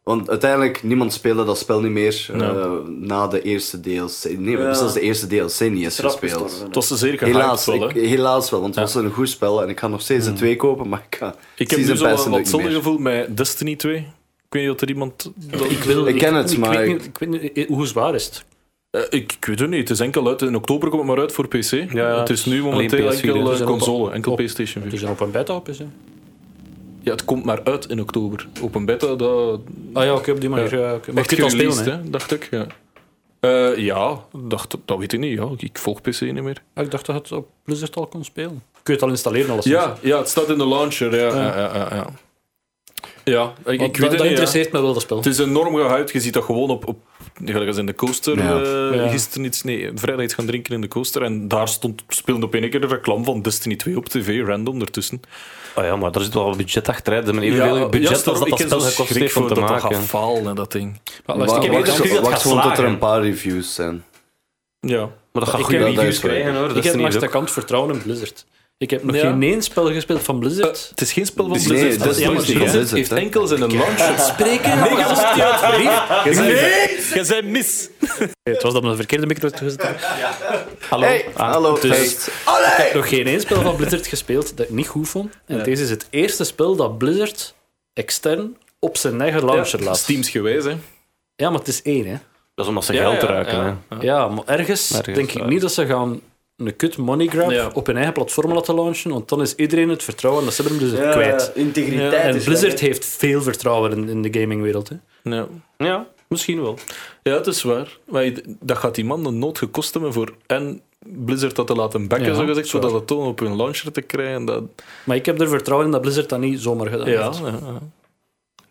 S5: Want uiteindelijk, niemand speelde dat spel niet meer eh, na de eerste DLC. Nee, we hebben zelfs de eerste DLC niet eens gespeeld.
S4: Het was zeer gehyped
S5: Helaas
S4: wel,
S5: wel,
S4: hè. Hmm.
S5: helaas wel, want het was een goed spel en ik ga nog steeds de twee kopen, maar ik ga
S4: Ik heb nu
S5: Season
S4: zo
S5: Pass
S4: wat
S5: natuurlijk niet
S4: hetzelfde
S5: meer.
S4: gevoel met Destiny 2. Ik weet niet of er iemand... dat-
S7: Ik, wil,
S5: Ik ken het, maar
S7: weet
S5: ik-
S7: niet- ik weet niet, eh, hoe zwaar is het?
S4: Eh, ik, ik weet het niet. Het is enkel uit... In oktober komt het maar uit voor PC.
S2: ja.
S4: Het is nu momenteel
S2: Alleen PS4, hè.
S4: enkel
S2: Dus
S4: eh,
S7: op-
S4: console. Enkel
S7: op-
S4: PlayStation 4.
S7: Die zijn Dus op een beta op, is hè?
S4: Ja, het komt maar uit in oktober. Open beta, dat...
S7: Ah ja, oké, op die manier. Ja. oké. Maar
S4: Echt
S7: je kunt al
S4: gereleased,
S7: spelen, hè?
S4: hè, dacht ik. Ja, Eh, ja dacht, dat weet ik niet. Ja. Ik volg PC niet meer.
S7: Ah, ik dacht dat je het op Blizzard al kon spelen. Kun je het al installeren, alles.
S4: Ja, ja het staat in de launcher. Ja, ja. ja, ja, ja. Ja, ik, ik
S7: Want
S4: weet het
S7: dat, dat
S4: niet. ja.
S7: interesseert me wel, dat spel.
S4: Het is enorm gehyped. Je ziet dat gewoon op... op gelijk als in de coaster.
S5: Ja.
S4: eh,
S7: Ja.
S4: Gisteren iets... Nee, vrijdag iets gaan drinken in de coaster. En daar stond speelde op één keer de reclame van Destiny 2 op tv. Random ertussen.
S2: Oh ja, maar daar zit wel wat budget achter. hè. Ze hebben evenveel budget
S4: juist
S2: als dat
S4: daarom, ik
S2: dat
S4: ken
S2: spel
S4: zo'n
S2: gekost
S4: schrik
S2: heeft om
S4: voor
S2: te
S4: dat dat
S2: maken.
S4: gaat falen, hè, dat ding.
S7: Maar
S5: Wacht,
S7: luister, ik heb
S5: wacht,
S7: eerder-
S2: gezien dat het
S5: wacht,
S2: gaat
S5: wacht, tot er
S2: slagen.
S5: een paar reviews zijn.
S4: Ja.
S2: Maar dat gaat
S7: Ik
S2: goede
S7: heb-
S2: reviews
S5: dat is
S2: krijgen hoor.
S7: ik
S2: Dat is
S7: heb
S2: niet
S7: langs de
S2: leuk.
S7: kant vertrouwen in Blizzard. Ik heb nog
S4: Ja.
S7: geen één spel gespeeld van Blizzard.
S4: Het is geen spel van
S5: Nee,
S4: Blizzard.
S5: dat is
S4: Ja, maar
S5: Blizzard,
S4: Blizzard
S5: dat is het,
S4: heeft
S5: hè.
S4: enkel zijn launcher.
S7: Spreken? Nee, dat was niet
S4: Jij zei mis.
S7: Het was dat mijn verkeerde micro had gezet.
S2: Hallo.
S5: Hey,
S2: Ah,
S5: hallo,
S7: dus-
S5: feest. Allee!
S7: Nog geen één spel van Blizzard gespeeld dat ik niet goed vond. En deze is het eerste spel dat Blizzard extern op zijn eigen launcher laat.
S4: Steams gewijs, hè.
S7: Ja, maar het is één, hè.
S2: Dat is omdat ze
S4: Ja,
S2: geld
S4: ja,
S2: ruiken.
S4: ja.
S2: hè.
S7: Ja, maar ergens,
S2: Ergens,
S7: denk ik
S2: ja.
S7: niet dat ze gaan een kut money grab
S4: Ja.
S7: op hun eigen platform laten launchen, want dan is iedereen het vertrouwen dat ze hebben in Blizzard kwijt.
S6: Integriteit
S7: en
S6: is
S7: Blizzard
S6: weg, hè.
S7: heeft veel vertrouwen in, in de gamingwereld. hè.
S4: Ja.
S2: Ja, misschien wel.
S4: ja, het is waar. Maar je- dat gaat die man de nood gekost hebben voor en Blizzard dat te laten bekken,
S7: Ja,
S4: zo gezegd,
S7: zo.
S4: zodat het toon op hun launcher te krijgen. Dat...
S7: Maar ik heb er vertrouwen in dat Blizzard dat niet zomaar gedaan
S4: Ja,
S7: heeft.
S4: ja, ja.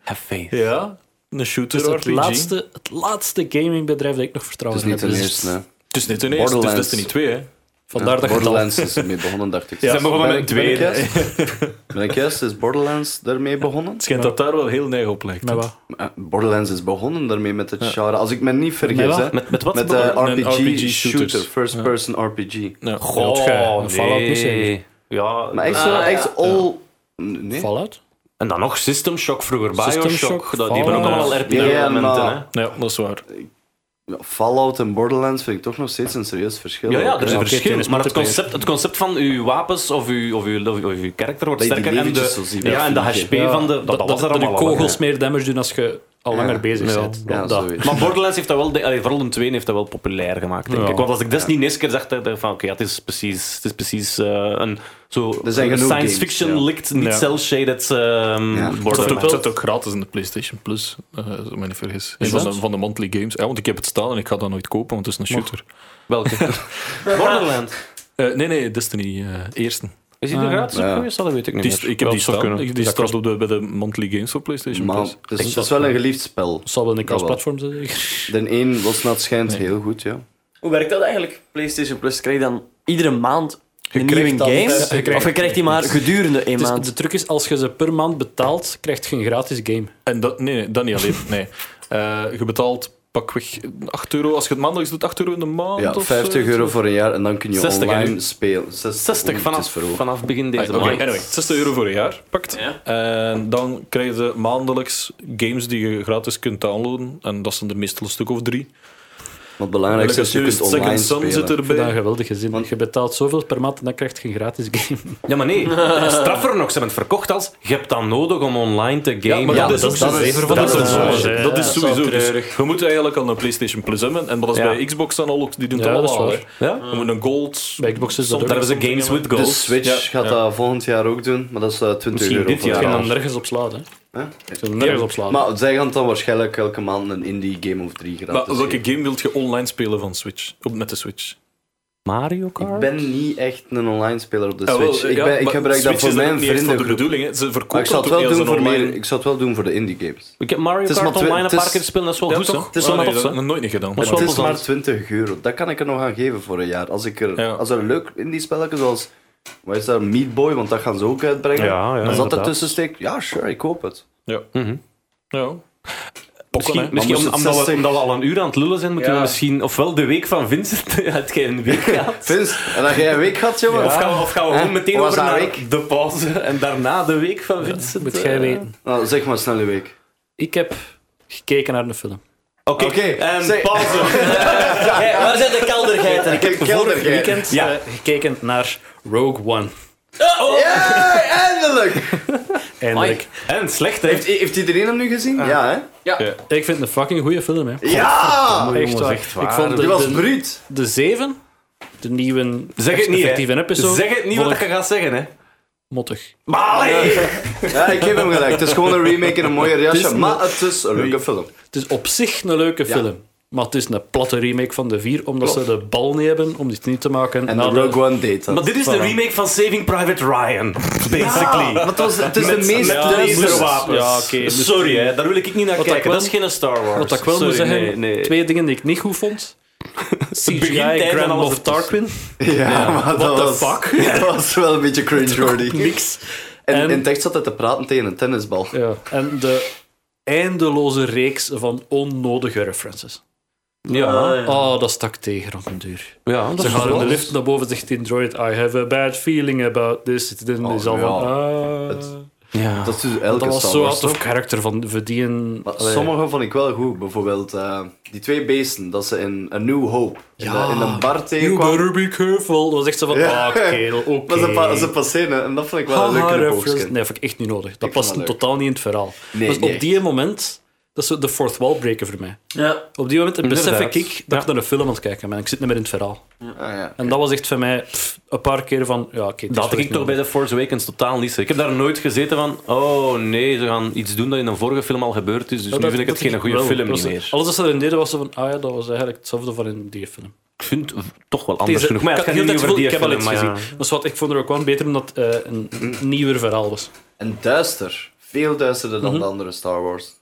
S2: Have faith.
S4: ja, een shooter
S7: Dus Het is het
S4: RPG.
S7: laatste, het laatste gamingbedrijf dat ik nog
S5: Het
S7: vertrouwen
S5: is
S7: in
S5: niet
S7: heb.
S5: de
S7: Dus
S5: eerste, hè.
S4: Het is niet een eerste, het is
S5: Borderlands.
S4: Destiny 2, hè.
S7: Vandaar dat je het al-
S5: Borderlands is ermee begonnen, dacht ik.
S4: zijn begonnen
S5: Ben
S4: met
S5: ik- ben ik
S4: tweede.
S5: juist? Ben ik juist? Is Borderlands daarmee begonnen?
S4: Het schijnt dat daar wel heel neig op lijkt.
S7: Met wat?
S5: Eh, Borderlands is begonnen daarmee met het genre. Als ik me niet vergis, hè.
S2: Met, met wat?
S5: Met eh, de
S4: Een
S5: RPG shooter,
S4: RPG-shooters.
S5: first-person RPG.
S4: Ja.
S2: Goh,
S7: Ja, het ge- Fallout niet
S2: nee.
S7: zeker.
S2: Ja,
S5: Maar echt
S2: eh,
S5: zo, echt all... Nee?
S7: Fallout?
S2: En dan nog System Shock vroeger,
S7: System
S2: Bioshock.
S7: Shock,
S2: dat, die hebben ook
S7: Fallout.
S2: allemaal
S5: Ja,
S2: RPG-elementen.
S5: maar-
S2: hè.
S4: ja, dat is waar.
S5: ja, Fallout en Borderlands vind ik toch nog steeds een serieus verschil.
S2: Ja, ja, er is een
S5: Oké,
S2: verschil.
S3: tennis,
S2: Maar het
S3: multiplayer.
S2: concept, het concept van uw wapens of uw, of uw, of uw, karakter wordt
S5: Dat je die
S2: sterker. En
S5: leventjes
S2: de,
S5: zo ziet
S2: ja, en de
S5: vliegen.
S2: HP van de. Dat, dat, was er
S7: dat
S2: allemaal.
S7: je
S2: al, hè.
S7: kogels meer damage doen als je al langer bezig bent.
S5: Ja,
S7: Dat-
S5: zoiets.
S2: Maar Borderlands heeft dat wel, de- allee, vooral een 2 heeft dat wel populair gemaakt, denk
S7: Ja.
S2: ik. Want als ik dat niet eens keer zag, dacht ik van oké, ja, het is precies, het is precies eh, een, zo,
S5: Er zijn
S2: een
S5: genoeg
S2: science
S5: games,
S2: fiction
S5: ja.
S2: likt, niet
S4: Ja.
S2: cel-shaded ehm
S4: Het
S5: Ja.
S4: zit ook,
S2: Borderlands.
S4: het zit ook gratis in de PlayStation Plus, eh als ik me niet vergis. Een van,
S7: dat?
S4: de, van de monthly games. Ja, want ik heb het staan en ik ga dat nooit kopen, want het is een shooter.
S2: Welke? Borderlands.
S4: Eh, nee, nee, Destiny eh eerste.
S2: Is die er gratis op
S5: ja.
S2: geweest? Dat weet ik niet
S4: Die, is-
S2: meer.
S4: ik heb
S2: Wel,
S4: die
S2: zou
S4: staan.
S2: kunnen.
S4: Ik- Die
S2: Dat
S4: staat
S2: kan.
S4: op de, bij de monthly games voor PlayStation
S5: Maar
S4: Plus.
S5: het is, het is wel een geliefd spel.
S7: zal wel een
S5: Dat wel.
S7: cross-platform zijn, zeker?
S5: De een was naar het schijnt
S4: Nee.
S5: heel goed, ja.
S6: Hoe werkt dat eigenlijk? PlayStation Plus krijg je dan iedere maand een
S5: krijgt
S6: nieuwe
S5: dan-
S6: game?
S5: Ja, je
S7: krijgt-
S6: of je krijgt die maar gedurende één
S7: Het is-
S6: maand?
S7: de truc is, als je ze per maand betaalt, krijg je een gratis game.
S4: En dat, nee, nee, dat niet alleen. Nee. Eh, je betaalt pakweg 8 euro. Als je het maandags doet, 8 euro in de maand.
S5: ja
S4: of eh,
S5: 50
S4: zo.
S5: euro voor een jaar en dan kun je
S2: 60 en
S5: online
S2: nu-
S5: spelen. 60,
S2: 60
S5: oeh, het
S2: vanaf,
S5: is voor hoog.
S2: vanaf begin
S4: Ah,
S2: deze
S4: Oké,
S2: maand.
S4: anyway, 60 euro voor een jaar pakt.
S6: Ja.
S4: En dan krijg je maandelijks games die je gratis kunt downloaden. En dat zijn er meestal een stuk of drie.
S5: Wat belangrijk is, je kunt online
S4: Second Sun
S5: spelen.
S4: zit
S7: Voor dat
S4: erbij.
S7: geweldige gezin. je betaalt zoveel per maand en dan krijg je een gratis game.
S2: Ja, maar nee. Straffer nog, ze hebben het verkocht als je hebt dat nodig om online te gamen.
S4: Ja, maar dat, is ook
S5: dat
S4: zo.
S5: is-
S4: zeven van
S5: dat
S4: de
S5: is-
S4: zomer.
S5: dat
S7: is-
S4: Dat
S7: ja,
S4: is sowieso.
S6: dat is
S4: Dus
S6: treurig.
S4: je moet eigenlijk al een PlayStation Plus hebben. En maar dat is
S2: Ja.
S4: bij Xbox dan al ook. Die doen
S7: Ja,
S4: het
S7: dat is
S4: allemaal. hè.
S7: waar.
S2: Ja?
S4: Je moet een gold.
S7: Bij Xbox is dat
S4: soms-
S7: ook.
S2: Daar hebben ze Games with
S5: De
S2: Goals.
S5: Switch gaat dat volgend jaar ook doen, maar dat is eh, 20
S2: Misschien
S5: euro
S2: dit
S5: voor
S2: jaar.
S5: een
S7: Je
S2: Ja.
S7: kan er nergens op slaan, hè.
S5: Hè?
S7: Je kan er nergens op slaan.
S5: Maar zij gaan dan waarschijnlijk elke maand een indie game of drie gratis
S4: Maar welke
S5: geven.
S4: game wilt je online spelen van Switch? Op, met de Switch?
S2: Mario Kart?
S5: Ik ben niet echt een online speler op de
S4: Ah, wel,
S5: Switch. ik,
S4: ja,
S5: ben, ik
S4: maar
S5: gebruik
S4: Switch
S5: dat voor
S4: is
S5: mijn
S4: ook niet echt
S5: vrienden.
S4: Voor de bedoeling, hè. ze verkopen
S5: Maar ik zou, het
S4: ook
S5: wel
S4: niet
S5: doen
S4: als een
S5: voor
S4: online...
S5: meer, ik zou het wel doen voor de indie games.
S2: Ik heb Mario
S5: Het is
S2: Kart
S5: maar twi-
S2: online een
S5: het
S2: paar
S5: is-
S2: keer gespeeld, dat is wel
S4: Ja,
S2: goed,
S4: toch?
S2: hè?
S4: Het is wel
S2: wel
S4: nee, dat
S2: tof,
S4: heb
S2: hè?
S4: ik nog nooit niet gedaan.
S2: Dat is
S5: Het
S2: wel
S5: is maar
S2: plezant.
S5: 20 euro. Dat kan ik er nog aan geven voor een jaar. Als, ik er,
S4: Ja.
S5: als er leuk indie spelletjes zoals... Wat is dat? Meat Boy, want dat gaan ze ook uitbrengen.
S2: Ja, ja,
S5: als dat
S2: inderdaad.
S5: ertussen steekt, ja, sure, ik hoop het.
S4: Ja. ja.
S2: Misschien,
S4: Pokken, hè.
S2: misschien
S5: Maar
S2: om-
S5: moest het
S2: omdat, we,
S5: 60
S2: omdat we al een uur aan het lullen zijn, moeten we misschien ofwel de week van Vincent uit geen week gaan.
S5: Vince, en dat jij een week gehad, jongen.
S2: Of gaan we, of gaan we
S5: Hè?
S2: gewoon meteen
S5: Hoe was
S2: over
S5: dat
S2: naar
S5: week?
S2: de pauze en daarna de week van Vincent?
S7: Moet jij
S2: eh,
S7: weten.
S5: Nou, zeg maar snel een week.
S7: Ik heb gekeken naar een film.
S2: Oké,
S5: Oké,
S2: en
S5: zeg-
S2: pauze.
S6: Hey, waar zijn de keldergeiten?
S5: Ik heb
S7: Vorig weekend
S2: Ja.
S7: eh, gekeken naar Rogue One.
S5: Ja, eindelijk!
S7: Eindelijk.
S2: En slecht, hè?
S5: Heeft, heeft iedereen hem nu gezien? Ja, hè?
S7: Ik vind het een fucking goede film, hè.
S5: Ja!
S7: Echt waar. Ik vond
S5: Die
S7: de,
S5: was
S7: de,
S5: bruut.
S7: de zeven, de nieuwe
S2: Zeg het niet,
S7: effectieve
S2: hè?
S7: episode,
S2: Zeg het niet wat ik ga zeggen, hè?
S7: mottig.
S2: Maar allee!
S5: Ja, ik geef hem gelijk. Het is gewoon een remake in een mooie jasje, maar het is een leuke film.
S7: Het is op zich een leuke film. Maar het is een platte remake van de vier, omdat ze de bal niet hebben om dit niet te maken.
S5: En
S7: na
S5: de Rogue One deed dat.
S2: Maar dit is de remake van Saving Private Ryan, basically.
S5: Maar het, was, het is
S2: Met-
S5: de meest
S2: met laserwapens.
S7: Ja, oké.
S2: Sorry, hè, daar wil ik niet naar
S7: Wat ik
S2: kijken.
S7: wel-
S2: Dus Dat is geen Star Wars.
S7: Wat ik wel
S2: Sorry,
S7: moet zeggen,
S2: nee, nee.
S7: twee dingen die ik niet goed vond. CGI
S2: begintijd en
S7: Grand
S2: alles
S7: Moff
S2: ertussen.
S7: Tarquin,
S5: Ja, maar dat was, dat was wel een beetje cringe-worthy.
S7: niks.
S5: En
S7: En-
S5: in tekst zat hij te praten tegen een tennisbal.
S7: Ja. En de eindeloze reeks van onnodige references.
S5: Ah,
S2: Ja,
S7: Oh, dat stak tegen op een duur.
S2: ja, dat
S7: Ze
S2: is
S7: gaan in
S2: wel-
S7: de lift naar boven zegt die droid, I have a bad feeling about this. Het is
S5: Oh,
S7: al van...
S5: ja.
S7: ah.
S2: Ja.
S5: Dat is dus elke
S7: dat was
S5: Star
S7: zo
S5: Wars,
S7: out of
S5: toch?
S7: character van verdien.
S5: Maar Sommige vond ik wel goed. Bijvoorbeeld eh, die twee beesten, dat ze in A New Hope in,
S7: Ja.
S5: de- in een bar
S7: You
S5: tegenkwamen.
S7: better be careful. Dat was echt zo van,
S5: Ja.
S7: ah, kerel, oké.
S5: Maar ze, pa- ze passeren en dat vond ik wel een
S7: Haha,
S5: leuke
S7: reference.
S5: boogskant.
S7: Nee, vind ik echt niet nodig. Dat
S5: Ik vond
S7: past
S5: dat leuk.
S7: totaal niet in het verhaal.
S5: Nee,
S7: dus
S5: niet
S7: op die moment, dat is zo de fourth wall breaker voor mij.
S6: Ja.
S7: Op die moment besef ik
S2: Mm, Inderdaad.
S7: dat ik naar een film aan het kijken ben. Ik zit niet meer in het verhaal.
S5: Ah, ja.
S7: En dat was echt voor mij pff, een paar keer van, ja, oké.
S2: Dat had ik toch bij The Force Awakens totaal niet. Ik heb daar nooit gezeten van, oh nee, ze gaan iets doen dat in een vorige film al gebeurd
S7: Oh,
S2: is, dus nu vind ik het geen goede film niet meer.
S7: Alles wat ze erin deden was zo van, ah ja, dat was eigenlijk hetzelfde van in die film.
S2: Ik vind het toch wel anders genoeg. Maar ja,
S7: ik
S2: het gaat
S7: had heel
S2: niet
S7: tijd het
S2: over
S7: gevoel,
S2: die
S7: ik heb al
S2: film,
S7: iets
S2: maar ja. Mm.
S7: gezien. Dus wat, ik vond er ook wel beter omdat het eh, een een nieuwer verhaal was.
S5: En duister. Veel duisterder dan de andere Star Wars.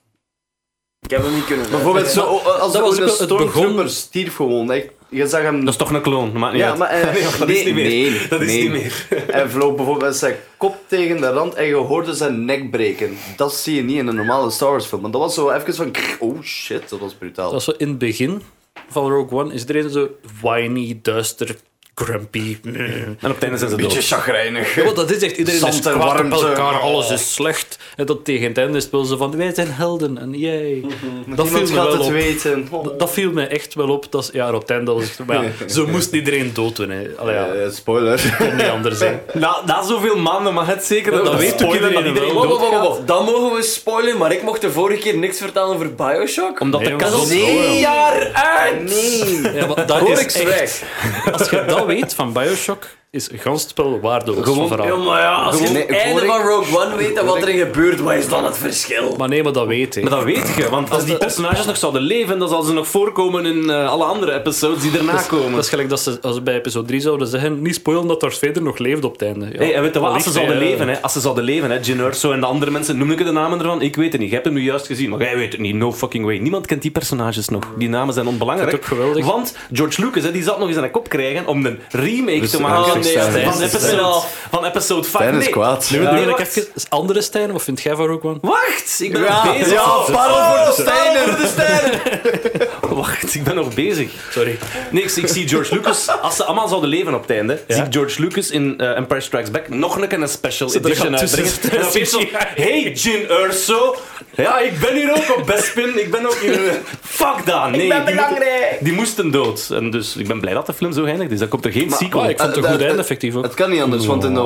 S6: Ik heb hem niet kunnen
S5: Bijvoorbeeld zo, o- als
S7: dat was
S5: de
S7: ook wel- het
S5: stormtrooper
S7: begon-
S5: stierf gewoon. Echt, je zag hem...
S2: Dat is toch een kloon, maar niet
S5: ja,
S2: uit.
S5: maar eh,
S2: Nee, dat is niet meer.
S5: nee,
S2: Dat is
S5: nee.
S2: niet meer.
S5: Hij vloog bijvoorbeeld zijn kop tegen de rand en je hoorde zijn nek breken. Dat zie je niet in een normale Star Wars film. Maar dat was zo even van... Oh shit, dat was brutaal.
S7: Dat was zo in het begin van Rogue One. Is iedereen zo whiny, duister, grumpy. Mm.
S2: En op het einde zijn ze
S5: Beetje
S2: dood.
S5: chagrijnig.
S7: Ja, want dat is echt, iedereen
S5: Zand
S7: is
S5: en
S7: kwaad op
S5: warmte.
S7: elkaar, alles is slecht. En tot tegen het einde is het wel zo van, wij zijn helden en yay. Mhm. Dat viel
S5: Niemand
S7: me
S5: gaat
S7: wel
S5: het
S7: op.
S5: weten. Oh.
S7: Dat, dat viel me echt wel op. Dat is, ja, op het einde was het, maar ja, zo moest iedereen dood doen. Hè. Allee, ja,
S5: Eh, spoiler.
S7: kon niet anders zijn.
S2: Na, na zoveel maanden mag het zeker dat,
S7: Dat
S2: we
S7: weet
S2: spoileren
S7: toch iedereen
S2: dat
S7: wel.
S2: iedereen
S6: Wow,
S2: dood-
S6: wow, wow, wow. Dan mogen we spoilen, maar ik mocht de vorige keer niks vertellen over Bioshock.
S2: Omdat de
S7: Nee,
S2: kans
S7: jongens,
S2: op-
S6: Drie jaar uit!
S5: Nee.
S7: Ja, maar dat
S6: Hoor
S7: is
S6: ik
S7: echt- Als je dat weet van Bioshock, is gans het spel waardeloos van
S6: Ja,
S7: verhaal.
S6: maar ja, als je
S5: Gewoon-
S6: het
S5: Nee,
S6: einde
S5: hoor ik-
S6: van Rogue One weet en wat er gebeurt, wat is dan het verschil?
S7: Maar nee, maar dat weet ik.
S2: Maar dat weet je, want als die personages nog zouden leven, dan zal ze nog voorkomen in eh, alle andere episodes die erna komen.
S7: Dat is gelijk dat ze als ze bij episode 3 zouden zeggen, niet spoilen dat Darth Vader nog leeft op het einde. Ja.
S2: Hey, en weet je wat, als
S7: Dat
S2: ze
S7: ligt
S2: zouden
S7: bij, eh,
S2: leven, hè, als ze zouden leven, hè, Jyn Erso en de andere mensen, noem ik de namen ervan? Ik weet het niet. Je hebt hem nu juist gezien, maar jij weet het niet. No fucking way. Niemand kent die personages nog. Die namen zijn onbelangrijk.
S7: Dat is ook geweldig.
S2: Want George Lucas, hè, die zat nog eens aan de kop krijgen om een remake
S5: Dus,
S2: te
S5: eh,
S2: maken
S5: oh nee, Stijn
S2: van,
S6: is-
S2: episode, van episode 5.
S5: Stijn is
S2: nee.
S5: kwaad.
S2: Nee,
S7: Nu
S2: nee,
S7: wil ik
S2: wacht.
S7: even... Andere Stijn, wat vind jij van Rogue One?
S2: Wacht, ik ben
S5: Ja,
S2: nog bezig.
S5: ja parel voor de
S2: voor
S5: Steiner.
S2: de sterren. Wacht, ik ben nog bezig.
S7: Sorry.
S2: Nee, ik, ik zie George Lucas, als ze allemaal zouden leven op het einde, zie ik George Lucas in eh, Empire Strikes Back nog een keer een special edition
S7: gaat
S2: uitbrengen.
S7: tussen-
S2: En dan weet je zo, hey Jin Urso, ja, ik ben hier ook op Bespin, ik ben ook hier... eh, Fuck dat, nee. die,
S6: belangrijk.
S2: die moesten dood. En dus, ik ben blij dat de film zo eindigt is. Dan komt er geen sequel.
S7: Oh, ik vond het een
S5: Eh,
S7: goed
S5: eh,
S7: einde, effectief ook.
S5: Het kan niet anders, want in de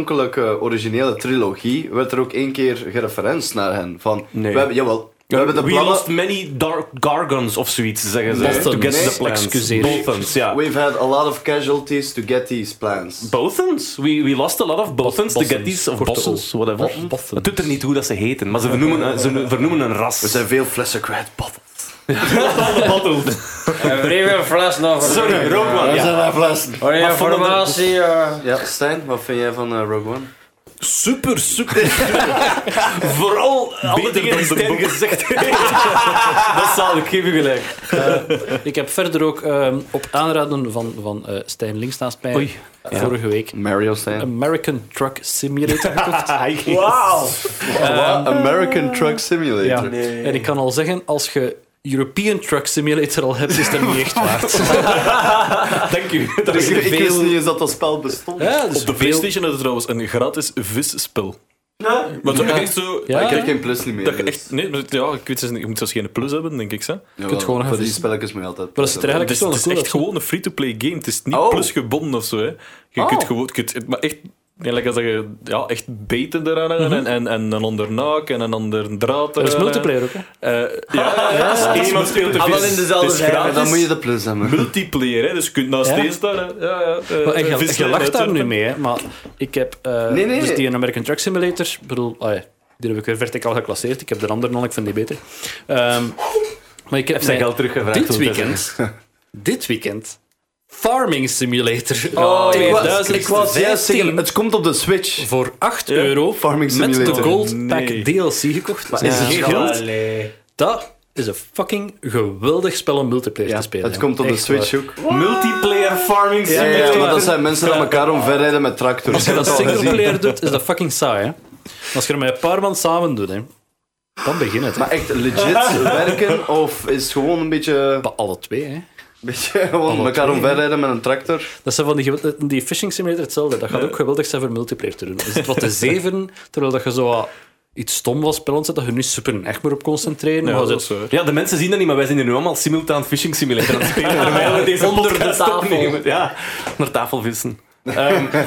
S5: oorspronkelijke originele trilogie werd er ook één keer gereferenced naar hen. Van,
S2: Nee.
S5: we hebben, jawel, we hebben de
S2: We
S5: plannen...
S2: lost many dark gargons of zoiets, zeggen ze.
S5: Bothans.
S2: To get
S5: Nee.
S2: the plans.
S7: Excuseer.
S2: Bothans, ja.
S5: We've had a lot of casualties to get these plans.
S2: Bothans. We, we lost a lot of Bothans to get
S7: Bothans.
S2: these... Of
S7: Korte
S2: Bothans, whatever.
S7: Bo- Bothans.
S2: Het doet er niet hoe dat ze heten, maar ze vernoemen, eh, ze vernoemen een ras.
S5: Er zijn veel flessen kwijt, bottles.
S6: Breve fles nog.
S2: Sorry, Rogue One.
S5: Er
S2: Ja.
S5: zijn daar flessen.
S6: informatie. eh.
S5: Ja, Stijn, wat vind jij van eh, Rogue One?
S4: Super, super.
S2: Vooral alle dingen die Stijn gezegd heeft. Dat zal ik geef u gelijk.
S7: Eh, Ik heb verder ook ehm, op aanraden van, van eh, Stijn links naast mij eh, vorige week
S5: Mario Stijn.
S7: American Truck Simulator gekocht.
S6: Wauw.
S5: Wat?
S2: Ah.
S5: American Truck Simulator.
S7: Ja. En ik kan al zeggen, als je European Truck Simulator al hebt, is dat niet echt waard.
S2: Dank u.
S5: Ik, ik wist niet eens dat dat spel bestond.
S7: Ja, dus
S4: Op de
S7: veel-
S4: PlayStation hadden trouwens een gratis visspel. Maar zo echt zo...
S7: Ja,
S5: Ik
S7: ja.
S5: heb geen plus niet meer.
S4: Dat je
S5: dus-
S4: echt, nee, maar ja, ik weet zelfs niet, je moet zelfs geen plus hebben, denk ik. Hè.
S5: Jawel,
S7: kunt gewoon
S5: voor die
S7: even-
S5: spelletjes moet je altijd.
S7: Maar dat is het
S4: Het
S7: eigenlijk
S4: is,
S7: wel
S4: het
S7: een
S4: is
S7: cool
S4: echt
S7: actie.
S4: gewoon een free-to-play game. Het is niet
S5: Oh.
S4: plusgebonden of zo. Hè. Je kunt gewoon, je kunt, maar echt, ja, like als je ja, echt beten eraan hangen en, en, en een ander naak en een ander draad.
S7: Er Mhm.
S4: eraan
S7: is
S4: hangen.
S7: multiplayer ook, hè?
S4: Eh, ja, ja, het is-
S2: Iemand speelt de
S6: Allemaal
S2: vis.
S6: in dezelfde
S4: Het is
S6: vijver.
S5: Ja, dan moet je de plus hebben.
S4: multiplayer, hè, dus je kunt naast
S7: Ja.
S4: deze staan. hè. Ja, ja, eh,
S7: Maar
S4: eh,
S7: en je,
S4: vissen
S7: je
S4: en
S7: lacht daar
S4: uitzenden.
S7: nu mee, hè? maar ik heb eh,
S5: Nee, nee.
S7: dus die een American Truck Simulator. Ik bedoel, ah ja, die heb ik weer verticaal geclasseerd. Ik heb de andere nog, ik vind die beter. Ehm, maar ik heb
S2: Zijn
S7: mij
S2: geld teruggevraagd.
S7: dit
S2: wil ik
S7: weekend, dit weekend, Farming Simulator.
S6: Oh, ik wou-
S7: 2000
S5: Ik wou juist zeggen, het komt op de Switch.
S7: voor 8 euro
S5: Farming
S7: met de
S5: Simulator.
S7: Gold Pack
S4: Nee.
S7: DLC gekocht. Dat is geen geld. Dat is een fucking geweldig spel om multiplayer
S5: Ja,
S7: te spelen.
S5: het komt op de
S7: Echt
S5: Switch
S7: waar.
S5: ook.
S2: zeggen. Multiplayer farming
S5: Ja,
S2: simulator.
S5: ja, ja, maar dat zijn mensen die elkaar omverrijden met tractors.
S7: Als je
S5: Ik heb
S7: dat
S5: het al gezien.
S7: singleplayer doet, is dat fucking saai. Hè? Als je er met een paar man samen doet, hè, dan begint het. hè.
S5: Maar echt legit werken of is het gewoon een beetje,
S7: Bij alle twee, hè.
S5: beetje gewoon elkaar omverrijden met een tractor?
S7: Dat zijn van die, gewel- die fishing simulator hetzelfde. Dat gaat ook geweldig zijn voor multiplayer te doen. Is het wat te zeven, terwijl dat je zo wat iets stom was spelen zet, dat je nu super echt meer op concentreren.
S4: Ja,
S7: maar
S4: dat
S7: dat
S4: is zo. hè.
S2: Ja, de mensen zien dat niet, maar wij zijn hier nu allemaal simultaan fishing simulator aan het spelen. Terwijl we deze
S6: Onder de
S2: podcast
S6: tafel.
S2: opnemen. Ja, naar tafel vissen. Ehm,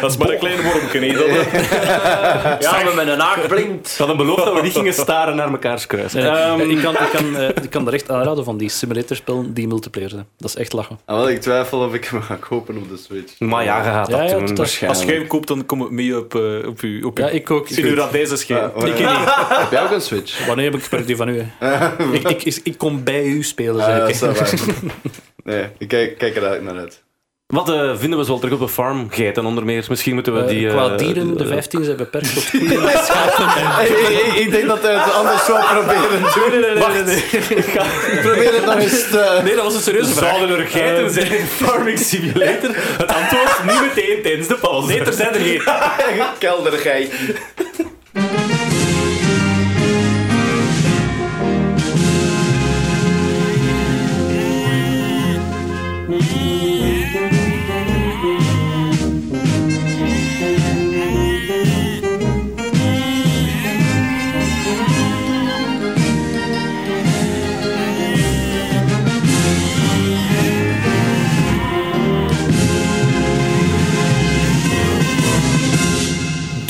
S4: Dat is maar een klein wormje. hè, dat, hè.
S6: Ja, maar met een haak blinkt.
S2: Ik had hem beloofd dat we niet gingen staren naar mekaars kruis.
S7: Nee,
S2: Ehm,
S7: nee, ik, kan, ik, kan, eh, ik kan er echt aanraden van die simulatorspellen die multiplayer zijn. Dat is echt lachen.
S5: Ah, wel, ik twijfel of ik hem ga kopen op de Switch.
S2: maar ja, je gaat dat
S7: Ja, ja,
S2: doen.
S7: totaal.
S2: waarschijnlijk.
S4: Als jij hem koopt, dan kom ik mee op, eh, op, u, op
S7: Ja,
S4: uw-
S7: ik ook.
S4: in uw radijzen schijf.
S5: Ik Heb jij ook een Switch?
S7: Wanneer heb ik per die van u? hè? ik, ik, ik, kom bij u spelen,
S5: Ah,
S7: zeg
S5: ja,
S7: ik.
S5: dat is wel waar. Nee, ik kijk, kijk er eigenlijk naar uit.
S2: Wat eh, vinden we zo terug op de farm? Geiten onder meer. Misschien moeten we
S7: Eh,
S2: die... eh,
S7: qua dieren, de
S2: eh,
S7: 15 zijn beperkt op
S5: Hey, hey, hey, ik denk dat hij het anders zou proberen te doen.
S2: Wacht,
S5: Probeer het nog eens te...
S7: Nee, dat was een serieuze Eh,
S2: zouden er geiten zijn in Farming Simulator? Het antwoord niet meteen tijdens de pauze. Nee, er zijn er geen.
S5: Keldergeit.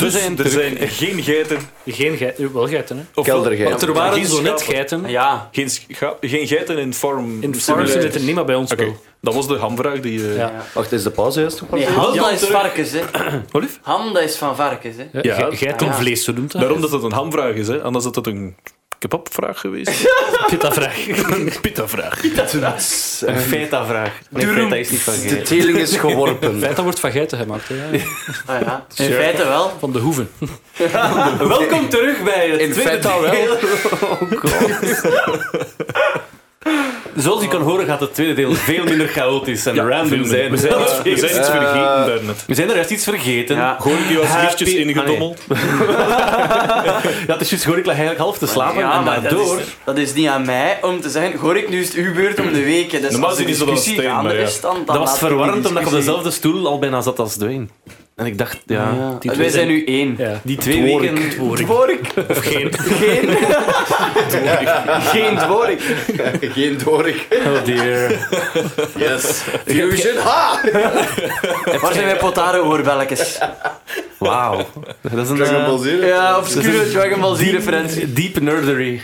S2: zijn
S4: er
S2: terug-
S4: zijn geen geiten,
S7: Geen geiten, wel geiten, hè.
S4: of
S5: Keldergeiten.
S7: Want er waren Ah, zo net
S4: schapen.
S7: geiten.
S1: Ja,
S4: geen, scha- geen geiten in farm.
S7: In
S4: Simulator.
S7: farm zit er niet meer bij ons
S4: Oké,
S7: spel.
S4: dat was de hamvraag die... eh,
S7: Ja.
S5: Wacht, is de pauze juist gepakt?
S1: nee, ham dat is varkens, hè.
S4: Wat lief?
S1: Ham dat is van varkens, hè.
S7: Ja,
S4: Ja.
S7: ge- geitenvlees, zo noemt dat.
S4: Daarom dat het een hamvraag is, hè. anders had het een kebabvraag geweest.
S7: Pittavraag.
S4: een pittavraag.
S2: Een feta-vraag. Nee, feta is niet van
S5: De
S2: geiten.
S5: teling is geworpen.
S7: Dat wordt van geiten gemaakt, hè. ja.
S1: Ah, ja. In feite wel.
S7: Van de hoeven.
S1: Welkom terug bij het
S5: In
S1: tweede
S5: feite al wel.
S1: deel.
S2: Zoals je kan horen gaat het tweede deel veel minder chaotisch en random zijn.
S4: We zijn iets, we zijn iets vergeten daarnet.
S2: We zijn er juist iets vergeten.
S1: Ja.
S4: Gewoon die was
S2: Happy-
S4: liefjes ingedommeld.
S2: Ja, het is juist gewoon, ik lag eigenlijk half te slapen
S1: Ja,
S2: en
S1: maar
S2: daardoor...
S1: dat is, dat is niet aan mij om te zeggen, Gorik, nu is het uw beurt om de week. hè. Dus
S4: Normaal
S1: als de
S4: is het wel
S1: discussie
S4: steen,
S1: gaande
S4: maar ja.
S1: is, dan, dan
S2: Dat was
S1: laten we die
S2: verwarrend omdat ik op
S1: discussie-
S2: dezelfde stoel al bijna zat als Dwayne. En ik dacht, ja...
S1: Ja. Wij zijn nu één.
S7: Ja.
S2: Die twee
S5: Dwork.
S2: weken...
S1: Dwork. Of geen. Geen.
S5: Geen dworik. Geen dworik.
S2: Oh dear.
S5: Yes. Fusion. Ha!
S1: Waar zijn mijn potare oorbelletjes?
S2: Wauw. Dat is een...
S5: Dragon
S2: eh,
S5: Ball Z.
S1: Ja, obscure Dragon Ball Z-referentie.
S2: Deep nerdery.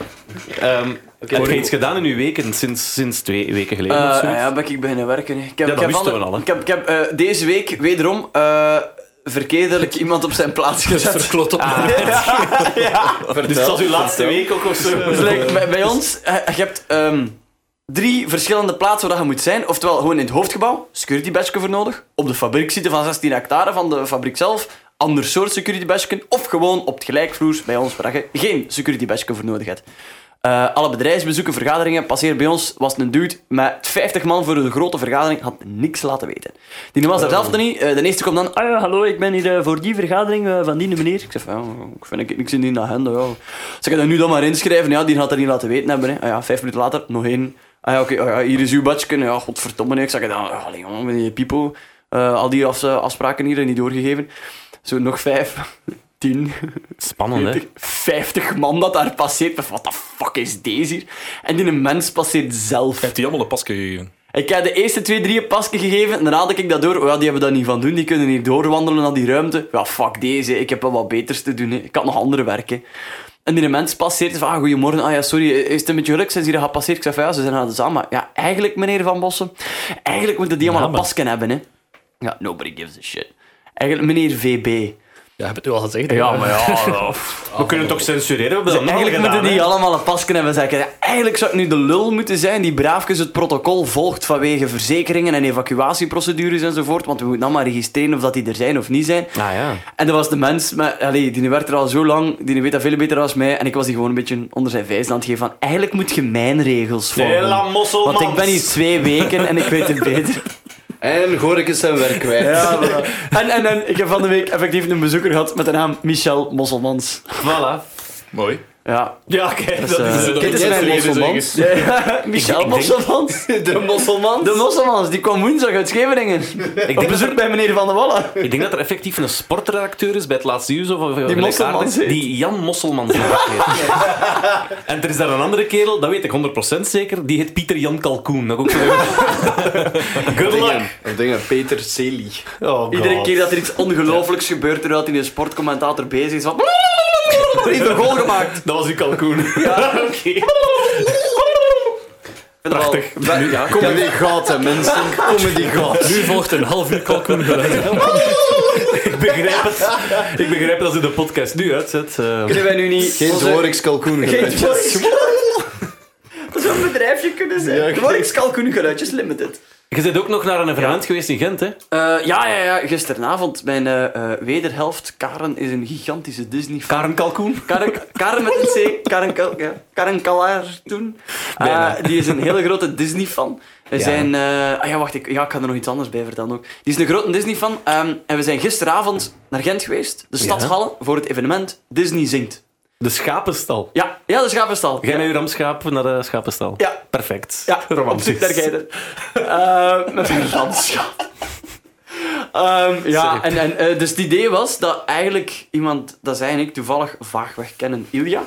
S2: Ehm Heb je iets gedaan in uw weken sinds, sinds twee weken geleden? of
S1: Eh,
S2: zoiets?
S1: ja, ben ik beginnen werken. hè. Ik heb,
S2: dat
S1: ik heb
S2: wisten
S1: ander-
S2: we al, hè.
S1: Ik heb, ik heb eh, deze week wederom eh verkeerdelijk iemand op zijn plaats gezet.
S7: Klopt op.
S2: Dus het was uw laatste week ook of zo?
S1: Dus like, bij, bij ons, eh, je hebt ehm, drie verschillende plaatsen waar dat je moet zijn. Oftewel gewoon in het hoofdgebouw, security badge voor nodig. Op de fabriek zitten van 16 hectare van de fabriek zelf. Ander soort security badge. Of gewoon op het gelijkvloers bij ons waar je geen security badge voor nodig hebt. Eh, alle bedrijfsbezoeken, vergaderingen, passeer bij ons was het een dude met 50 man voor een grote vergadering, had niks laten weten. Die was daar zelf nog niet. Eh, de eerste komt dan, ah ja, hallo, ik ben hier eh, voor die vergadering eh, van die meneer. Ik zeg, van, ja, ik vind ik niks in die agenda. Ja. Ze kan dat nu dan maar inschrijven. Ja, die had dat niet laten weten hebben. Hè. Ah, ja, vijf minuten later, nog één. Ah, ja, oké, ah ja, hier is uw badje. Ja, godverdomme. nee. Ik zeg, dan, ah, allee, jongen, met die pipo. Eh, al die afs- afspraken hier niet doorgegeven. Zo, nog vijf. Tien.
S2: Spannend, hè?
S1: 50 man dat daar passeert. Wat de fuck is deze hier? En die mens passeert zelf.
S4: Heeft die allemaal een pas gegeven?
S1: Ik heb de eerste twee, drie een pasje gegeven. En dan had ik dat door. Oh Ja, die hebben dat niet van doen. Die kunnen hier doorwandelen naar die ruimte. Ja, fuck deze. Ik heb wel wat beters te doen. Hè. Ik had nog andere werken. En die mens passeert van, ah, goedemorgen, ah ja, sorry, is het een beetje geluk, zijn ze hier gepasseerd? Ik zeg van, ja, ze zijn aan de zaal, maar ja, eigenlijk, meneer Van Bossen, eigenlijk moeten die allemaal een pasken hebben, hè. Ja, nobody gives a shit. Eigenlijk, meneer VB.
S7: Ja, heb het nu al gezegd.
S1: Ja, maar ja,
S2: We kunnen toch censureren? We hebben
S1: Dus
S2: dat allemaal
S1: eigenlijk
S2: gedaan,
S1: moeten
S2: hè?
S1: die allemaal een pasken hebben. Zeg. ik. Eigenlijk zou ik nu de lul moeten zijn die braafjes het protocol volgt vanwege verzekeringen en evacuatieprocedures enzovoort. Want we moeten dan maar registreren of dat die er zijn of niet zijn.
S2: Ah ja.
S1: En dat was de mens, maar, allee, die werkt er al zo lang, die weet dat veel beter dan mij. En ik was die gewoon een beetje onder zijn vijs aan het geven van eigenlijk moet je mijn regels volgen.
S2: Hela mosselmans.
S1: Want ik ben hier twee weken en ik weet het beter.
S5: En Gorik is zijn werk kwijt.
S1: En, en, en ik heb van de week effectief een bezoeker gehad met de naam Michel Mosselmans.
S2: Voilà.
S4: Mooi.
S1: Ja,
S2: Ja, kijk.
S1: dat is... eh,
S5: Dit is
S4: Jij
S5: mijn
S4: zei het
S5: mosselmans.
S1: Michel Mosselmans.
S5: De mosselman.
S1: De Mosselmans, die kwam woensdag uit Scheveningen.
S2: Ik
S1: Op
S2: denk, dat
S1: bezoek
S2: er,
S1: bij meneer Van der Wallen.
S2: ik denk dat er effectief een sportredacteur is bij het laatste uur. Zo, van- van- van-
S1: Mosselmans heet.
S2: Die Jan Mosselmans heet. en er is daar een andere kerel, dat weet ik 100% zeker, die heet Pieter Jan Kalkoen. Dat ook zo. Good luck.
S5: Of dingen, Peter Sely.
S2: Oh,
S1: Iedere keer dat er iets ongelooflijks gebeurt, terwijl hij een sportcommentator bezig is, van... Heeft een goal gemaakt.
S2: Dat was uw kalkoen. Oké.
S1: Prachtig.
S5: Kom in die gaten, mensen. Kom in die gaten.
S7: Nu volgt een half uur kalkoen
S2: Ik begrijp het. Ik begrijp het als u de podcast nu uitzet. eh,
S1: Kunnen wij nu niet...
S5: Geen
S1: onze-
S5: Dworiks kalkoen
S1: Geen
S5: gebruikt.
S1: Dworks. Dat zou een bedrijfje kunnen zijn. Ja, Kalkoen Geluidjes Limited.
S2: Je bent ook nog naar een evenement geweest in Gent, hè?
S1: Eh, ja, ja, ja. Gisteravond, mijn eh, eh, wederhelft, Karen, is een gigantische Disney
S2: Karen Kalkoen.
S1: Karen, Karen met een C, Karen, Kal- ja, Karen Kalaar toen. Eh, die is een hele grote Disney-fan. We zijn... eh, ah ja, wacht, ik, ja, ik ga er nog iets anders bij vertellen ook. Die is een grote Disney-fan. ehm, en we zijn gisteravond naar Gent geweest, de Stadshallen, voor het evenement Disney Zingt.
S2: De schapenstal.
S1: Ja, ja dus de Schapenstal.
S2: Jij
S1: ja.
S2: met uw ramschaap naar de schapenstal.
S1: Ja.
S2: Perfect.
S1: Ja, op
S2: Romantisch.
S1: zoek naar geiten. Eh, met een landschap. Ehm, ja, en, en, eh, dus het idee was dat eigenlijk iemand, dat zei ik toevallig vaagweg kennen, Ilja.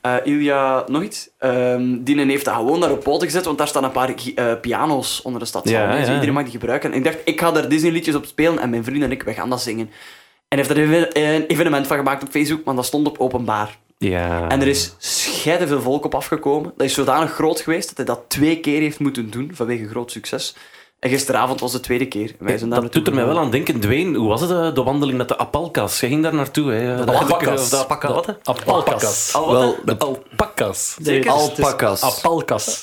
S1: Eh, Ilja, nog iets? Ehm, die heeft dat gewoon daar op poten gezet, want daar staan een paar gi- eh, piano's onder de stad.
S2: Ja,
S1: dus
S2: ja.
S1: iedereen mag die gebruiken. En ik dacht, ik ga daar Disney-liedjes op spelen en mijn vrienden en ik, we gaan dat zingen.
S6: En heeft er even- een evenement van gemaakt op Facebook, maar dat stond op openbaar.
S2: Ja.
S6: En er is scheiden veel volk op afgekomen. Dat is zodanig groot geweest dat hij dat twee keer heeft moeten doen vanwege groot succes. En gisteravond was de tweede keer. Wij zijn daar
S2: dat doet er mij wel aan denken. Dwayne, hoe was het, eh, de wandeling met de apalkas? Je ging daar naartoe, hè? De
S7: alpakas.
S2: De alpaca- wat, hè?
S7: Alpakas.
S6: Al wat, hè?
S7: De alpakas. Dus-
S5: Alpakas.
S7: Alpakas.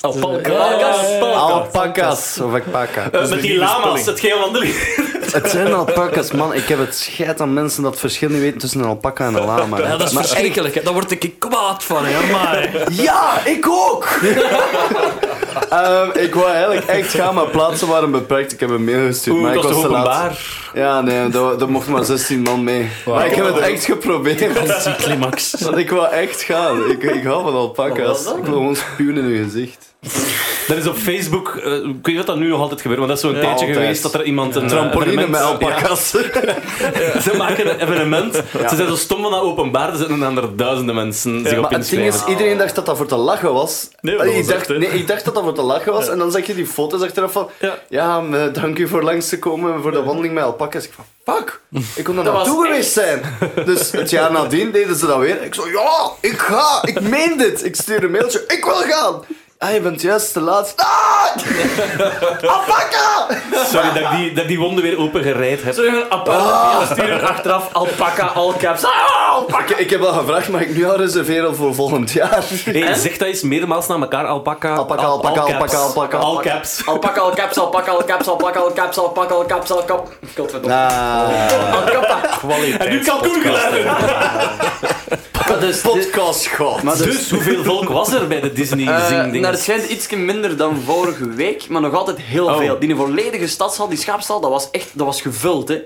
S5: Alpakas. Of alpaca.
S2: Met die lama's, het geen wandeling.
S5: Het zijn alpakas, man. Ik heb het scheid aan mensen dat het verschil niet weten tussen een alpaca en een lama.
S7: Ja, dat is
S5: Maar echt-
S7: verschrikkelijk. hè. Daar word ik kwaad van, hè. Maar
S5: Ja, ik ook! Ehm, ik wou eigenlijk echt gaan, maar plaatsen waren beperkt. Ik heb een mail gestuurd, maar ik
S2: dat is
S5: was
S2: toch
S5: te laat.
S2: openbaar?
S5: Ja, nee, daar daar mochten maar 16 man mee. Maar ik heb het echt geprobeerd.
S7: climax.
S5: Want ik wou echt gaan. Ik, ik hou van alpaca's. Ik wil gewoon spuwen in hun gezicht.
S2: Dat is op Facebook, eh, ik weet dat dat nu nog altijd gebeurt, want dat is zo'n tijdje
S5: altijd.
S2: geweest dat er iemand een eh,
S5: Trampoline
S2: evenement-
S5: met alpaca's.
S2: Ja, Ze maken een evenement, ze zijn zo stom van dat openbaar, er zitten een andere duizenden mensen zich op
S5: Maar het ding
S2: inschrijven.
S5: is, iedereen dacht dat dat voor te lachen was.
S4: Nee, dat
S5: ik,
S4: was
S5: dacht,
S4: echt, hè.
S5: nee ik dacht dat dat voor te lachen was. En dan zag je die foto's achteraf van... Ja, me- dank u voor langs te komen voor de wandeling met alpakas. Ik van, fuck, ik kon daar naartoe geweest zijn. Dus het jaar nadien deden ze dat weer. Ik zo, ja, ik ga, ik meen dit. Ik stuur een mailtje, ik wil gaan. Ah, je bent juist te laat. Ah! Alpaca!
S2: Sorry dat ik die, dat ik die wonden weer open gereid heb.
S7: Terug een apart sturen achteraf. Alpaca, alcaps.
S5: Ik, Ah, ik heb al gevraagd, mag ik nu al reserveren voor volgend jaar?
S2: Hey, zeg dat eens meermaals naar elkaar, alpaca.
S5: Alpaca,
S2: al-
S5: alpaca,
S2: alcaps.
S5: alpaca, alpaca, alpaca.
S2: Alcaps.
S6: Alpaca, alcaps, alpaca, alcaps, alpaca, alcaps, alpaca, alcaps, alcaps. Godverdomme. Oh.
S5: Ah,
S2: En nu kalkoengeluiden.
S6: Dus,
S5: podcast, god. Maar dus-
S2: Dus hoeveel volk was er bij de Disney
S5: Eh,
S2: zing
S6: Eh, naar
S2: dingen?
S6: het schijnt iets minder dan vorige week, maar nog altijd heel veel. Die volledige stadshal, die schaapstal, dat was echt dat was gevuld. Hè.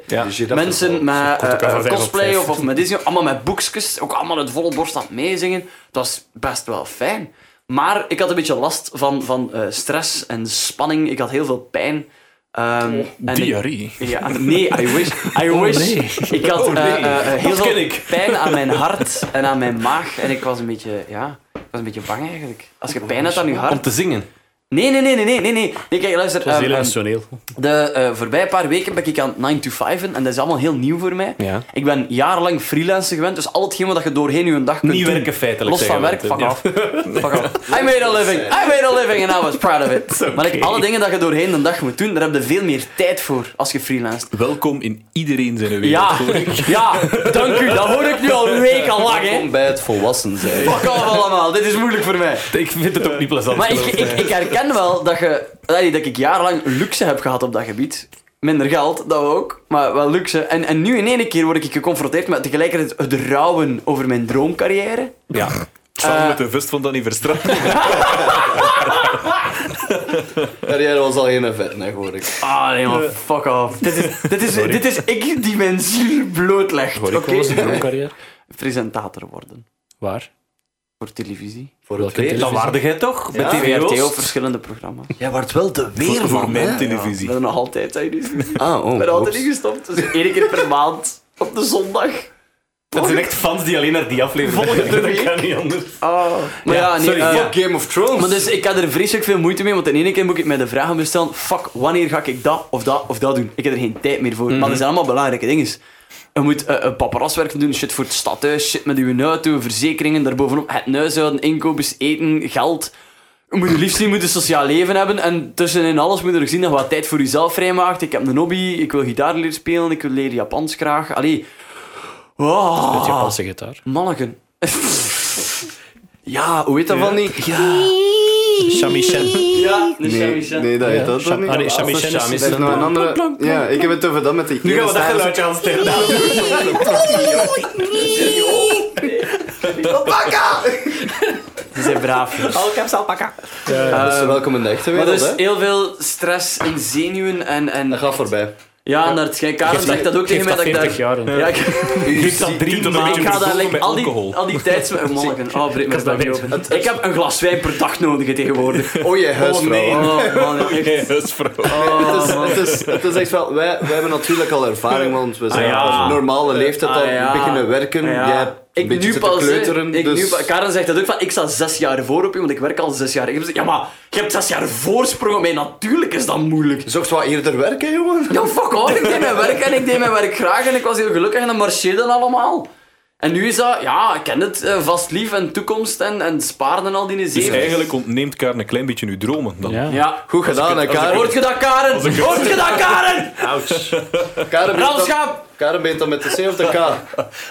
S6: Mensen met eh, eh, cosplay of, of met Disney, allemaal met boekjes, ook allemaal het volle borst aan het meezingen. Dat was best wel fijn. Maar ik had een beetje last van, van eh, stress en spanning. Ik had heel veel pijn. Ehm, en ik-
S7: Diarrhee.
S6: ja, nee, I wish. I wish.
S7: Oh,
S6: Ik had eh, eh, eh, heel veel pijn aan mijn hart en aan mijn maag. En ik was een beetje, ja, ik was een beetje bang eigenlijk. Als je pijn hebt aan je
S2: Om
S6: hart.
S2: te zingen.
S6: Nee, nee, nee, nee, nee, nee. nee. nee kijk, luister. ehm, ehm,
S7: emotioneel.
S6: de eh voorbije paar weken ben ik aan 9 to 5 en dat is allemaal heel nieuw voor mij.
S2: Ja.
S6: Ik ben jarenlang freelancer gewend, dus al hetgeen wat je doorheen je dag kunt
S2: Niet
S6: doen,
S2: werken feitelijk.
S6: Los van
S2: zeggen we
S6: werk, fuck off. Fuck off. I made a living, I made a living and I was proud of it. Maar like, alle dingen dat je doorheen de dag moet doen, daar heb je veel meer tijd voor als je freelanced.
S4: Welkom in iedereen zijn wereld.
S6: Ja, ja, dank u. Dat hoor ik nu al wekenlang, hè.
S5: Kom bij het volwassen zijn.
S6: Fuck off allemaal, dit is moeilijk voor mij.
S2: Ik vind het ook niet plezant.
S6: Maar ik, ik, ik herken wel dat, je, allee, dat ik jarenlang luxe heb gehad op dat gebied. Minder geld, dat ook, maar wel luxe. En, en nu in één keer word ik geconfronteerd met tegelijkertijd het rouwen over mijn droomcarrière.
S2: Ja.
S4: Samen met de vest van Danny Verstraeten.
S5: Carrière was al geen vet, nee, hoor ik.
S6: Ah, nee man, fuck off. Dit is, dit is, dit is ik die mijn ziel blootlegt. Oké,
S7: droomcarrière?
S6: presentator worden
S7: Waar?
S6: voor televisie.
S5: Voor
S2: Dat waarde jij toch? Met die
S6: VRT
S2: VRTO?
S6: of verschillende programma's.
S5: Jij wordt wel de weerman,
S4: Voor mijn
S5: hè?
S4: televisie.
S6: Dat is nog altijd, zou je dus. Ik
S5: Ah, oh.
S6: ben altijd
S5: oeps.
S6: niet gestopt. Dus één keer per maand op de zondag.
S2: Dat zijn echt fans die alleen naar die aflevering volgen. Dat kan niet anders.
S6: Maar ja, nee,
S2: sorry,
S6: eh,
S2: fuck
S5: Game of Thrones.
S6: Maar dus ik had er vreselijk veel moeite mee, want in ene keer moet ik mij de vraag aan bestellen: fuck, wanneer ga ik dat of dat of dat doen? Ik heb er geen tijd meer voor. Maar dat zijn allemaal belangrijke dingen. Je moet eh, eh, paparaswerk doen, shit voor het stadhuis, shit met uw auto, verzekeringen, daarbovenop het huishouden, inkoopjes, eten, geld. Je moet je liefst zien, je moet een sociaal leven hebben. En tussenin alles moet je nog zien dat je wat tijd voor jezelf vrijmaakt. Ik heb een hobby, ik wil gitaar leren spelen, ik wil leren Japans graag. Allee. Wow.
S7: Met Japanse gitaar.
S6: Manneken.
S5: ja, Ah, hoe heet dat van niet?
S7: Shamisen.
S6: Ja, de
S5: Nee, nee, dat heet dat toch niet?
S7: Ah nee,
S5: Dat
S7: shamisen
S5: is
S7: is...
S5: nog een andere... Ja, ik heb het over dat met die...
S2: Nu gaan we dat geluidje aan stellen.
S5: Alpaca!
S6: Ze zijn braaf. Alcaps alpaca.
S5: Dus welkom in de echte
S6: Maar
S5: wereld,
S6: dus
S5: hè.
S6: heel veel stress en zenuwen en... en
S5: Dat gaat voorbij.
S6: ja, naar het schijn. Karel zegt dat ook tegen
S7: Geeft
S6: mij.
S7: dat
S6: Dat ik
S7: 40
S6: daar...
S7: jaar. hè.
S6: Ja, ik,
S5: U ziet-
S2: Drie maanden.
S6: ik ga daar like, al, die,
S4: alcohol.
S6: al die tijds... met- Manneken, oh, breek mijn buik open. Ik heb een glas wijn per dag nodig tegenwoordig.
S5: Oh, je huisvrouw.
S6: Oh, man. echt. Oh.
S5: het, is, het, is, het is echt wel... Wij, wij hebben natuurlijk al ervaring, want we zijn
S2: ja.
S5: op normale leeftijd al
S6: Ah, ja.
S5: beginnen werken.
S6: Ja.
S5: Jij hebt
S6: ik
S5: beetje
S6: nu
S5: zitten
S6: pas. hè.
S5: kleuteren,
S6: ik
S5: dus-
S6: nu, pa- Karen zegt dat ook van, ik sta zes jaar voor op je, want ik werk al zes jaar. Ik heb gezegd, ja, maar je hebt zes jaar voorsprong op mij. Natuurlijk is dat moeilijk.
S5: Zocht wat eerder werken, jongen.
S6: Ja, fuck off. Ik deed mijn werk en ik deed mijn werk graag en ik was heel gelukkig en dat marcheerde allemaal. En nu is dat, ja, ik ken het, eh, vast lief en toekomst en, en sparen en al die
S4: Dus
S6: zeven.
S4: eigenlijk ontneemt Karen een klein beetje uw dromen. Dan.
S6: Ja.
S5: Goed gedaan, hè, Karen.
S6: Hoort je dat, Karen? Hoort je dat, Karen?
S5: Karen begint dan-
S6: Ralschap!
S5: Karen begint dan met de C of de K.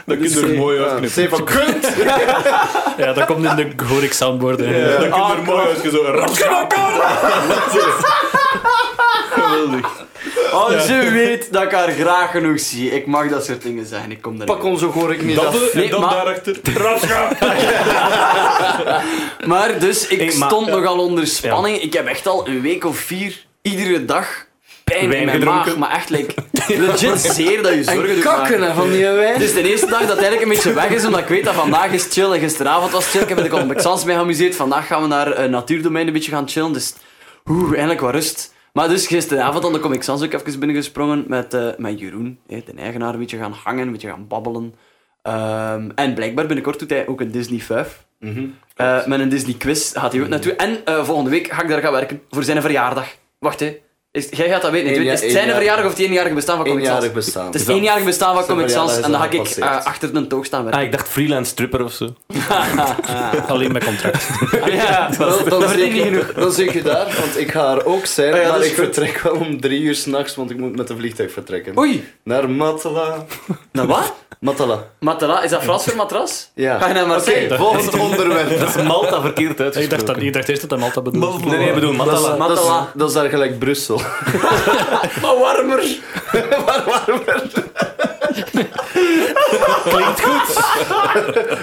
S4: Dat kun je er mooi uitknippen.
S5: C van kunt.
S7: Ja, dat komt in de Gorik soundboard. hè.
S4: Ja, dat kun je er mooi uit. Zo, rap, Geweldig.
S6: Oh, ze weet dat ik haar graag genoeg zie. Ik mag dat soort dingen zeggen. Ik kom daar
S5: Pak onze hoor ik niet af.
S4: Dat,
S6: Nee,
S4: en dan
S6: maar-
S4: daarachter.
S6: Maar dus, ik
S2: Hey, maar- eh,
S6: stond nogal onder spanning. Ik heb echt al een week of vier iedere dag pijn
S2: Wijn
S6: in mijn
S2: gedronken.
S6: maag. Maar echt, like, legit zeer dat je zorgen
S5: En
S6: doet
S5: kakken
S6: maken.
S5: hè, van die wijn.
S6: Het is de eerste dag dat het eigenlijk een beetje weg is, omdat ik weet dat vandaag is chill en gisteravond was chill. Ik heb er al met Xans mee geamuseerd. Vandaag gaan we naar een natuurdomein een beetje gaan chillen. Dus oeh, eindelijk wat rust. Maar dus gisteravond dan kom ik Sans ook even binnengesprongen met, eh, met Jeroen, hè, de eigenaar, een beetje gaan hangen, een beetje gaan babbelen. Ehm, en blijkbaar binnenkort doet hij ook een Disney 5.
S5: Mhm.
S6: Eh, met een Disney quiz gaat hij ook naartoe. En eh, volgende week ga ik daar gaan werken voor zijn verjaardag. Wacht hè. Is, jij gaat dat weten. niet.
S5: Eén jaar-
S6: is het
S5: één
S6: zijn
S5: jaar-
S6: verjaardag of het eenjarige bestaan van Comic Sans?
S5: Eenjarig bestaan.
S6: Het is eenjarig bestaan van
S5: Zijn
S6: Comic Sans en dan
S5: verjaardag
S6: ga
S5: is al
S6: ik eh,
S5: gepasseerd.
S6: achter een toog staan werken.
S2: Ah, ik dacht freelance stripper of zo.
S7: Alleen met contract.
S6: ja,
S5: Dan, dan,
S6: dat
S5: zeg
S6: verdient niet genoeg. Ah,
S5: je, dan zeg je daar, want ik ga er ook zijn,
S6: ja,
S5: maar
S6: dat is
S5: ik
S6: goed.
S5: vertrek wel om drie uur s'nachts, want ik moet met een vliegtuig vertrekken.
S6: Oei.
S5: Naar Matala.
S6: Nou wat?
S5: Matala,
S6: Matala, is dat Frans voor matras?
S5: ja.
S6: Ga je naar
S5: Oké,
S6: Marseille?
S5: volgend onderwerp.
S2: Malta verkeerd
S7: Ik dacht, dat, ik dacht eerst dat dat Malta bedoelde.
S2: Nee, nee, ik bedoel, Malta.
S5: Dat is, dat,
S6: Matala.
S5: is, dat is daar gelijk Brussel.
S6: Maar warmer.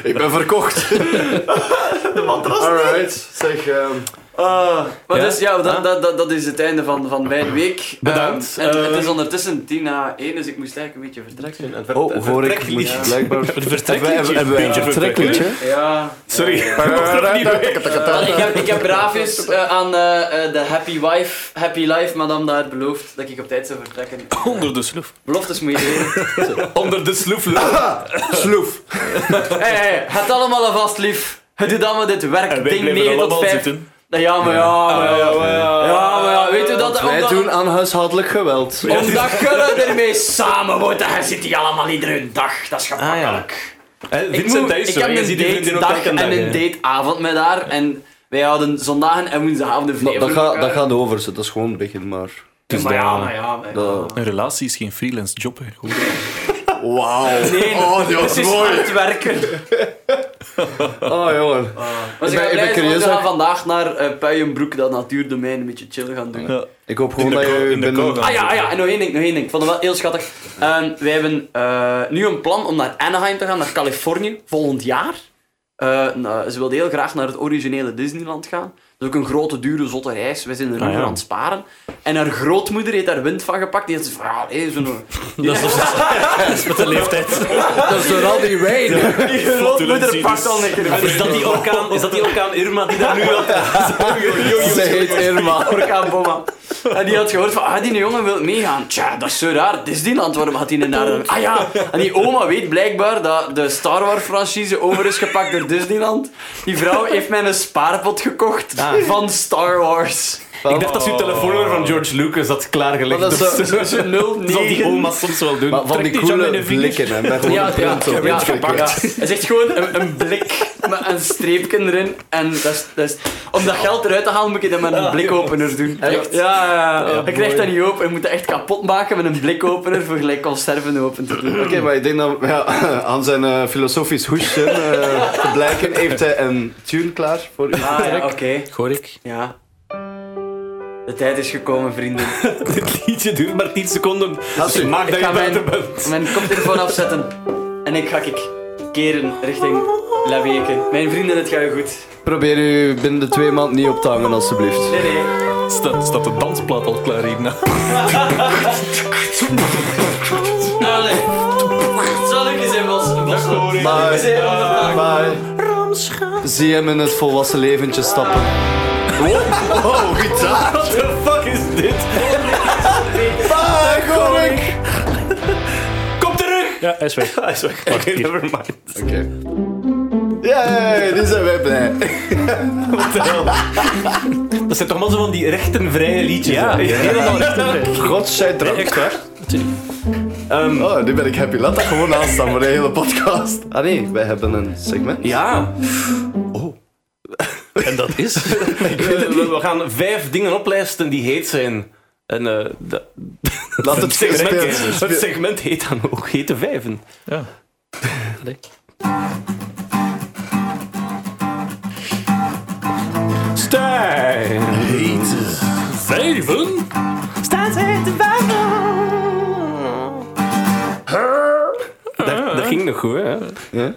S5: Ik ben verkocht. De matras Alright, zeg... ehm,
S6: Maar dus ja, dat, dat, dat, dat is het einde van, van mijn week.
S2: Bedankt.
S6: Ehm, en,
S2: Eh,
S6: het is ondertussen 10 na 1, dus ik moest eigenlijk een beetje vertrekken.
S5: oh, hoor ik moet blijkbaar... Hebben- Hebben wij een vertrekliedje?
S6: Ja.
S2: Sorry.
S6: Wel, ik, heb, ik heb grafisch eh, aan eh, eh, de Happy Wife, Happy Life madame daar beloofd dat ik op tijd zou vertrekken.
S4: Onder de sloef.
S6: Beloftes moet je doen.
S4: Onder de sloef.
S5: Sloef.
S6: Hey, hey, het allemaal alvast lief. Het doet allemaal dit
S4: En wij
S6: werkding
S4: blijven
S6: 9
S4: er
S6: tot
S4: allemaal
S6: 5.
S4: zitten.
S6: Ja, maar ja, maar ja. Ja, maar ja, weet je dat?
S5: Wij
S6: omdat-
S5: doen aan huishoudelijk geweld.
S6: Omdat je ermee samen moet, dan zit hij allemaal iedere dag. Dat is
S2: Ah,
S6: gemakkelijk. Ik,
S2: Vincent,
S6: moet-
S2: dat is
S6: ik
S2: zo.
S6: heb
S2: Je ziet die
S6: een
S2: vriendin ook
S6: datedag
S2: elke dag.
S6: en een
S2: hè.
S6: dateavond met haar. En wij houden zondagen en woensdagavonden vrij
S5: Dat, dat,
S6: voor
S5: gaat,
S6: elkaar.
S5: dat gaat over, ze, dat is gewoon het begin maar.
S6: Maar ja, maar ja, maar ja.
S5: Dat-
S4: Een relatie is geen freelance job. Hè. Goed.
S5: Wauw.
S6: Nee, het is hard werken.
S5: Oh jongen.
S6: Maar ze
S5: ben-
S6: gaan
S5: ik ben
S6: blij zijn, want
S5: curieus
S6: we gaan
S5: ook.
S6: vandaag naar eh Puienbroek, dat natuurdomein, een beetje chillen gaan doen.
S5: Ik hoop gewoon
S4: In de
S5: dat
S4: kou-
S5: je
S4: in de
S5: binnen-
S4: kou gaan.
S6: Ah ja, ah ja, en nog één ding, nog één ding. Ik vond het wel heel schattig. Ehm, wij hebben eh, nu een plan om naar Anaheim te gaan, naar Californië, volgend jaar. Eh, nou, ze wilde heel graag naar het originele Disneyland gaan. Dat is ook een grote, dure, zotte reis. Wij
S2: Ah,
S6: zijn er nu voor aan het sparen. En haar grootmoeder heeft daar wind van gepakt. Die heeft zoiets van, ja, hé, zo'n...
S5: Dat is door al die wijn.
S6: Die grootmoeder pakt al een keer
S2: dus- Is dat die orkaan- Is dat die orkaan Irma die daar nu al...
S5: Ze heet Irma.
S6: orkaan bomma. En die had gehoord van, ah, die jongen wil meegaan. Tja, dat is zo raar. Disneyland, waarom had hij een naar... Ah ja, en die oma weet blijkbaar dat de Star Wars franchise over is gepakt door Disneyland. Die vrouw heeft mij een spaarpot gekocht
S2: Ah.
S6: van Star Wars.
S2: Ik dacht dat uw telefoonnummer van George Lucas had klaargelegd.
S5: Maar dat is zo- Oh,
S2: Dat is- dat zal die
S6: 09.
S2: oma soms wel doen.
S5: Maar van die coole blikken, hè. Met gewoon
S6: Ja,
S5: een
S6: ja,
S5: print
S6: ja,
S5: op.
S6: ja, gepakt. Hij zegt gewoon een, een blik met een streepje erin. En dat is, dat is, om dat geld eruit te halen moet je dat met een blikopener doen.
S5: Echt?
S6: Ja, ja, ja. je krijgt dat niet open. Je moet dat echt kapot maken met een blikopener voor gelijk conserven open te doen.
S5: Oké, maar ik denk dat ja, aan zijn eh, filosofisch hoesje eh, te blijken heeft hij een tune klaar voor u.
S6: Ah ja, oké.
S7: Gorik.
S6: Ja. De tijd is gekomen, vrienden.
S2: Dit liedje duurt maar 10 seconden.
S5: Dat is-
S2: Dus maak dat
S6: Ik
S2: je
S6: ga mijn,
S2: buiten bent.
S6: mijn koptelefoon afzetten. En ik ga ik keren richting La Weken. Mijn vrienden, het gaat goed.
S5: Probeer u binnen de twee maanden niet op te hangen, alstublieft.
S6: Nee, nee.
S4: Staat, staat de dansplaat al klaar nou? hierna?
S6: Allee. Zal ik eens even los... los-
S5: Bye.
S6: eens even ondervragen.
S5: Bye. Zie hem in het volwassen leventje stappen. Oh, Wow, wow gitaar. What the fuck is dit? Bye, Gorik.
S7: Ja, hij is weg.
S2: Oké, never mind.
S5: Oké. Yay, die zijn wij blij.
S2: Dat zijn toch wel zo van die rechtenvrije liedjes. Ja, helemaal rechtenvrij.
S5: Godzijdank.
S2: Echt waar?
S5: Oh, nu ben ik happy. Laat dat gewoon aanstaan voor de hele podcast. Ah nee, wij hebben een segment.
S2: Ja.
S5: Oh.
S7: En dat is...
S2: We, we- we gaan vijf dingen oplijsten die heet zijn. En eh, dat,
S5: Laat het
S2: het, segment,
S5: speel- speel-
S2: het segment heet dan ook Hete Vijven. Ja. Stijn.
S7: Vijven?
S2: Dat, dat ging nog goed, hè?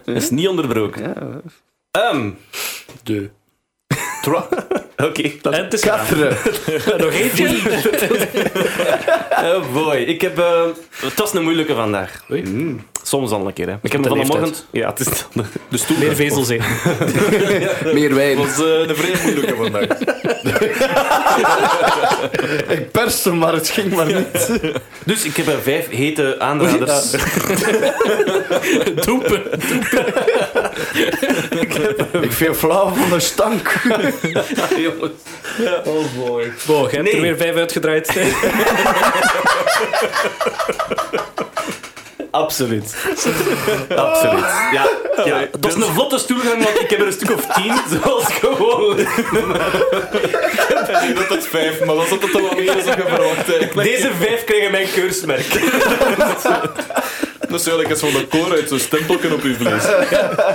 S2: Dat is niet onderbroken. Ehm,
S7: De.
S2: Oké, dat
S7: En het is
S5: Katheren.
S7: nog eentje.
S2: Oh boy, ik heb... eh, het was een moeilijke vandaag. Mm. Soms al een keer, hè. Ik heb me
S7: de
S2: vanmorgen... Ja, het is...
S7: De stoel. Meer vezels in.
S5: Meer wijn.
S4: Dat is eh, een vrij moeilijke vandaag.
S5: Ik perste, maar het ging maar niet.
S2: Dus ik heb er vijf hete aanraders.
S7: Doepen.
S5: Ik viel flauw van de stank.
S7: Wow, jij hebt
S2: Nee.
S7: er weer vijf uitgedraaid.
S2: Absoluut. Absoluut. Ja, ja. Dat is Oh. een vlotte stoelgang, want ik heb er een stuk of tien, zoals gewoonlijk.
S4: Dat is vijf, maar dan zat het al wat meer dan verwacht. hè.
S2: Deze vijf krijgen mijn keursmerk.
S4: Dat is eigenlijk eens van de koor uit zo'n stempelken op uw vlees.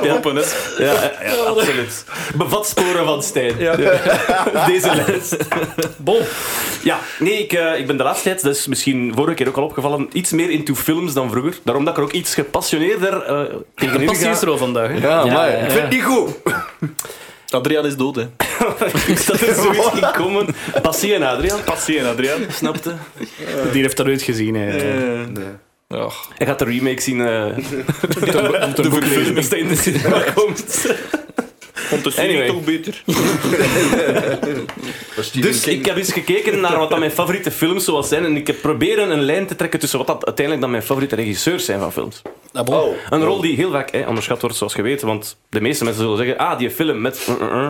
S4: Kloppen, hè.
S2: Ja, ja, absoluut. Bevat sporen van Stijn. Deze lijst.
S7: Bom.
S2: Ja, nee, ik, eh, ik ben de laatste tijd, dat is misschien vorige keer ook al opgevallen, iets meer into films dan vroeger. Daarom dat ik er ook iets gepassioneerder eh tegen in
S7: Passie
S2: ga.
S7: is er al vandaag. hè.
S5: Ja, maar ik vind het niet goed.
S4: Adriaan is dood, hè.
S2: Ik zat er zoiets in komen. Passie en Adriaan,
S4: Passie en Adriaan.
S2: snapte.
S7: Die heeft dat ooit gezien. Hè.
S4: Ach,
S2: Hij gaat de remake zien. eh
S4: de verfilming.
S2: als dat in de cinema komt.
S4: Vond de serie
S2: Anyway.
S4: toch beter?
S2: Dus ik heb eens gekeken naar wat dan mijn favoriete films zoals zijn. En ik heb proberen een lijn te trekken tussen wat dat uiteindelijk dan mijn favoriete regisseurs zijn van films.
S4: Oh.
S2: Een rol die heel vaak hè, onderschat wordt, zoals je weet. Want de meeste mensen zullen zeggen, ah, die film met... eh, eh, eh."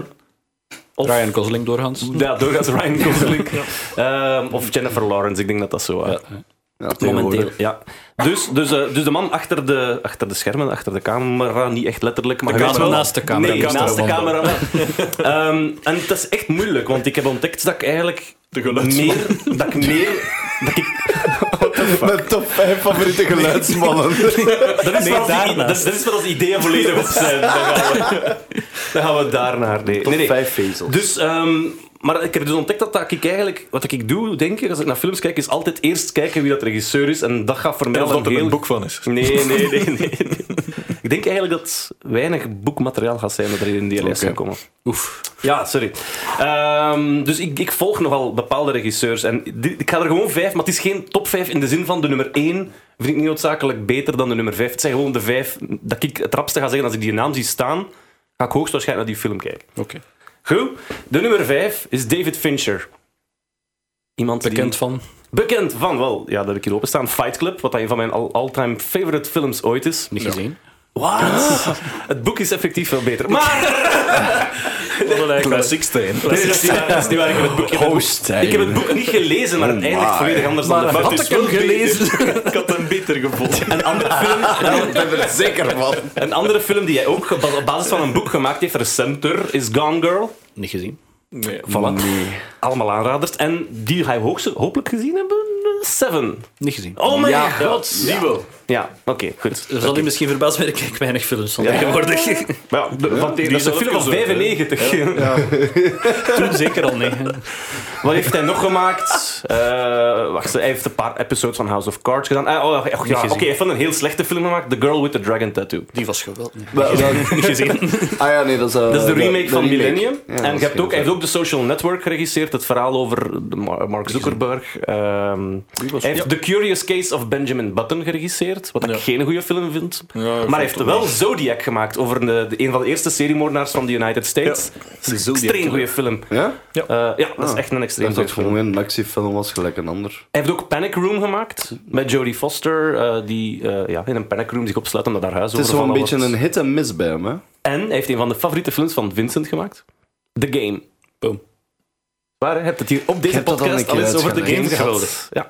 S2: Of,
S7: Ryan Gosling doorgaans.
S2: Ja, doorgaans Ryan Gosling. Ehm, of Jennifer Lawrence, ik denk dat dat zo... eh, Momenteel, ja. Dus, dus, eh, dus de man achter de, achter de schermen, achter de camera, niet echt letterlijk, maar je weet
S7: camera
S2: wel-
S7: naast de camera.
S2: Nee,
S7: De camera
S2: naast de
S7: wandelen.
S2: camera. Ehm, en het is echt moeilijk, want ik heb ontdekt dat ik eigenlijk meer, dat ik meer, dat ik,
S5: Mijn top 5 favoriete geluidsmannen.
S2: dat is wel als die- dat, dat is wel als ideeën volledig op zijn. Dan gaan we, dan gaan we daarnaar. Nee,
S5: Top
S2: nee, nee.
S5: 5 vezels.
S2: Dus, ehm, maar ik heb dus ontdekt dat, dat ik eigenlijk, wat ik doe, denk ik, als ik naar films kijk, is altijd eerst kijken wie dat regisseur is. En dat gaat voor mij
S4: Of
S2: al
S4: dat
S2: een
S4: er
S2: heel
S4: een boek van is.
S2: Nee, nee, nee, nee. Ik denk eigenlijk dat weinig boekmateriaal gaat zijn dat er in die lijst gaat komen.
S7: Oef.
S2: Ja, sorry. Ehm, dus ik, ik volg nogal bepaalde regisseurs. En die- ik ga er gewoon vijf, maar het is geen top vijf in de zin van de nummer één vind ik niet noodzakelijk beter dan de nummer vijf. Het zijn gewoon de vijf dat ik het rapste ga zeggen als ik die naam zie staan. Ga ik hoogstwaarschijnlijk naar die film kijken. Oké. Goed. De nummer vijf is David Fincher. Iemand die-
S7: Bekend van.
S2: Bekend van, wel, ja, dat heb ik hier openstaan. Fight Club, wat een van mijn all- all-time favorite films ooit is.
S7: Niet gezien.
S2: Wat? Het boek is effectief veel beter. Maar...
S4: Classic Stijn.
S2: Nee, dat is niet waar. Dat is niet waar. Ik heb het boek, ik heb het boek- ik heb het boek niet gelezen, Oh maar het eindigt volledig anders dan de film.
S4: had ik hem gelezen. ik had hem beter gevonden.
S2: Een andere film,
S5: Ik ben er zeker van.
S2: een andere film die hij ook geba- op basis van een boek gemaakt heeft, recenter, is Gone Girl.
S7: Niet gezien.
S4: Nee.
S2: Voilà. Allemaal aanraders. En die ga je hoogst- hopelijk gezien hebben. eh, Seven.
S7: Niet gezien.
S2: Oh my
S5: Ja.
S2: god.
S4: Die wel.
S2: Ja, oké, goed.
S7: Er zal u misschien verbaasd zijn, ik kijk weinig films van tegenwoordig.
S2: Maar ja, de, want die- dat is een
S4: zelf
S2: film van
S4: gezocht, hè?
S2: 95.
S7: Toen zeker al nee.
S2: Wat heeft hij nog gemaakt? Eh, wacht, hij heeft een paar episodes van House of Cards gedaan. Ah, oh, ja, oké, hij heeft wel een heel slechte film gemaakt. The Girl with the Dragon Tattoo.
S7: Die was geweldig.
S5: Maar- maar-
S7: Niet gezien.
S5: Ah ja, nee, dat is... eh,
S2: Dat is de remake van
S5: remake.
S2: Millennium.
S5: Ja, dat
S2: en
S5: is
S2: je hebt
S5: geen
S2: ook, hij heeft ook The Social Network geregisseerd. Het verhaal over de Ma- Mark Zuckerberg. Ehm, Hij heeft The Curious Case of Benjamin Button geregisseerd, wat ik geen goede film vind. maar hij heeft wel Zodiac gemaakt over de, de- een van de eerste seriemoordenaars van de United States. Dat is een extreem goede film.
S5: Ja?
S2: Eh, ja, dat is echt een extreem
S5: Ik dacht dat
S2: goede
S5: het
S2: film.
S5: gewoon weer een actiefilm was, gelijk een ander.
S2: Hij heeft ook Panic Room gemaakt met Jodie Foster, eh, die eh, ja, in een panic room zich opsluit omdat haar huis
S5: Het is wel een
S2: overvallen
S5: beetje
S2: wordt.
S5: een hit en miss bij hem, hè?
S2: En hij heeft een van de favoriete films van Vincent gemaakt. The Game.
S7: Boom.
S2: Waar, hè? je hebt het hier op deze
S5: heb dat al
S2: podcast
S5: een
S2: al
S5: keer
S2: eens over The Game
S5: uitgelegd.
S2: gehad. Ja.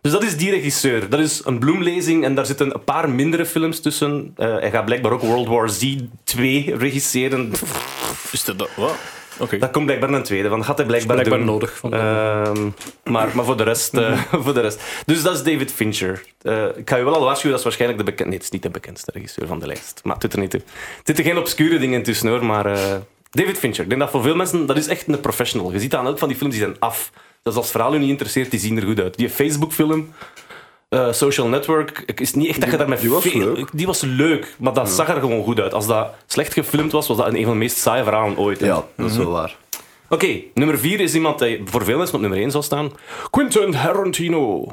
S2: Dus dat is die regisseur. Dat is een bloemlezing en daar zitten een paar mindere films tussen. Eh, hij gaat blijkbaar ook World War Z 2 regisseren.
S4: Is dat... dat- Wat? Oké.
S2: Dat komt blijkbaar een tweede, want dat gaat hij blijkbaar,
S7: blijkbaar
S2: doen.
S7: nodig. Van
S2: Ehm, maar maar voor, de rest, eh, voor de rest. Dus dat is David Fincher. Eh, ik ga je wel al waarschuwen, dat is waarschijnlijk de bekendste. Nee, het is niet de bekendste regisseur van de lijst. Maar het zit er niet in. Er zitten geen obscure dingen tussen hoor. Maar eh, David Fincher, ik denk dat voor veel mensen, dat is echt een professional. Je ziet aan elk van die films, die zijn af. Dat is als het verhaal u niet interesseert, die zien er goed uit. Die Facebook-film. eh, social Network, ik- is niet echt dat je daarmee
S5: die was
S2: veel-
S5: leuk.
S2: Die was leuk, maar dat zag er gewoon goed uit. Als dat slecht gefilmd was, was dat een van de meest saaie verhalen ooit. hè.
S5: Ja, dat is
S2: Mhm.
S5: wel waar.
S2: Oké, nummer 4 is iemand die voor veel mensen op nummer 1 zal staan. Quentin Tarantino.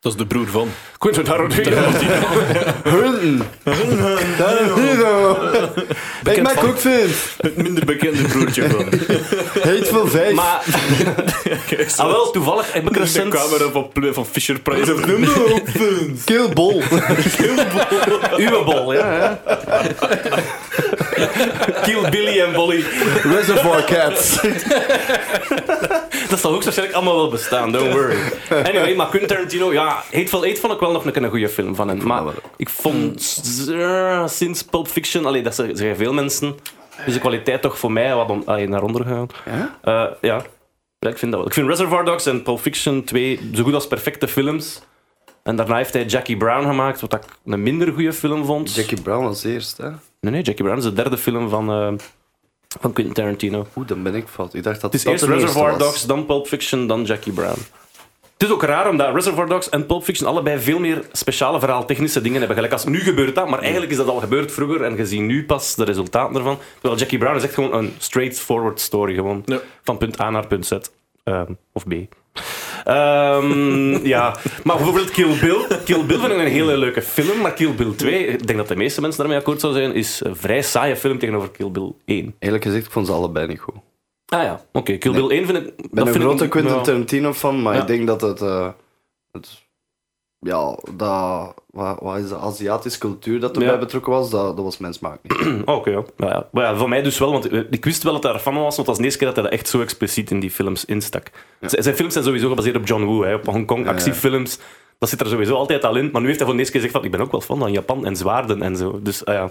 S4: Dat is de broer van.
S2: Quentin Tarantino.
S5: Hunten! Tarantino! Ik maak
S2: van-
S5: ook vind!
S4: Het minder bekende broertje van.
S5: Hateful Vijf!
S2: maar, ah wel, toevallig heb ik
S4: De
S2: recent...
S4: camera van, Ple- van Fisher Price.
S5: Kill Bol!
S2: Uwe bol, ja. hè. Kill Billy en Bolly.
S5: Reservoir Cats!
S2: Dat zal ook waarschijnlijk allemaal wel bestaan, don't worry. Anyway, maar Quentin Tarantino, ja, Hateful Eight vond ik wel nog een, een goede film van hem. Maar
S5: dat wel. Hmm.
S2: ik vond s- eh, sinds Pulp Fiction, allee, dat zeggen zeggen veel mensen, is de kwaliteit toch voor mij wat on- allee, naar onder gegaan.
S5: Ja?
S2: Eh, ja. Ja, ik vind dat wel. Ik vind Reservoir Dogs en Pulp Fiction twee zo goed als perfecte films. En daarna heeft hij Jackie Brown gemaakt, wat ik een minder goede film vond.
S5: Jackie Brown als eerst, hè?
S2: Nee, nee, Jackie Brown is de derde film van, eh, van Quentin Tarantino.
S5: Oeh, dan ben ik fout. Ik dacht dat
S2: Het is
S5: dat
S2: eerst
S5: de eerste
S2: Reservoir
S5: was.
S2: Dogs, dan Pulp Fiction, dan Jackie Brown. Het is ook raar omdat Reservoir Dogs en Pulp Fiction allebei veel meer speciale verhaaltechnische dingen hebben. Gelijk als nu gebeurt dat, maar eigenlijk is dat al gebeurd vroeger en je ziet nu pas de resultaten ervan. Terwijl Jackie Brown is echt gewoon een straightforward story. Gewoon. Van punt A naar punt Z. Ehm, of B. Ehm, ja, maar bijvoorbeeld Kill Bill. Kill Bill vind ik een hele leuke film, maar Kill Bill 2, ik denk dat de meeste mensen daarmee akkoord zouden zijn, is een vrij saaie film tegenover Kill Bill 1.
S5: Eerlijk gezegd, ik vond ze allebei niet goed.
S2: Ah ja, oké. Kill Bill 1 vind ik...
S5: Ik ben
S2: dat
S5: een
S2: vind
S5: grote
S2: ik,
S5: Quentin
S2: nou,
S5: Tarantino fan, maar
S2: Ja.
S5: ik denk dat het, eh, het- ja, dat, wat, wat is de Aziatische cultuur dat erbij
S2: Ja.
S5: betrokken was, dat, dat was mijn smaak niet.
S2: Oké, ja. Nou ja. Maar ja, voor mij dus wel, want eh, ik wist wel dat hij ervan was, want dat is de eerste keer dat hij dat echt zo expliciet in die films instak. Z- Zijn films zijn sowieso gebaseerd op John Woo, hè, op Hongkong actiefilms. Dat zit er sowieso altijd al in. Maar nu heeft hij voor de eerste keer gezegd van, ik ben ook wel fan van Japan en zwaarden en zo. Dus, ah ja.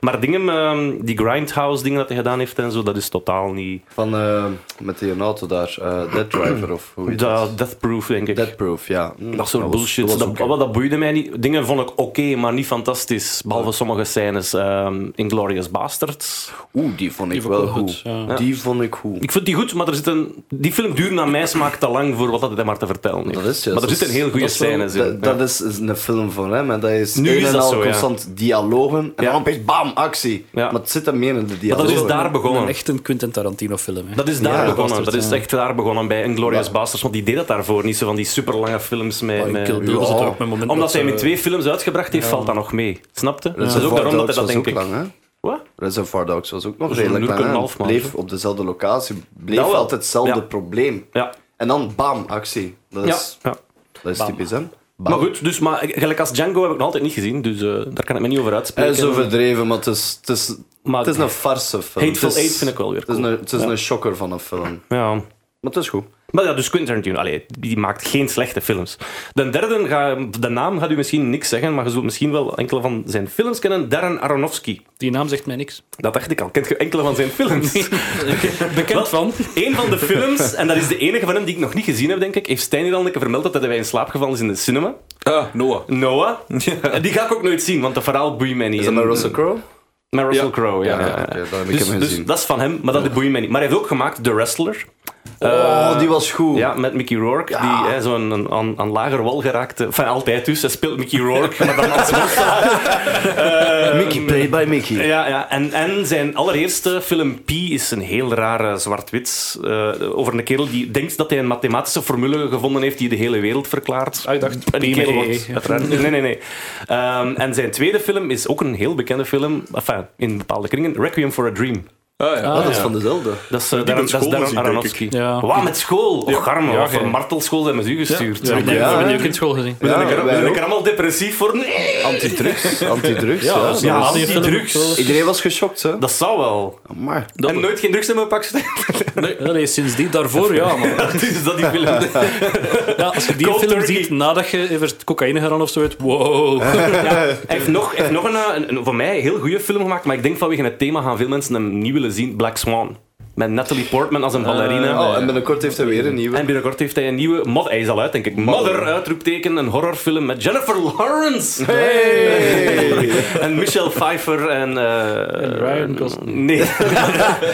S2: Maar dingen, ehm, die Grindhouse dingen dat hij gedaan heeft en zo, dat is totaal niet...
S5: Van, eh, met die auto daar, eh Dead Driver of hoe heet
S2: Dat
S5: het?
S2: Death Proof, denk ik.
S5: Dead Proof, ja. Hm,
S2: Dat soort
S5: was-
S2: bullshit.
S5: was
S2: Dat,
S5: oké.
S2: wat, dat boeide mij niet. Dingen vond ik oké, maar niet fantastisch. Behalve sommige scènes. ehm Inglorious Bastards.
S5: Oeh, die vond ik
S7: vond ik
S5: wel
S7: wel
S5: goed.
S7: goed, ja.
S5: Die vond ik goed.
S2: Ik vind die goed, maar er zit een... die film duurt naar mijn smaak te lang voor wat dat hij maar te vertellen heeft.
S5: Dat is juist.
S2: maar er
S5: Dat
S2: zitten
S5: is-
S2: heel goede
S5: dat is wel-
S2: scènes in.
S5: Dat, dat is, is een film van hem en dat is
S2: Nu
S5: een
S2: is
S5: en
S2: dat
S5: al
S2: zo, ja.
S5: constant dialogen en
S2: Ja.
S5: dan opeens bam, actie.
S2: Ja.
S5: Maar het zit hem meer in de
S2: Ja,
S5: dialogen.
S2: dat is daar begonnen.
S7: Oh, Een echt een Quentin Tarantino film. Hè.
S2: Dat is daar
S5: Ja,
S2: begonnen.
S7: Bastard,
S2: dat is
S7: ja.
S2: echt daar begonnen bij Inglorious Bastards. Want die deed dat daarvoor. Niet zo van die superlange films
S5: Oh,
S2: met...
S7: Maar in
S2: met-
S7: Oh, Kill Bill
S5: Ja.
S7: zit er ook met momenten
S2: Omdat
S7: dat eh,
S2: hij
S7: ze-
S2: met
S5: eh,
S2: twee films uitgebracht heeft, valt dat nog mee. Snapte? Dat is ook daarom dat hij dat denk ik.
S5: Lang, hè?
S2: Wat?
S5: Reservoir Dogs was ook nog
S2: is
S5: redelijk
S2: een uur
S5: lang.
S2: en een
S5: hè.
S2: half, man.
S5: bleef op dezelfde locatie. Bleef
S2: Dat wel.
S5: altijd hetzelfde
S2: Ja.
S5: probleem.
S2: Ja.
S5: En dan bam, actie. Dat
S2: Ja.
S5: is,
S2: ja.
S5: dat is typisch, hè?
S2: Maar goed, dus, maar gelijk als Django heb ik nog altijd niet gezien, dus eh, daar kan ik me niet over
S5: Hij
S2: uitspreken.
S5: is overdreven, maar het is, het is,
S2: Maar-
S5: Eh, het is een farse film.
S2: Hateful
S5: Het is-
S2: Eight vind ik wel weer
S5: Het is,
S2: cool.
S5: een, het is een shocker van een film. Maar
S2: Ja.
S5: het is goed.
S2: Maar ja, dus Quentin Tarantino, allee, die maakt geen slechte films. De derde, ga, de naam gaat u misschien niks zeggen, maar je zult misschien wel enkele van zijn films kennen. Darren Aronofsky.
S7: Die naam zegt mij niks.
S2: Dat dacht ik al. Kent je enkele van zijn films?
S7: Bekend van.
S2: Eén van de films, en dat is de enige van hem die ik nog niet gezien heb, denk ik, heeft Stijn hier al een keer vermeld dat hij in slaap gevallen is in de cinema.
S4: Ah, Noah.
S2: Noah. En die ga ik ook nooit zien, want dat verhaal boeit mij niet.
S5: Is dat
S2: En-
S5: met Russell Crowe?
S2: Met Russell Crowe, ja. ja,
S5: Ja,
S2: ja.
S5: oké, dat heb ik
S2: dus,
S5: hem
S2: dus
S5: gezien.
S2: dat is van hem, maar dat boeit mij niet. Maar hij heeft ook gemaakt The Wrestler.
S5: Oh, die was goed.
S2: Eh, Ja, met Mickey Rourke, die hè, zo'n een- aan, aan lager wal geraakte. Enfin, altijd dus. Hij speelt Mickey Rourke, maar dan als een
S5: Mickey, played by Mickey.
S2: Ja, ja. En, en zijn allereerste film Pi is een heel rare zwart-wit eh, over een kerel die denkt dat hij een mathematische formule gevonden heeft die de hele wereld verklaart.
S7: Ah, ik dacht,
S2: en die kerel
S7: PME,
S2: wordt
S7: ja.
S2: uiteraard... Nee, nee, nee. Ehm, en zijn tweede film is ook een heel bekende film, enfin, in bepaalde kringen, Requiem for a Dream.
S4: ja.
S5: Ah, dat is van dezelfde.
S2: Dat is, eh, Darren-
S4: met
S2: dat is
S4: school
S2: Darren
S4: gezien, denk
S2: Aronofsky.
S7: Ja.
S2: Wat, met school? Och, arme,
S7: Ja,
S2: wat voor
S7: ja.
S2: martelschool zijn we u gestuurd?
S7: Ja,
S2: We
S7: ik denk,
S5: Ja,
S7: dat we
S5: hè?
S7: nu ook in school gezien.
S5: Ja,
S2: zijn er- we
S5: wij
S2: zijn
S5: ook.
S2: er allemaal depressief voor. Nee!
S5: Antidrugs. Antidrugs, ja.
S7: dat is
S2: Ja,
S7: die film ook
S2: antidrugs.
S7: wel.
S5: Iedereen was geschokt, hè?
S2: Dat zou wel.
S5: Maar.
S2: en nooit geen drugs in mijn pak steken.
S7: Nee, nee, sindsdien. Daarvoor, ja, man.
S2: Dus dat die film...
S7: Ja, als je die
S2: Cold
S7: film
S2: turkey.
S7: ziet nadat je even cocaïne gedaan of zo, uit, wow.
S2: Hij heeft nog, hij heeft nog een, eh, een, een voor mij heel goede film gemaakt, maar ik denk vanwege het thema gaan veel mensen hem niet willen zien. Black Swan. Met Natalie Portman als een ballerina.
S5: Oh, en binnenkort heeft hij weer een nieuwe.
S2: eh, En binnenkort heeft hij een nieuwe... Mod, hij is al uit, denk ik. Mother, uitroepteken. Een horrorfilm met Jennifer Lawrence. en Michelle Pfeiffer en... eh,
S7: Ryan Gosling.
S2: Nee.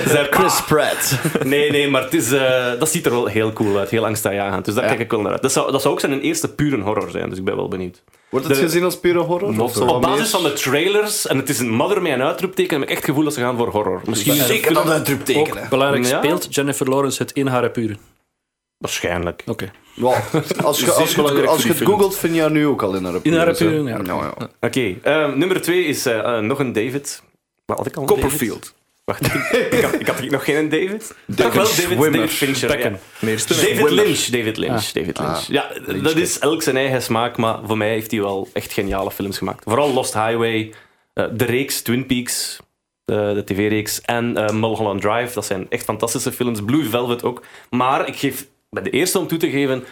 S2: Zij-
S5: Chris Pratt.
S2: Nee, nee, maar het is, eh, dat ziet er wel heel cool uit. Heel angstaanjagend. Dus daar kijk ik wel naar uit. Dat zou, dat zou ook zijn eerste pure horror zijn, dus ik ben wel benieuwd.
S5: Wordt het
S2: De-
S5: gezien als pure horror? Of wel
S2: Op basis
S5: meer?
S2: van de trailers, en het is een mother met een uitroepteken, heb ik echt het gevoel dat ze gaan voor horror. Misschien is het
S5: Zeker dat
S7: Ook
S5: uitroepteken, hè.
S7: belangrijk,
S2: Ja.
S7: speelt Jennifer Lawrence het in haar puren.
S2: waarschijnlijk.
S7: Oké.
S5: Wel, Als je als je het- als je het googelt, vind je haar nu ook al in haar
S7: In haar
S5: appearance, hè.
S7: appearance, ja.
S5: Nou, ja.
S2: Oké, eh, nummer twee is eh, eh, nog een David. Wat had ik al een
S4: Copperfield.
S2: David? Wacht, ik, ik had, ik had hier nog geen David. Toch wel David,
S5: Swimmer.
S2: David Fincher. ja.
S4: Meerste.
S2: David Lynch, David Lynch, David Lynch. Ah. Ja, dat is elk zijn eigen smaak, maar voor mij heeft hij wel echt geniale films gemaakt. Vooral Lost Highway, eh, de reeks Twin Peaks, eh, de tv-reeks, en eh, Mulholland Drive. Dat zijn echt fantastische films. Blue Velvet ook. Maar ik geef bij de eerste om toe te geven,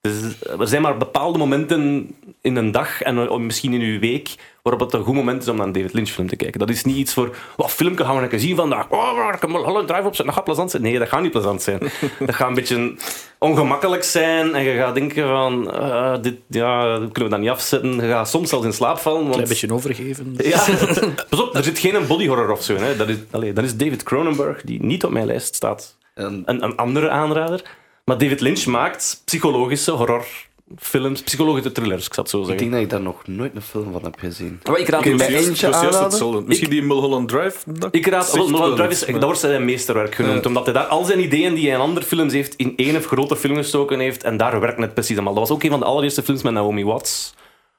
S2: dus er zijn maar bepaalde momenten in een dag en eh, misschien in uw week waarop het een goed moment is om naar een David Lynch film te kijken. Dat is niet iets voor, wat filmpje gaan we lekker zien vandaag? Oh, maar ik heb Mulholland Drive opzetten, dat gaat plezant zijn. Nee, dat gaat niet plezant zijn. dat gaat een beetje ongemakkelijk zijn en je gaat denken van, eh, dit ja, dat kunnen we dat niet afzetten. Je gaat soms zelfs in slaap vallen. Want,
S7: Een beetje overgeven.
S2: ja, pas op, er zit geen body horror of zo in. Hè. Dat, is, allee, dat is David Cronenberg, die niet op mijn lijst staat
S5: En
S2: een, een andere aanrader. Maar David Lynch maakt psychologische horrorfilms, psychologische thrillers, ik zou het zo
S5: ik
S2: zeggen.
S5: denk dat ik daar nog nooit een film van heb gezien.
S2: Maar ik raad
S5: Oké,
S2: hem
S5: bij
S2: bij.
S5: één- eentje aanraden?
S4: Misschien die Mulholland Drive? dat
S2: Ik raad,
S4: zegt
S2: wel, Nolan
S4: wel
S2: Drive
S4: iets,
S2: is,
S4: maar-
S2: dat wordt zijn meesterwerk genoemd, omdat hij daar al zijn ideeën die hij in andere films heeft, in één grote film gestoken heeft, en daar werkt het precies allemaal. Dat was ook een van de allereerste films met Naomi Watts.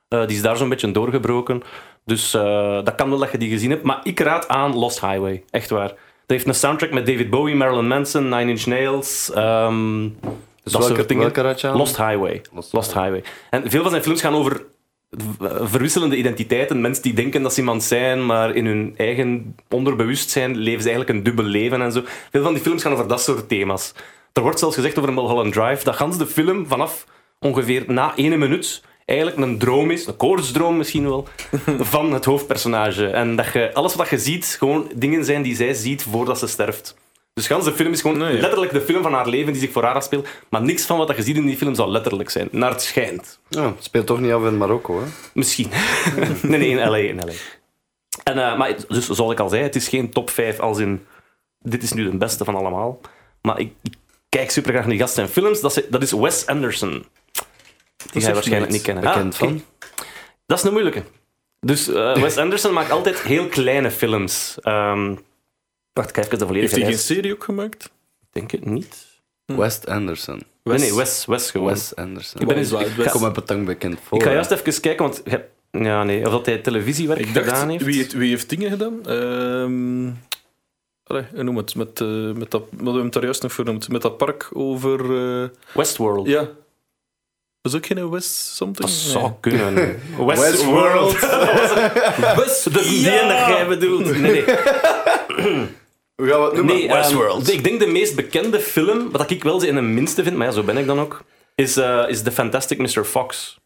S2: Eh, die is daar zo'n beetje doorgebroken. Dus eh, dat kan wel dat je die gezien hebt. Maar ik raad aan Lost Highway, echt waar. Dat heeft een soundtrack met David Bowie, Marilyn Manson, Nine Inch Nails, ehm dat
S5: Dus welke-
S2: soort dingen.
S5: welke raad je aan?
S2: Lost Highway. Lost, Highway. En veel van zijn films gaan over v- verwisselende identiteiten. Mensen die denken dat ze iemand zijn, maar in hun eigen onderbewustzijn leven ze eigenlijk een dubbel leven en zo. Veel van die films gaan over dat soort thema's. Er wordt zelfs gezegd over Mulholland Drive dat gans de film vanaf ongeveer na één minuut eigenlijk een droom is, een koortsdroom misschien wel, van het hoofdpersonage. En dat je, alles wat je ziet, gewoon dingen zijn die zij ziet voordat ze sterft. Dus gans de film is gewoon letterlijk de film van haar leven die zich voor haar afspeelt. Maar niks van wat je ziet in die film zou letterlijk zijn. Naar het schijnt.
S5: Ja, het speelt toch niet af in Marokko, hè?
S2: Misschien. nee, nee, in LA. In LA. En, eh, maar het- dus, zoals ik al zei, het is geen top 5 als in... Dit is nu de beste van allemaal. Maar ik, ik kijk super graag naar die gast zijn films. Dat is, dat is Wes Anderson. Die ga je waarschijnlijk niet kennen.
S5: Bekend
S2: Ah,
S5: van.
S2: oké. Dat is een moeilijke. Dus eh, Wes Anderson maakt altijd heel kleine films. Ehm, wacht, kijk even de
S4: Heeft
S2: volledige
S4: hij geen
S2: lijst.
S4: serie ook gemaakt?
S2: Denk het niet.
S5: West Anderson.
S2: Nee, nee, Wes, Wes gewoon.
S5: Wes Oh, Anderson.
S4: Oh,
S2: Ik ben eens- ik
S5: Ik
S2: ga-
S5: kom met betang bekend voor.
S2: Ik ga
S5: hè.
S2: juist even kijken, want... je hebt- Ja, nee. Of dat hij televisiewerk
S4: Ik
S2: gedaan
S4: dacht,
S2: heeft.
S4: wie heeft, wie heeft dingen gedaan? Ehm allee, hoe noem het? Met, eh, met dat, wat hebben we het daar juist nog voor noemd? Met dat park over... eh,
S2: Westworld.
S4: ja. Was ook geen West something?
S2: Dat
S4: Nee.
S2: zou kunnen.
S5: Westworld.
S2: West, dat is die ene dat jij bedoelt. Nee, nee.
S5: Hoe gaan we het noemen?
S2: nee ehm, ik denk de meest bekende film, wat ik wel in de minste vind, maar ja, zo ben ik dan ook, is, eh, is The Fantastic Mr. Fox.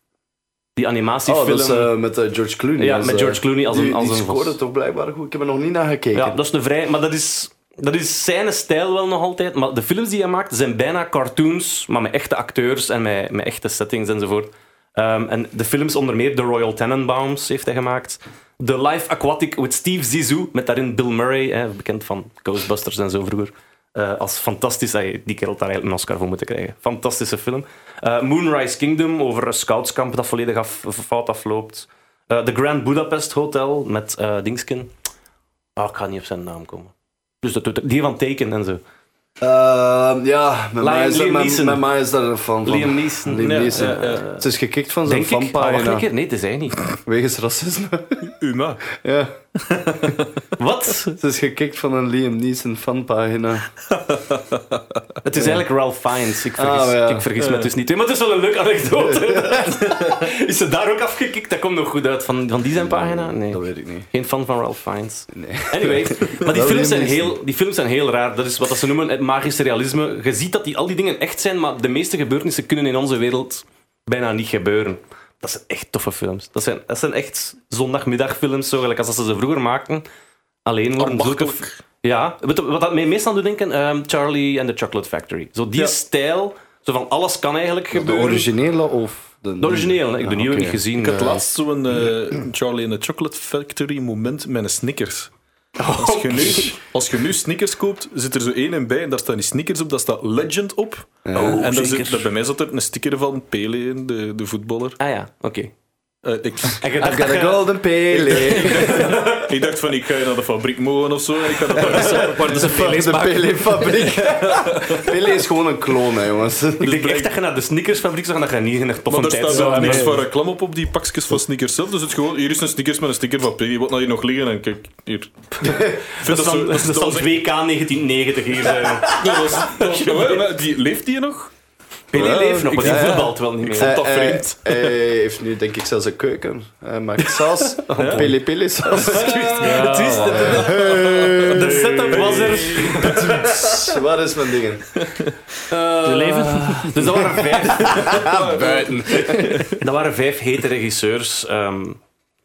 S2: Die
S5: oh,
S2: animatiefilm.
S5: dat is eh, met eh, George Clooney.
S2: Ja,
S5: als,
S2: met
S5: eh,
S2: George Clooney als een-
S5: die,
S2: als
S5: die
S2: een vos.
S5: scoorde toch blijkbaar goed? Ik heb er nog niet naar gekeken.
S2: Ja, dat is een vrij... Maar dat is, dat is zijn stijl wel nog altijd. Maar de films die hij maakt zijn bijna cartoons, maar met echte acteurs en met, met echte settings enzovoort. Ehm, en de films onder meer The Royal Tenenbaums heeft hij gemaakt. The Life Aquatic with Steve Zissou, met daarin Bill Murray, hè, bekend van Ghostbusters en zo vroeger. Eh, eh, als fantastisch... ey, die kerel had daar eigenlijk een Oscar voor moeten krijgen. Fantastische film. Eh, Moonrise Kingdom, over een scoutskamp dat volledig af, fout afloopt. Eh, The Grand Budapest Hotel, met eh Dingskin. Ah, ik ga niet op zijn naam komen. Dus dat, doet- die van Taken en zo.
S5: Ehm, ja, met mij, is,
S2: Liam
S5: met,
S2: Neeson.
S5: met mij is daar een fan van.
S2: Liam Neeson.
S5: Liam
S2: Ja,
S5: Neeson.
S2: ja, ja.
S5: Het is gekikt van zijn
S2: Denk ik? Ah, wacht een
S5: fanpagina.
S2: keer. Nee, het is hij niet.
S5: Wegens racisme.
S4: Uma.
S5: ja,
S2: Wat?
S5: het is gekikt van een Liam Neeson fanpagina.
S2: Het is eigenlijk Ralph Fiennes. Ik vergis,
S5: Ah, ja.
S2: ik vergis me dus niet. Maar het is wel een leuke anekdote. is ze daar ook afgekikt? Dat komt nog goed uit. Van, van die zijn pagina? Nee.
S5: Dat weet ik niet.
S2: Geen fan van Ralph Fiennes.
S5: Nee.
S2: Anyway, maar die
S5: Dat
S2: films, zijn
S5: wil je niet
S2: heel, die films zijn heel raar. Dat is wat dat ze noemen het magische realisme. Je ziet dat die, al die dingen echt zijn, maar de meeste gebeurtenissen kunnen in onze wereld bijna niet gebeuren. Dat zijn echt toffe films. Dat zijn, dat zijn echt zondagmiddagfilms, zo gelijk als dat ze ze vroeger maakten. Alleen worden zulke... Ja, wat, wat dat mij meestal doet denken, ehm, Charlie and the Chocolate Factory. Zo die stijl, zo van alles kan eigenlijk
S5: De
S2: gebeuren.
S5: originele of de...
S2: De origineel, hè. ik heb de
S5: Ah,
S2: nieuwe
S5: oké.
S2: niet gezien.
S4: Ik had
S2: eh.
S4: laatst zo'n eh, Charlie in the Chocolate Factory moment met een Snickers. Als je, nu, als je nu Snickers koopt, zit er zo één en bij en daar staan die Snickers op, daar staat Legend op. en daar zit, daar bij mij zat er een sticker van Pele in, de, de voetballer.
S2: Ah ja, oké.
S4: Eh, ik,
S2: En je dacht
S5: I've got
S2: dat
S5: a
S2: je-
S5: golden pele.
S4: ik dacht van, ik ga je naar de fabriek mogen of zo. En ik ga dat daar zo-
S2: Waar de
S5: de Pele-fabriek. Pele is gewoon een kloon, hè, jongens.
S2: Dus Ik denk echt dat je naar de sneakersfabriek zou gaan, dat je niet in een
S4: Maar
S2: toffe
S4: daar
S2: tijd
S4: staat
S2: zou
S4: wel niks
S2: hebben.
S4: voor reclame op, op die pakjes van Snickers zelf. Dus het is gewoon, hier is een Snickers met een sticker van Pele. Wat nou hier nog liggen? En kijk, hier.
S2: Dat is dan- dat is dan 2K 1990 hier. eh.
S4: die, leeft die nog?
S2: Pelé leeft nog, maar die
S5: Ja, ja.
S2: voetbalt wel niet meer.
S5: Hij-
S4: dat
S5: hij-
S4: vreemd.
S5: Eh, Hij heeft nu denk ik zelfs een keuken. Hij maakt saus. Pele-pele saus.
S2: Het is, de setup was er.
S5: Waar is mijn dingen?
S2: De
S7: Eh,
S2: leven. Dus dat waren vijf.
S5: Buiten.
S2: Dat waren vijf hete regisseurs. ehm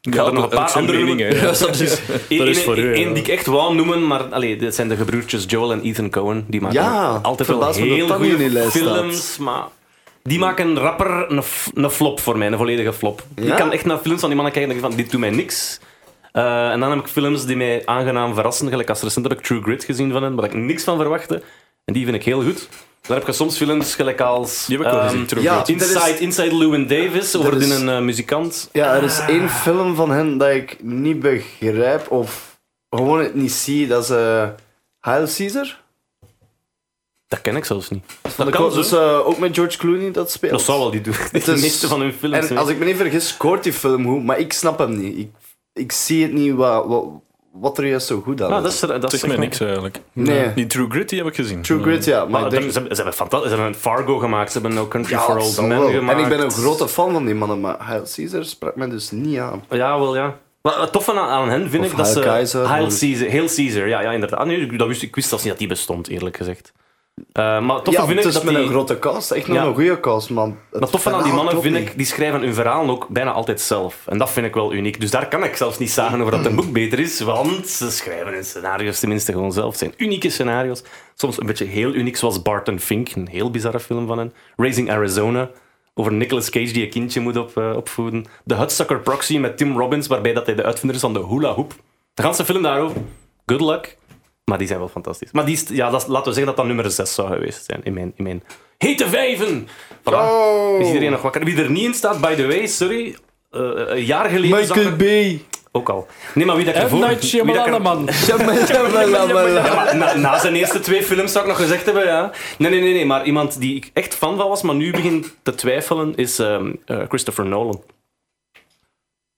S2: ik ga
S4: Ja,
S2: er nog een paar andere noemen.
S4: meningen.
S6: Ja, dat is...
S2: Eén
S7: is voor
S2: één-
S7: u,
S2: één
S7: ja.
S2: die ik echt wou noemen, maar allee, dit zijn de gebroertjes Joel en Ethan Cohen. Die maken
S5: Ja,
S2: altijd wel
S5: verbaas me dat
S2: heel
S5: dat niet in die
S2: goede
S5: lijst staat.
S2: films, maar die maken rapper een, f- een flop voor mij, een volledige flop.
S5: Ja?
S2: Ik kan echt naar films van die mannen kijken en denk van, dit doet mij niks. Eh, en dan heb ik films die mij aangenaam verrassen, gelijk als recent heb ik True Grit gezien van hen, waar ik niks van verwachtte. En die vind ik heel goed. Dan heb je soms films gelijk als
S4: Die heb ik wel
S2: ehm,
S4: gezien, terug.
S5: ja. Dat is-
S2: Inside, Inside Llewyn Davis, over
S5: is-
S2: die een eh, muzikant.
S5: Ja, er is één film van hen dat ik niet begrijp of gewoon het niet zie. Dat is eh Hail Caesar.
S2: Dat ken ik zelfs niet.
S5: Van de
S2: kan
S5: Ko-
S2: zo.
S5: dus eh, ook met George Clooney dat speelt.
S2: Dat zou wel die doen.
S5: Het
S2: De
S5: is-
S2: meeste van hun films.
S5: En
S2: hè.
S5: als ik me niet vergis, scoort die film goed, maar ik snap hem niet. Ik, ik zie het niet wat, wat, wat er juist zo goed aan
S2: Ah,
S5: is.
S2: dat is, er- dat
S4: Zeg
S2: zegt
S4: mij
S2: mij-
S4: niks eigenlijk.
S5: Nee.
S4: Die True Grit die heb ik gezien.
S5: True Grit, ja. Maar
S2: Maar
S5: ik
S2: dan- ze,
S5: denk,
S2: hebben- ze hebben fantastisch. Ze hebben Fargo gemaakt, ze hebben No Country
S5: ja,
S2: for
S5: dat
S2: Old
S5: zal
S2: Men
S5: wel.
S2: gemaakt.
S5: En ik ben een grote fan van die mannen, maar Hail Caesar sprak mij dus niet aan.
S2: Ja, wel ja. Maar het toffe aan, aan hen vind
S5: Of
S2: ik dat ze.
S5: Hail Kaiser,
S2: Hail
S5: maar-
S2: Caesar. Hail Caesar, ja, ja inderdaad. Ah, nee, ik- dat wist, ik wist zelfs niet dat die bestond, eerlijk gezegd. Eh, maar het toffe
S5: ja,
S2: vind ik
S5: het is
S2: dat
S5: met
S2: die,
S5: een grote cast. Echt nog
S2: Ja.
S5: een goede cast, man. Het
S2: Maar tof aan die
S5: verhaal
S2: mannen
S5: klopt
S2: vind
S5: niet.
S2: ik, die schrijven hun verhalen ook bijna altijd zelf. En dat vind ik wel uniek. Dus daar kan ik zelfs niet zagen over dat een boek beter is, want ze schrijven hun scenario's tenminste gewoon zelf. Het zijn unieke scenario's. Soms een beetje heel uniek, zoals Barton Fink, een heel bizarre film van hen. Raising Arizona, over Nicolas Cage die een kindje moet op, eh, opvoeden. The Hudsucker Proxy met Tim Robbins, waarbij dat hij de uitvinder is van de hula hoop. De ganse film daarover. Good luck. Maar die zijn wel fantastisch. Maar die, is- ja, dat, is- laten we zeggen dat dat nummer 6 zou geweest zijn in mijn, in mijn hete vijven. Voilà. Is iedereen nog wakker? Wie er niet in staat, by the way, sorry. eh, een jaar geleden zag
S5: Michael
S2: ik-
S5: B.
S2: Ook al. Nee, maar wie dat ik ervoor...
S7: Night
S2: wie dat ik er-
S7: Shyamalan, man.
S2: Ja, maar na, na zijn eerste twee films zou ik nog gezegd hebben, ja. Nee, nee, nee, nee. Maar iemand die ik echt fan van was, maar nu begint te twijfelen, is ehm, eh, Christopher Nolan.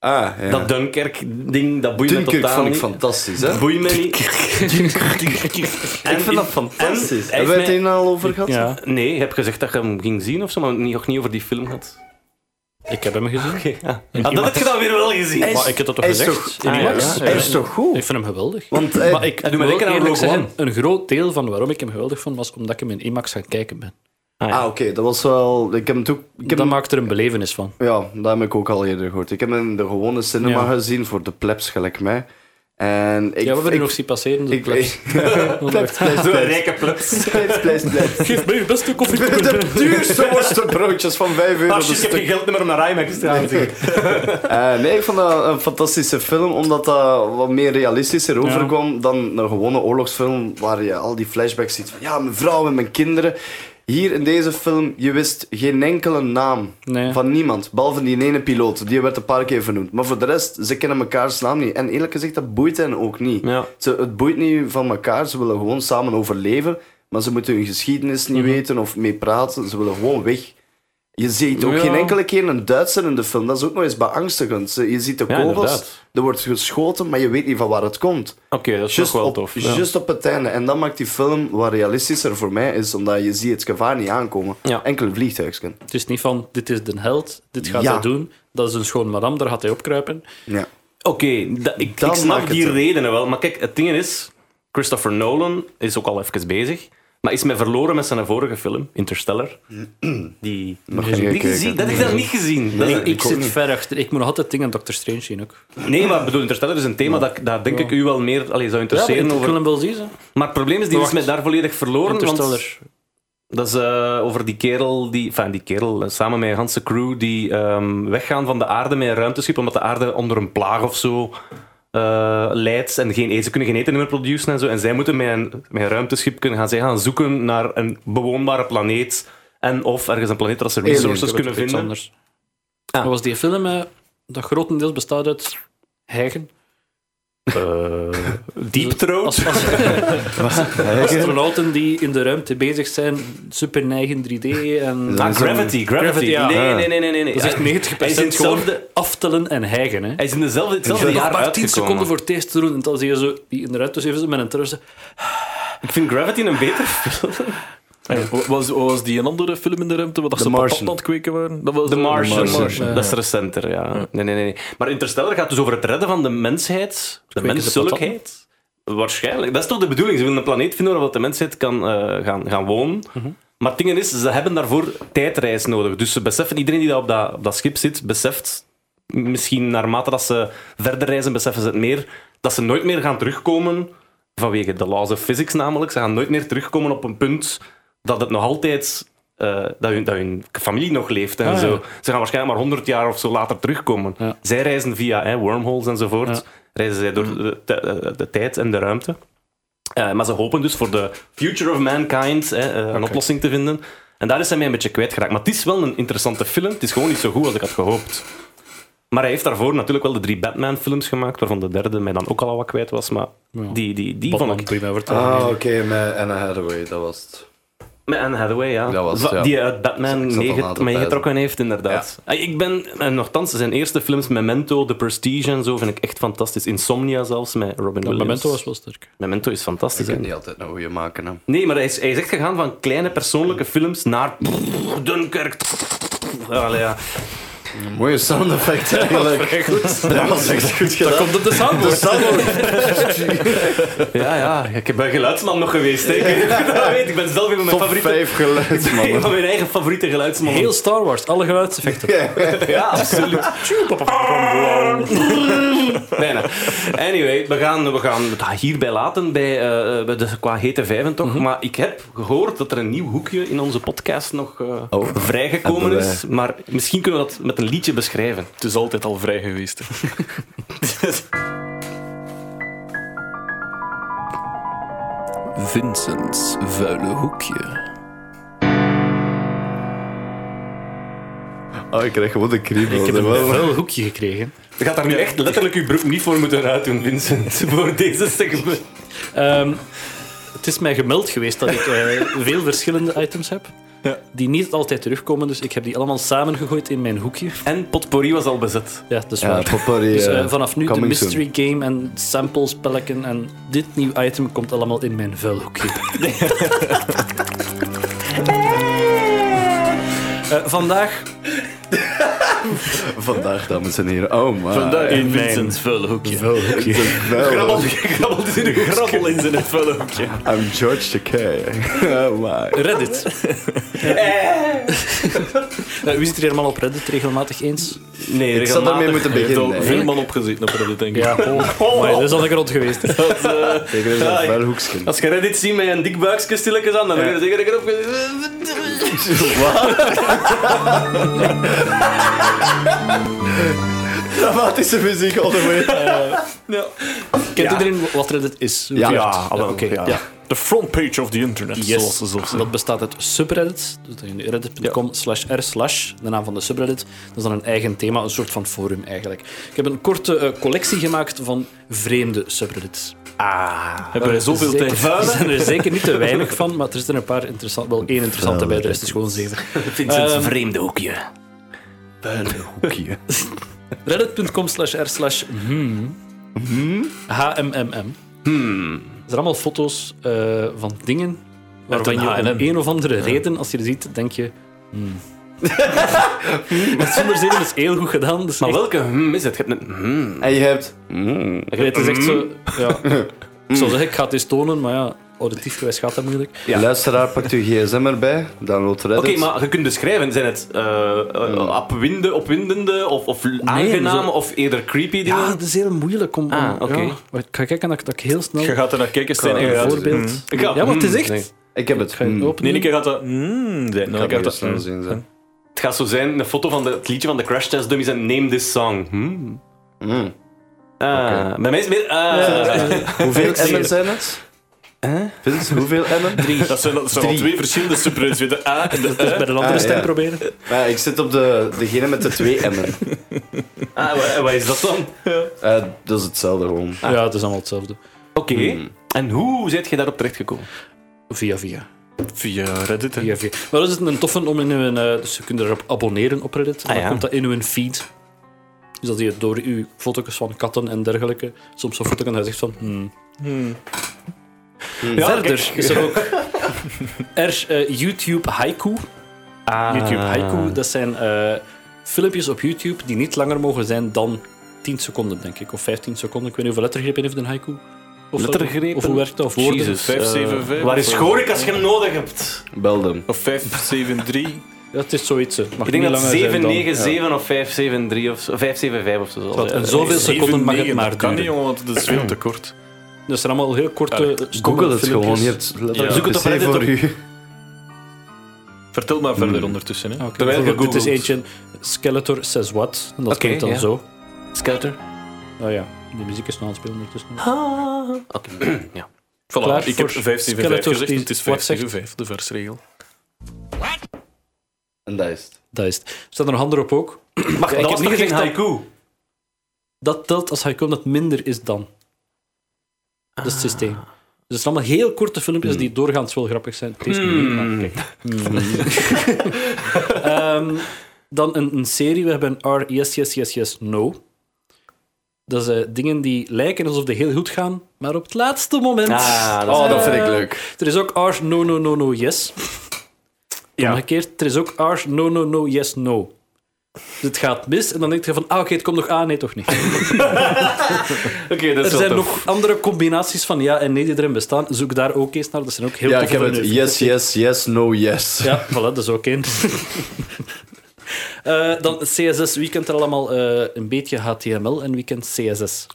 S5: Ah, ja.
S2: Dat Dunkirk-ding, dat boeit me
S5: Dunkirk
S2: totaal
S5: vond ik
S2: niet.
S5: fantastisch, hè?
S2: Boeit me niet.
S5: Ik vind dat fantastisch. Hebben we het hier nou al over gehad?
S7: Ja,
S2: Eh, Nee, ik heb gezegd dat je hem ging zien of zo, maar niet- nog niet over die film had.
S7: ik heb hem gezien.
S2: Oké, ja. Ah, dat heb je dan weer wel gezien.
S7: Maar ik heb dat toch
S5: Hij is
S7: gezegd?
S5: toch,
S7: in die
S5: Max,
S7: podcast?
S5: hij is toch goed?
S7: Ik vind hem geweldig.
S5: Want eh,
S7: Maar ik
S2: doet mij
S7: wil
S2: denken aan
S7: eerlijk
S2: Rogue
S7: zeggen, een groot deel van waarom ik hem geweldig vond, was omdat ik hem in IMAX gaan kijken ben.
S5: Ah, oké, dat was wel. Ik heb hem toen. Ik heb
S7: Dat
S5: hem-
S7: maakt er een belevenis van.
S5: Ja, dat heb ik ook al eerder gehoord. Ik heb hem in de gewone cinema
S7: Ja.
S5: gezien voor de plebs, gelijk mij. En ik,
S7: ja, we hebben
S5: ik,
S7: er nog zien passeren.
S5: ik,
S7: Dus
S5: Plebs, plebs,
S2: Zo'n
S5: plebs.
S2: rijke plebs.
S5: Plebs, plebs, plebs.
S7: Geef mij je beste koffie.
S5: De duurste worstenbroodjes van 5 euro.
S2: Ah,
S5: de
S2: shit, ik heb
S5: stuk.
S2: geen geld meer om naar IMAX te gaan.
S5: Eh, nee, ik vond dat een fantastische film, omdat dat wat meer realistischer overkwam dan een gewone oorlogsfilm waar je al die flashbacks ziet van ja, mijn vrouw en mijn kinderen. Hier in deze film, je wist geen enkele naam
S7: Nee.
S5: van niemand, behalve die ene piloot. Die werd een paar keer vernoemd. Maar voor de rest, ze kennen mekaars naam niet. En eerlijk gezegd, dat boeit hen ook niet.
S2: Ja.
S5: Ze, het boeit niet van elkaar, ze willen gewoon samen overleven. Maar ze moeten hun geschiedenis niet weten of mee praten. Ze willen gewoon weg. Je ziet ook
S2: Ja.
S5: geen enkele keer een Duitser in de film. Dat is ook nog eens beangstigend. Ze- Je ziet de
S2: Ja,
S5: kogels,
S2: inderdaad.
S5: er wordt geschoten, maar je weet niet van waar het komt.
S2: Oké, dat is toch
S5: Just
S2: wel
S5: op,
S2: tof. Ja.
S5: just op het einde. En dat maakt die film wat realistischer voor mij is, omdat je ziet het gevaar niet aankomen.
S2: Ja.
S5: Enkel een vliegtuigsken.
S7: Het is niet van, dit is de held, dit gaat
S5: Ja.
S7: hij doen. Dat is een schoon madame, daar gaat hij opkruipen.
S5: Ja.
S2: Oké, da- ik, ik
S5: Dan maak
S2: snap
S5: het
S2: die
S5: het.
S2: redenen wel. Maar kijk, het ding is... Christopher Nolan is ook al even bezig. Maar is mij verloren met zijn vorige film, Interstellar. Die...
S5: Nog geen
S2: Die
S5: gekeken.
S2: gezien, dat heb ik dat niet gezien. Dat is-
S7: ik zit ver achter. Ik moet nog altijd dingen aan Dr. Strange zien ook.
S2: Nee, maar ik bedoel, Interstellar is een thema dat, ik- dat denk ik u wel meer allee, zou
S7: Ja, maar
S2: interesseren.
S7: ik wil
S2: over...
S7: hem wel zien. hè.
S2: Maar het probleem is, die is
S7: Wacht.
S2: mij daar volledig verloren. Want
S7: Interstellar.
S2: dat is eh, over die kerel, die, enfin, die kerel eh, samen met een hele crew die ehm, weggaan van de aarde met een ruimteschip omdat de aarde onder een plaag of zo eh, leidt en geen, eten- ze kunnen geen eten meer produceren en zo. En zij moeten met een, met een ruimteschip kunnen gaan, zij gaan zoeken naar een bewoonbare planeet en of ergens een planeet waar ze resources kunnen
S7: Iets
S2: vinden.
S7: anders. Dat was die film, eh, dat grotendeels bestaat uit hijgen.
S2: Deep Throat.
S7: Dus Als, als, astronauten die in de ruimte bezig zijn, super neigen 3D en...
S2: Ah, gravity, gravity.
S7: Gravity, ja.
S2: Nee, nee, nee, nee, nee. nee.
S7: Dat is echt 90%
S2: Hij is in
S7: gewoon
S2: hetzelfde-
S7: aftellen en hijgen. Hè.
S2: Hij is in dezelfde, hetzelfde
S7: Dat
S2: jaar
S7: maar 10
S2: uitgekomen.
S7: seconden voor het eerst te doen. En dan zie je zo die in de ruimte even met een terrorist.
S2: Ik vind Gravity een beter film.
S4: Wat was, wat was die een andere film in de ruimte? Wat dat ze
S5: Martian.
S4: patat aan het kweken waren? Dat was eh,
S2: The Martian.
S4: The
S2: Dat is recenter, ja. Nee, nee, nee. Maar Interstellar gaat dus over het redden van de mensheid. De menselijkheid. Waarschijnlijk. Dat is toch de bedoeling. Ze willen een planeet vinden waar wat de mensheid kan eh, gaan, gaan wonen. Maar het ding is, ze hebben daarvoor tijdreis nodig. Dus ze beseffen, iedereen die daar op, dat, op dat schip zit, beseft misschien naarmate dat ze verder reizen, beseffen ze het meer, dat ze nooit meer gaan terugkomen vanwege de laws of physics namelijk. Ze gaan nooit meer terugkomen op een punt dat het nog altijd... eh, dat, hun, dat hun familie nog leeft en zo. Ze gaan waarschijnlijk maar 100 jaar of zo later terugkomen. Zij reizen via hè, wormholes enzovoort. Reizen zij door de, de- de- de tijd en de ruimte. Eh, maar ze hopen dus voor de future of mankind hè, eh, een oplossing te vinden. En daar is hij mij een beetje kwijtgeraakt. Maar het is wel een interessante film. Het is gewoon niet zo goed als ik had gehoopt. Maar hij heeft daarvoor natuurlijk wel de drie Batman-films gemaakt, waarvan de derde mij dan ook al wat kwijt was. Maar die, die, die vond ik...
S7: prima vertellen.
S5: Ah, oké, met Anna Hathaway, dat was het.
S2: Met Anne Hathaway, ja.
S5: Dat was het,
S2: Va-
S5: ja.
S2: Die uit Batman
S5: Ik zat al na
S2: meege-
S5: te
S2: meegetrokken heeft, inderdaad. Ah, Ik ben, en nogthans, zijn eerste films, Memento, The Prestige en zo, vind ik echt fantastisch. Insomnia zelfs, met Robin Williams.
S7: Memento was wel sterk.
S2: Memento is fantastisch.
S5: Ik kan
S2: hè.
S5: niet altijd een goede maken, hè.
S2: Nee, maar hij is, hij is echt gegaan van kleine persoonlijke films naar Dunkirk. Allee, ja.
S5: Mooie sound effect eigenlijk. Dat was echt goed gedaan.
S7: Komt op de soundboard.
S2: Dus- ja, ja, ik ben geluidsman nog geweest. Hè. Ik, dat weet, ik ben zelf een van mijn,
S5: Top
S2: favoriete,
S5: 5 geluid,
S2: een van
S5: man.
S2: mijn eigen favoriete geluidsmannen.
S7: Heel Star Wars, alle geluidseffecten.
S2: Ja, absoluut. nee, nee. Anyway, we gaan, we gaan het hierbij laten bij, eh, eh, bij de, qua hete vijven
S4: Mhm.
S2: toch. Maar ik heb gehoord dat er een nieuw hoekje in onze podcast nog eh,
S4: Oh.
S2: vrijgekomen
S5: hebben
S2: is. Maar misschien kunnen we dat met een liedje beschrijven.
S4: Het is altijd al vrij geweest. hè. Vincent's vuile hoekje.
S5: Oh, ik krijg gewoon de kriebel.
S7: Ik heb eh, een
S5: dat wel.
S7: vuil hoekje gekregen.
S2: Je gaat daar nu echt letterlijk uw broek niet voor moeten uitdoen, Vincent. Voor deze segment.
S7: Ehm, het is mij gemeld geweest dat ik eh, veel verschillende items heb. Die niet altijd terugkomen, dus ik heb die allemaal samengegooid in mijn hoekje.
S2: En potpourri was al bezet.
S7: Ja, dat is
S5: Ja,
S7: waar.
S5: Popperry,
S7: Dus eh,
S5: eh,
S7: vanaf nu de
S5: coming
S7: mystery game en samples, pelken en dit nieuw item komt allemaal in mijn vuilhoekje. Eh vandaag
S5: soon. Vandaag, dames en heren. Oh, man. Vandaag
S4: In Vincent's vuile hoekje.
S2: Grabbelt in de grabbel in zijn vullen.
S5: I'm George Takei. Oh, my.
S7: Reddit. Nou, wie zit er helemaal op Reddit regelmatig eens?
S2: Nee,
S5: Ik zou daarmee moeten
S4: Je hebt al
S5: beginnen.
S4: veel
S5: hè.
S4: man opgezeten op Reddit, denk ik.
S7: Ja, oh. Amai, dat is al een grond geweest.
S5: Zeker is dat wel hoekskin.
S2: Als je Reddit ziet met een dik buikje stilletjes aan, dan ben je zeker een keer op.
S5: Dramatische muziek all the way.
S7: Kent iedereen wat Reddit is?
S5: Ja,
S7: ah,
S4: oké.
S5: ja.
S4: The front page of the internet,
S7: Yes.
S4: zoals ze zo zeggen.
S7: Dat bestaat uit subreddits. Dus dan in reddit.com slash r slash, de naam van de subreddit. Dat is dan een eigen thema, een soort van forum eigenlijk. Ik heb een korte eh, collectie gemaakt van vreemde subreddits.
S4: Hebben wij zoveel
S7: Zeker-
S4: tijd?
S7: Er zijn er zeker niet te weinig van, maar er zitten een paar interessant, wel één interessante bij, de rest is gewoon zeven.
S2: Vincent's
S7: Ehm,
S2: vreemde hoekje.
S7: Reddit.com slash r slash hmm. HMMM. Er zijn allemaal foto's eh, van dingen waarvan
S4: een
S7: je om
S4: H&M.
S7: een of andere reden, als je die ziet, denk je... hmm. Maar zonder zeven is heel goed gedaan. Dus
S2: Maar
S7: echt-
S2: welke hmm is het? Je hmm. hebt een hmm.
S5: En je hebt...
S7: het is echt zo... Ja. Ik zou zeggen, ik ga het eens tonen, maar ja, auditief gewijs gaat dat moeilijk.
S5: Luisteraar, pakt uw gsm erbij. Download Reddit.
S2: Oké, maar je kunt beschrijven. Zijn het eh
S4: Hmm.
S2: eh, opwinde- opwindende of, of aangename
S7: zo-
S2: of eerder creepy dingen?
S7: Ja, dat is heel moeilijk om... om-
S2: Ah, oké.
S7: ja. Maar Ik ga kijken dat, ik- dat ik heel snel...
S4: Je gaat er naar kijken, Stijn, en je
S7: een
S4: gaat-
S7: voorbeeld...
S4: Mm.
S2: Ik ga- hmm.
S7: Ja, maar het is echt...
S2: nee.
S5: Ik heb het.
S7: Ik Hmm. ga je
S5: Hmm.
S7: openen.
S4: Nee, nee, je gaat dat... Mm, zijn.
S5: Ik
S4: Nou, ik
S5: ga het
S4: had dat...
S5: snel zien. zo.
S2: Het gaat zo zijn, een foto van de, het liedje van de Crash Test Dummies en Name This Song. Hmm.
S5: Hmm.
S2: Ah, Bij mij is het meer...
S7: Eh,
S2: ah.
S5: Hoeveel M'en zijn het? Vince, hoeveel M'en?
S4: Dat zijn, dat zijn al twee verschillende subreddits. weet je. A en de
S7: Dat is bij een andere
S5: Ah,
S7: stem
S5: ja.
S7: proberen.
S5: Maar ik zit op de, degene met de twee M'en.
S2: Ah, wa- wat is dat dan?
S5: Eh, dat is hetzelfde gewoon.
S7: Ja, het is allemaal hetzelfde.
S2: Oké. En hoe zit je daarop terechtgekomen?
S7: Via via.
S4: Via Reddit, hè.
S7: via, via. Maar dat is een toffe om in hun... eh, dus je kunt erop abonneren op Reddit. en dan
S2: Ah, ja.
S7: komt dat in hun feed. Dus dat je door uw foto's van katten en dergelijke... Soms zo'n foto kan hij zegt van... hmm,
S2: Ja,
S7: Verder
S2: kijk.
S7: is er ook er, eh, YouTube Haiku. YouTube
S2: Ah.
S7: Haiku, dat zijn eh, filmpjes op YouTube die niet langer mogen zijn dan 10 seconden, denk ik. Of 15 seconden. Ik weet niet hoeveel lettergrepen heeft een haiku. Of zo.
S2: Lettergrepen?
S7: Of hoe werkt dat? Of woorden?
S2: Jezus.
S4: Vijf,
S2: Eh,
S4: zeven, vijf,
S2: Waar is
S4: of-
S2: Gorik als je hem nodig hebt?
S5: Bel hem.
S4: Of 573.
S7: Dat is zoiets. eh, Het mag
S2: Ik denk
S7: niet
S2: dat
S7: langer zijn dan-
S2: 797 of 573 of zo- 575 of zo. zal
S7: Wat,
S2: zijn.
S7: en zoveel seconden mag het
S4: 7,9,
S7: maar
S4: dat kan niet,
S7: duren.
S4: jongen, want dat is veel te kort.
S7: Dat zijn allemaal heel korte... stomme
S5: Google het
S7: filmpjes.
S5: gewoon. Je hebt letterlijk
S2: Zoek het
S5: de
S2: op
S5: C
S2: Reddit
S5: voor
S2: op.
S5: u.
S4: Vertel maar verder ondertussen, hè.
S7: Ah, oké.
S2: Terwijl
S7: Bijvoorbeeld, Dit is eentje,
S2: gegoogeld.
S7: Skeletor says what. En dat
S2: Oké,
S7: klinkt dan
S2: ja.
S7: zo.
S2: Skelter.
S7: Oh ja, die muziek is nog aan het spelen ondertussen.
S2: Oké, ja.
S4: Voilà,
S7: Klaar
S4: ik heb
S7: voor
S4: 575
S7: Skeletor
S4: gezegd,
S7: die-
S4: het is
S7: wat zegt-
S4: 575, de versregel.
S5: En dat is het.
S7: Dat is het. Staat er nog handen op ook?
S2: Mag
S7: ik
S2: dat was
S7: heb niet
S2: toch geen
S7: gezegd dat-
S2: haiku?
S7: dat telt als haiku omdat het minder is dan. Dat is het systeem. Dus het zijn allemaal heel korte filmpjes die
S5: Hmm.
S7: doorgaans wel grappig zijn. Het is niet meer, maar kijk. Hmm. Ehm, dan een, een serie. We hebben R, E, yes, yes, yes, yes, no. Dat zijn dingen die lijken alsof die heel goed gaan, maar op het laatste moment...
S2: Ah, dat is-
S5: Oh, dat vind
S7: Eh,
S5: ik leuk.
S7: Er is ook R, no, no, no, no, yes. Omgekeerd, er is ook R, no, no, no, yes, no. Dus het gaat mis en dan denk je van, ah, oké, het komt nog aan, nee, toch niet.
S2: Oké, dus dat is
S7: Er
S2: wel
S7: zijn
S2: tof.
S7: nog andere combinaties van ja en nee die erin bestaan. Zoek daar ook eens naar. Dat zijn ook heel
S5: Ja, ik
S7: toffe
S5: heb het.
S7: menu.
S5: Yes, yes, yes, no, yes.
S7: Ja, voilà, dat is ook één. Eh, dan CSS. Wie kent er allemaal eh, een beetje HTML en wie kent CSS?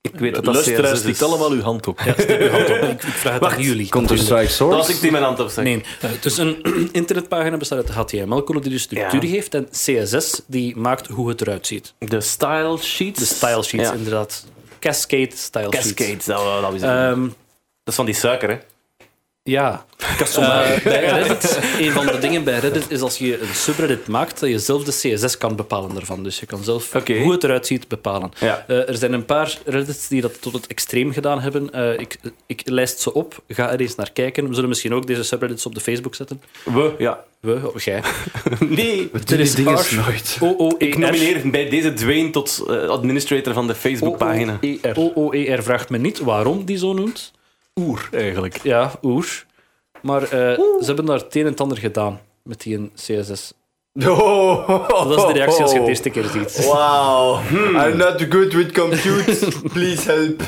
S2: Ik weet dat dus- dat
S4: Luisteraars,
S2: CSS
S4: stikt
S2: is.
S4: allemaal uw hand op.
S7: Ik vraag het aan jullie.
S5: Counter-Strike
S2: Dat
S5: Source.
S2: was ik die mijn hand op zeg.
S7: Nee, eh, dus een internetpagina bestaat uit HTML-code die de structuur
S2: Ja.
S7: geeft en CSS die maakt hoe het eruit ziet.
S2: De style sheets.
S7: De style sheets,
S2: Ja.
S7: inderdaad. Cascade style sheets.
S2: Cascades, dat, dat, is
S7: Ehm,
S2: dat is van die suiker, hè?
S7: Ja. Eh, bij Reddit, een van de dingen bij Reddit is als je een subreddit maakt, dat je zelf de CSS kan bepalen daarvan. Dus je kan zelf
S2: Oké.
S7: hoe het eruit ziet bepalen.
S2: Ja.
S7: Eh, er zijn een paar reddits die dat tot het extreem gedaan hebben. Eh, ik, ik lijst ze op. Ga er eens naar kijken. We zullen misschien ook deze subreddits op de Facebook zetten.
S2: We, ja.
S7: We, of jij.
S2: Nee,
S5: We doen die dingen nooit.
S7: E
S2: ik nomineer bij deze Dwayne tot eh, administrator van de
S7: E
S2: Facebookpagina.
S7: OOER E vraagt me niet waarom die zo noemt.
S4: Oer, eigenlijk.
S7: Ja, oer. Maar eh, ze hebben daar het een en het ander gedaan met die een CSS.
S5: Oh,
S7: Dat is de reactie als je het de eerste keer ziet.
S5: Hmm. Wow. I'm not good with computers. Please help.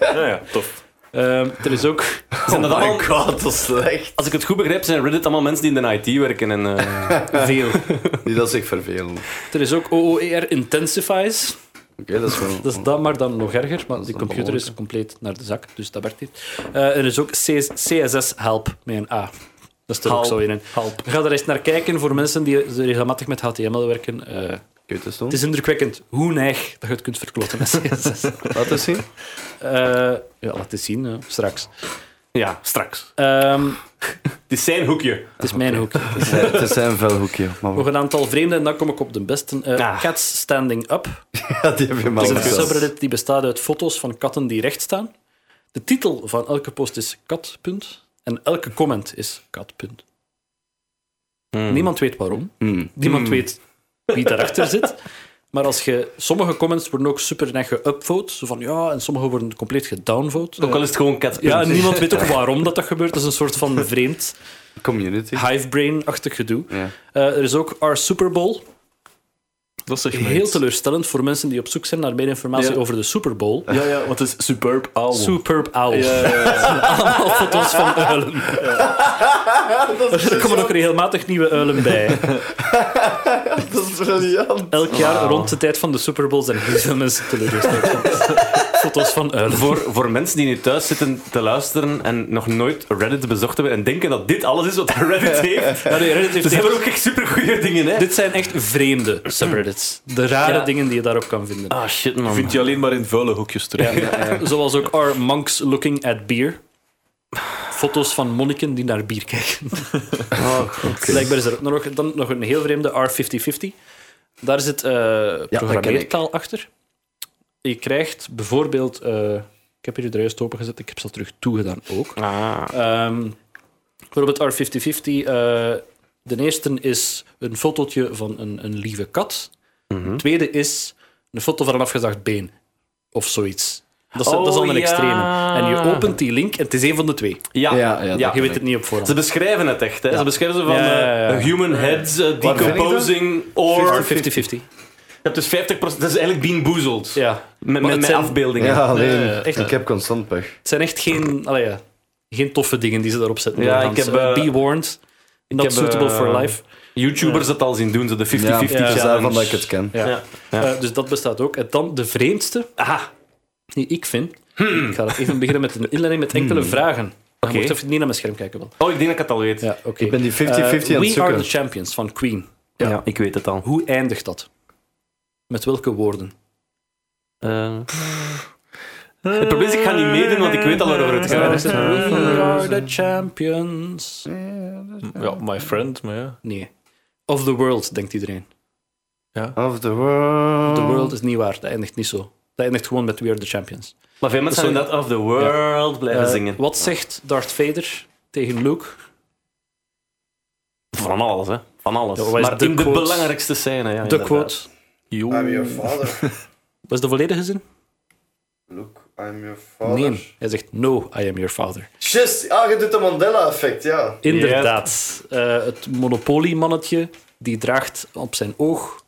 S4: Ja, ja, tof.
S7: Ehm, er is ook... Zijn dat allemaal
S5: Oh god, dat is slecht.
S2: Als ik het goed begrijp, zijn Reddit allemaal mensen die in de IT werken. En, eh,
S7: veel.
S5: Die dat zich vervelen. Oké,
S7: Er is ook OOER Intensifies.
S5: dat is wel...
S7: Dat is dat, maar dan nog erger. Maar die
S5: een
S7: computer
S5: behoorlijke.
S7: is compleet naar de zak, dus dat werkt niet. Eh, er is ook CS CSS Help met een A. Dat is er ook zo in. Help. Ga er eens naar kijken voor mensen die regelmatig met HTML werken. Eh,
S5: Kut is het
S7: het is indrukwekkend hoe neig dat je het kunt verkloten met CSS.
S5: Laat eens zien.
S7: Eh, ja, laat eens zien, eh, straks.
S2: ja, straks.
S7: Ehm,
S2: Het is zijn hoekje.
S7: het is mijn hoek.
S5: Het is zijn velhoekje. Maar
S7: Nog een aantal vreemden en dan kom ik op de beste. Eh, Cats Standing Up.
S5: ja, die heb je maar
S7: Dat is een
S5: zelf.
S7: subreddit die bestaat uit foto's van katten die recht staan. De titel van elke post is kat. punt, En elke comment is kat. punt. Niemand weet waarom. Niemand weet wie daarachter zit. Maar als je, sommige comments worden ook super net geupvote. Zo van ja, en sommige worden compleet gedownvote.
S2: Ook al is het gewoon cat.
S7: Ja, en niemand weet ook waarom dat, dat gebeurt. Dat is een soort van vreemd
S5: Community.
S7: Ah, hivebrain-achtig gedoe.
S5: Ja.
S7: Eh, er is ook our Super Bowl.
S4: Dat is
S7: Heel teleurstellend voor mensen die op zoek zijn naar meer informatie
S4: Ja.
S7: over de Super Bowl.
S4: Ja, ja, want het is superb owl.
S7: Superb owl.
S4: Ja, ja, ja.
S7: Allemaal foto's van uilen. er komen ook regelmatig nieuwe uilen bij.
S5: Dat is briljant.
S7: Elk jaar rond de tijd van de Super Bowl zijn heel veel mensen teleurgesteld. foto's van uilen.
S2: Voor, voor mensen die nu thuis zitten te luisteren en nog nooit Reddit bezocht hebben en denken dat dit alles is wat Reddit heeft.
S7: Ja, nee, Reddit heeft
S2: Ze
S7: echt-
S2: hebben ook echt supergoeie dingen, hè?
S7: Dus Dit zijn echt vreemde subreddits. De rare
S2: Ja.
S7: dingen die je daarop kan vinden.
S2: Ah, shit, man.
S4: Vind je alleen maar in vuile hoekjes terug.
S7: Zoals ook are monks looking at beer. Foto's van monniken die naar bier kijken. Blijkbaar is er ook nog, dan nog een heel vreemde R5050. Daar zit eh programmeertaal achter. Je krijgt bijvoorbeeld... eh, ik heb hier de juist opengezet. Ik heb ze al terug toegedaan ook. Ehm, bijvoorbeeld R5050. eh, de eerste is een fotootje van een, een lieve kat.
S2: Mhm.
S7: De tweede is een foto van een afgezaagd been. Of zoiets. Dat is, dat is
S2: Oh,
S7: al een
S2: ja.
S7: extreme. En je opent die link en het is één van de twee.
S2: Ja,
S5: Ja, ja,
S2: ja.
S5: dat
S7: je weet het niet op voorhand.
S2: Ze beschrijven het echt, hè? Ze beschrijven ze van
S7: Ja, ja, ja.
S2: eh, human heads eh, decomposing or...
S7: 50-50.
S2: Je hebt dus 50%. Dat is eigenlijk Bean Boozled.
S7: Ja.
S2: Met,
S7: Maar
S2: met,
S7: het
S2: met
S7: zijn-
S2: afbeeldingen.
S5: Ja, alleen.
S7: Eh, echt.
S5: ik heb constant pech.
S7: Het zijn echt geen, allee, ja, geen toffe dingen die ze daarop zetten.
S2: Ja,
S7: doorgaans.
S2: ik heb,
S7: Eh,
S2: eh,
S7: Be warned. Not
S2: heb,
S7: suitable
S2: eh,
S7: for life.
S2: YouTubers dat al zien doen, ze de 50-50
S5: Ja, het
S2: challenge.
S5: is daarvan dat ik het ken.
S7: Ja.
S2: Ja.
S7: Eh, dus dat bestaat ook. En dan de vreemdste
S2: Aha. Hmm.
S7: die ik vind. Ik ga dat even beginnen met een inleiding met
S5: Hmm.
S7: enkele vragen. Je
S2: Oké.
S7: moet even niet naar mijn scherm kijken. Wel.
S2: Oh, ik denk dat ik het al weet.
S7: Ja, oké.
S5: Ik ben die 50-50 aan het
S7: Eh, We
S5: zoeken.
S7: are the champions van Queen.
S2: Ja, ik weet het al.
S7: Hoe eindigt dat? Met welke woorden?
S2: Eh, Het probleem is, ik ga niet meedoen, want ik weet al waarover het gaat.
S7: We are the champions.
S4: Ja, my friend, maar ja.
S7: Nee. Of the world, denkt iedereen.
S5: Of the world.
S2: Hmm.
S7: The world is niet waar. Dat eindigt niet zo. Dat eindigt gewoon met We are the champions.
S2: Maar veel mensen zijn dat of the world blijven
S7: Eh,
S2: zingen.
S7: Wat zegt Darth Vader tegen Luke?
S2: Van alles, hè. Van alles.
S7: Ja, wat is
S2: maar
S7: de
S2: in de
S7: quote?
S2: belangrijkste scène, ja.
S7: de
S2: inderdaad.
S7: quote.
S5: I'm your father.
S7: Wat is de volledige zin?
S5: Look, I'm your father.
S7: Nee. Hij zegt No, I am your father.
S5: Just, ah, je doet de Mandela-effect, ja.
S7: Inderdaad. Eh, het monopoliemannetje die draagt op zijn oog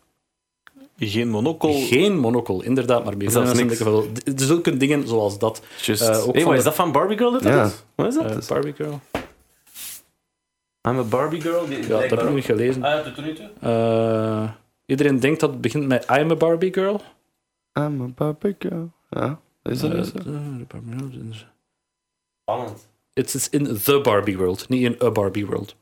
S4: Geen monokkel.
S7: geen monocle. Inderdaad, maar meer
S2: Zelfs
S7: mensen
S2: niks.
S7: denken van wel, d- Zulke dingen zoals dat.
S2: Just.
S7: Eh, ook
S2: hey,
S7: van
S2: wat is
S7: de-
S2: dat van Barbie Girl? Dat dat
S5: Ja.
S2: is? Wat is dat?
S7: Eh, Barbie Girl.
S2: I'm a Barbie Girl? Die,
S7: Ja, dat heb ik nog niet gelezen.
S2: Ah, tot nu toe?
S7: Eh, iedereen denkt dat het begint met I'm a Barbie girl.
S5: I'm a Barbie girl. Ja, is dat
S7: Eh,
S5: zo?
S7: de Barbie girl is-
S2: Spannend.
S7: It's, it's in the Barbie world, niet in a Barbie world.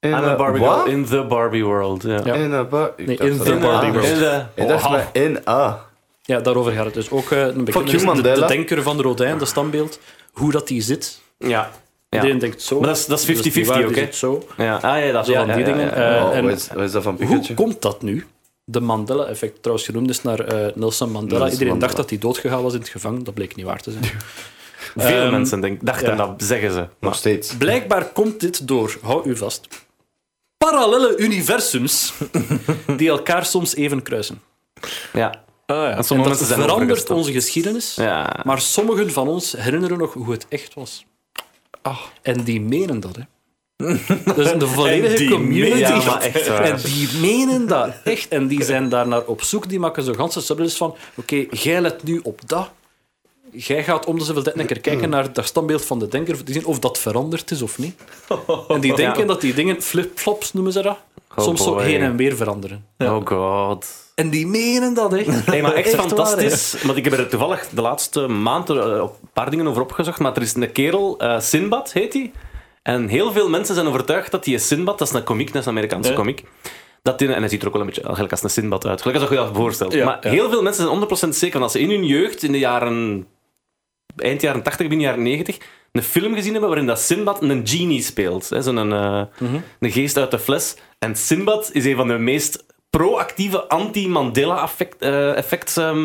S5: In
S2: I'm a Barbie
S5: what?
S2: Girl in the Barbie World. Ja.
S7: Ja.
S5: In a bar- Ik
S7: Nee,
S5: dacht
S7: in
S5: dat
S7: the Oh,
S5: het
S7: Barbie
S5: A
S7: world.
S5: was.
S2: In de-
S5: Ik dacht
S7: Oha.
S5: maar in ah. A.
S7: Ja, daarover gaat het dus ook. eh, een bekende
S5: you,
S7: is de, de
S5: Mandela.
S7: denker van Rodin, de standbeeld, hoe dat die zit.
S2: ja.
S7: Iedereen denkt zo.
S2: Maar dat is- dat is
S7: niet
S2: 50-50
S7: waar,
S2: ook,
S7: die
S2: hè?
S7: zit zo.
S2: Ja, ah, ja dat is
S7: Ja,
S2: wel
S7: die dingen. eh,
S5: Oh,
S7: en
S5: wat is- wat is dat van
S7: hoe
S5: Pikachu?
S7: komt dat nu? De Mandela-effect, trouwens genoemd is naar eh, Nelson Mandela.
S5: Nelson
S7: Iedereen
S5: Mandela.
S7: dacht dat hij doodgegaan was in het gevangen. Dat bleek niet waar te zijn.
S2: Veel
S7: Ehm,
S2: mensen denk, dachten
S7: ja.
S2: dat, zeggen ze.
S5: Nog
S2: Maar,
S5: steeds.
S7: Blijkbaar komt dit door, hou u vast, parallele universums die elkaar soms even kruisen.
S2: ja.
S4: Ah,
S2: En
S4: ja.
S2: sommige
S7: dat
S2: mensen zijn
S7: verandert
S2: overgestapt.
S7: onze geschiedenis,
S2: Ja.
S7: maar sommigen van ons herinneren nog hoe het echt was.
S2: Ah.
S7: En die menen dat, hè. Dat is de
S4: En
S7: volledige
S4: die
S7: community.
S4: menen
S2: Ja, maar echt waar.
S7: En die menen dat echt. En die zijn daar naar op zoek. Die maken zo'n ganse subreddits van... Oké, jij let nu op dat. jij gaat om de zoveel tijd een keer kijken naar dat standbeeld van de denker, te zien of dat veranderd is of niet. En die denken dat die dingen, flip-flops noemen ze dat, soms zo
S2: Oh, boy.
S7: heen en weer veranderen.
S2: Oh god.
S7: En die menen dat, hè?
S2: Nee, maar echt,
S7: Echt waar,
S2: fantastisch. Want ik heb er toevallig de laatste maand er, eh, op een paar dingen over opgezocht. Maar er is een kerel, eh, Sinbad heet hij. En heel veel mensen zijn overtuigd dat die Sinbad, dat is een komiek, dat is een Amerikaanse komiek. Dat die, en hij ziet er ook wel een beetje eigenlijk als een Sinbad uit. Gelukkig als je dat voorstelt. maar heel veel mensen zijn 100% zeker dat ze in hun jeugd, in de jaren. eind jaren 80, begin jaren 90. een film gezien hebben waarin dat Sinbad een genie speelt. hè, Zo'n eh, een geest uit de fles. En Sinbad is een van de meest proactieve eh, anti-Mandela-effects. eh,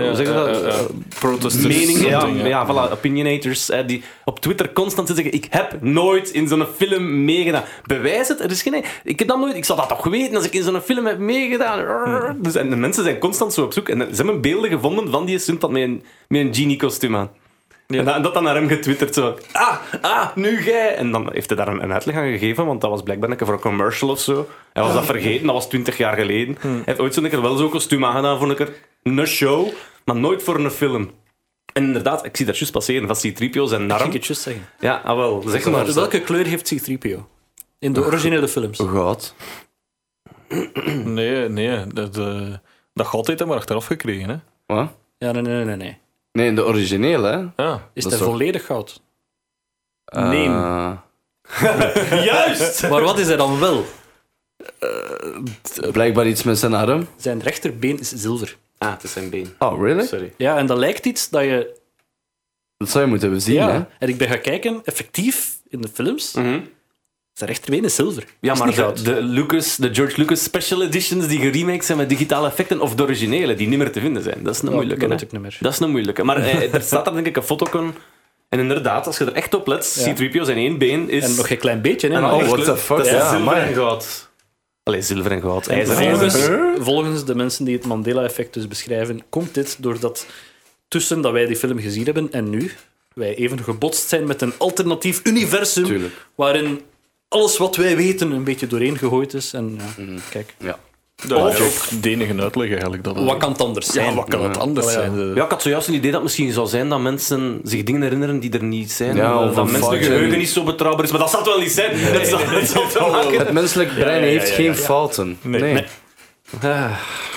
S4: eh, Protesters.
S2: Mening, ja,
S4: something,
S2: eh, ja, voilà, opinionators eh, die op Twitter constant zitten zeggen: Ik heb nooit in zo'n film meegedaan. Bewijs het, er is geen. Ik heb dat nooit, ik zal dat toch weten als ik in zo'n film heb meegedaan. Dus, en de mensen zijn constant zo op zoek. En ze hebben beelden gevonden van die Sinbad met een, met een genie-kostuum aan. En, dat, en dat dan naar hem getwitterd zo. Ah, ah, nu jij! En dan heeft hij daar een, een uitleg aan gegeven, want dat was blijkbaar een keer voor een commercial of zo. Hij was dat vergeten, dat was twintig jaar geleden.
S7: Hm.
S2: Hij heeft ooit zo'n keer wel zo'n kostuum aangedaan voor een keer een show, maar nooit voor een film. En inderdaad, ik zie dat juist passeren van C-3PO en Narm.
S7: Ik het juist zeggen.
S2: Ja, ah wel, zeg maar.
S7: Welke kleur heeft C-3PO? In de originele films.
S2: Oh.
S5: Goud.
S4: Nee, nee. Dat, eh, dat gaat altijd maar achteraf gekregen, hè.
S5: Wat?
S7: Ja, nee, nee, nee. nee.
S5: Nee, in de originele, hè?
S4: Ja.
S5: Dat
S7: Is dat,
S5: is toch-
S7: volledig goud?
S5: Nee. Eh,
S2: Juist!
S7: Maar wat is er dan wel?
S5: blijkbaar iets met zijn arm.
S7: Zijn rechterbeen is zilver.
S2: Ah, het is zijn been.
S5: Oh, really?
S2: Sorry.
S7: Ja, en dat lijkt iets dat je
S5: Dat zou je moeten hebben zien,
S7: Ja,
S5: hè?
S7: en ik ben gaan kijken, effectief in de films, zijn rechterbeen is zilver.
S2: Mhm. Ja,
S7: Is
S2: maar
S7: niet
S2: de,
S7: goud.
S2: de Lucas, de George Lucas special editions die geremaked zijn met digitale effecten of de originele, die niet meer te vinden zijn. Dat is een moeilijke.
S7: dat
S2: hè.
S7: weet ik niet meer.
S2: Dat is een moeilijke. Maar eh, er staat daar denk ik een foto van. En inderdaad, als je er echt op let, C-3PO zijn één been is...
S7: En nog een klein beetje, hè.
S2: een
S7: maar
S2: andere
S5: Oh, what
S2: kleur.
S5: the fuck,
S2: Dat is
S5: ja,
S2: zilver
S5: amai.
S2: en goud. Allee, zilver en goud. IJzer,
S7: volgens,
S2: ijzer.
S7: volgens de mensen die het Mandela-effect dus beschrijven, komt dit doordat tussen dat wij die film gezien hebben en nu, wij even gebotst zijn met een alternatief universum waarin alles wat wij weten een beetje doorheen gegooid is. En eh, ja,
S4: Mhm.
S7: kijk,
S4: Dat is ook de enige uitleg eigenlijk. Dat
S7: wat kan het anders zijn? Oh,
S4: ja, wat kan het anders zijn? eh.
S2: Ja, ik had zojuist een idee dat het misschien zou zijn dat mensen zich dingen herinneren die er niet zijn.
S5: Ja,
S2: Eh,
S5: of een
S2: dat mensen hun
S5: foutje.
S2: geheugen niet zo betrouwbaar is. Maar dat zal het wel niet zijn. Dat zal, dat zal te maken.
S5: Het menselijk brein heeft geen fouten. Nee. Nee.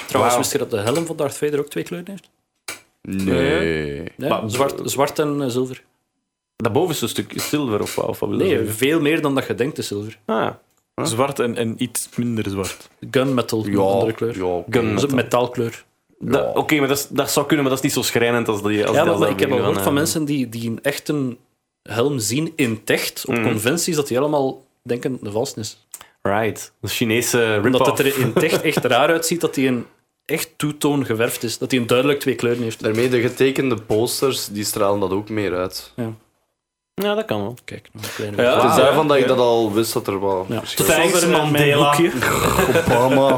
S7: Trouwens, wist je dat de helm van Darth Vader ook twee kleuren heeft? Ja, zwart, zwart en eh, zilver.
S2: Dat bovenste stuk is zilver of, wat- of wat wil je
S7: Nee,
S4: Mhm.
S2: zeggen?
S7: veel meer dan dat je denkt is zilver.
S2: Ah,
S4: Zwart en, en iets minder zwart.
S7: Gunmetal, een andere kleur.
S5: Ja, oké.
S7: Dat is een metaalkleur.
S2: dat- Oké, maar dat, is- dat zou kunnen, maar dat is niet zo schrijnend als die... Als
S7: Ja,
S2: die- als
S7: maar, ik
S2: dat
S7: heb al
S2: ding
S7: gehoord van
S2: eh,
S7: mensen die, die een echte helm zien in techt, op conventies, dat die helemaal denken de vals is.
S2: Right. De Chinese
S7: Omdat
S2: rip-off.
S7: het er in techt echt raar uitziet dat die een echt toetoon geverfd is. Dat hij een duidelijk twee kleuren heeft.
S5: Daarmee de getekende posters, die stralen dat ook meer uit.
S2: Ja, dat kan wel.
S7: Kijk, nog een kleine...
S5: het is daarvan dat ik dat al wist dat er wel...
S7: Ja.
S5: verschil-
S2: Thanks,
S7: Tot zover mijn
S2: Mandela.
S7: boekje.
S5: Obama.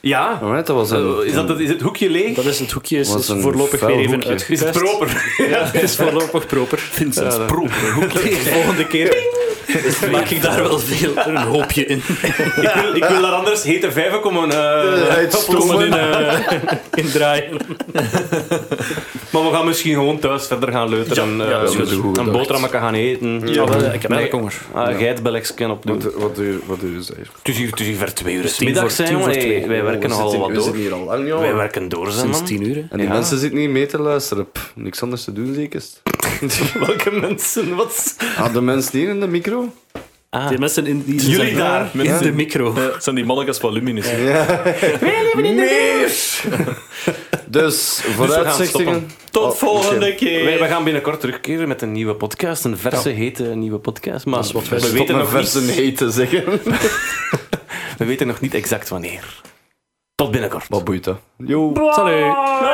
S2: Ja.
S5: Alright, dat was een...
S2: Eh, Is, dat, het- is het hoekje leeg?
S7: Dat is het hoekje, is,
S5: Was
S7: is
S5: een
S7: voorlopig
S5: vuil
S7: weer even
S5: hoekje.
S2: Is het
S7: uitgekuist.
S2: proper?
S7: Het is voorlopig proper.
S4: Vincent Pro.
S2: Volgende keer.
S7: Maak ik daar wel veel een hoopje in.
S2: Ik wil, ik wil daar anders hete vijven komen... eh,
S5: Uitstomen.
S7: in draaien.
S2: Maar we gaan misschien gewoon thuis verder gaan leuteren. en, eh,
S5: dat is
S2: dus
S5: goed. Goed
S2: een
S5: gedacht.
S2: boterham gaan eten.
S5: Ja, wel,
S7: ik heb
S2: Nee,
S7: melk, honger.
S2: ah, geitbelletjesken opdoen.
S5: Wat, wat, duur, wat duur is dat hier?
S2: Het is hier, het is hier ver twee uur.
S7: tien
S2: middag
S7: voor-
S2: zijn,
S7: tien voor
S2: jongen.
S7: twee.
S2: Hey, wij werken
S5: Oh, We
S2: nogal
S5: zitten-
S2: wat
S5: We zitten
S2: door.
S5: hier al lang,
S2: Wij
S5: joh.
S2: werken door, zijn
S7: Sinds
S2: man.
S7: tien uur, hè.
S5: En die
S2: Ja.
S5: mensen zitten niet mee te luisteren. Pff, niks anders te doen, zeker.
S2: Welke mensen? Wat?
S5: Ah, de mensen hier in de micro?
S7: Die mensen in die
S2: Jullie daar.
S7: in de micro.
S4: Het zijn die mannetjes van Luminus.
S5: Dus,
S2: stoppen.
S5: vooruitzichtingen...
S4: Tot
S5: Oh,
S4: volgende
S5: shit.
S4: keer.
S2: Wij, wij gaan binnenkort terugkeren met een nieuwe podcast. Een verse, hete nieuwe podcast. Maar we,
S5: Stop
S2: weten
S5: met
S2: nog
S5: verse
S2: niet,
S5: nee te zeggen.
S2: we weten nog niet exact wanneer. Tot binnenkort.
S5: Wat boeit dat? Yo.
S7: Salut.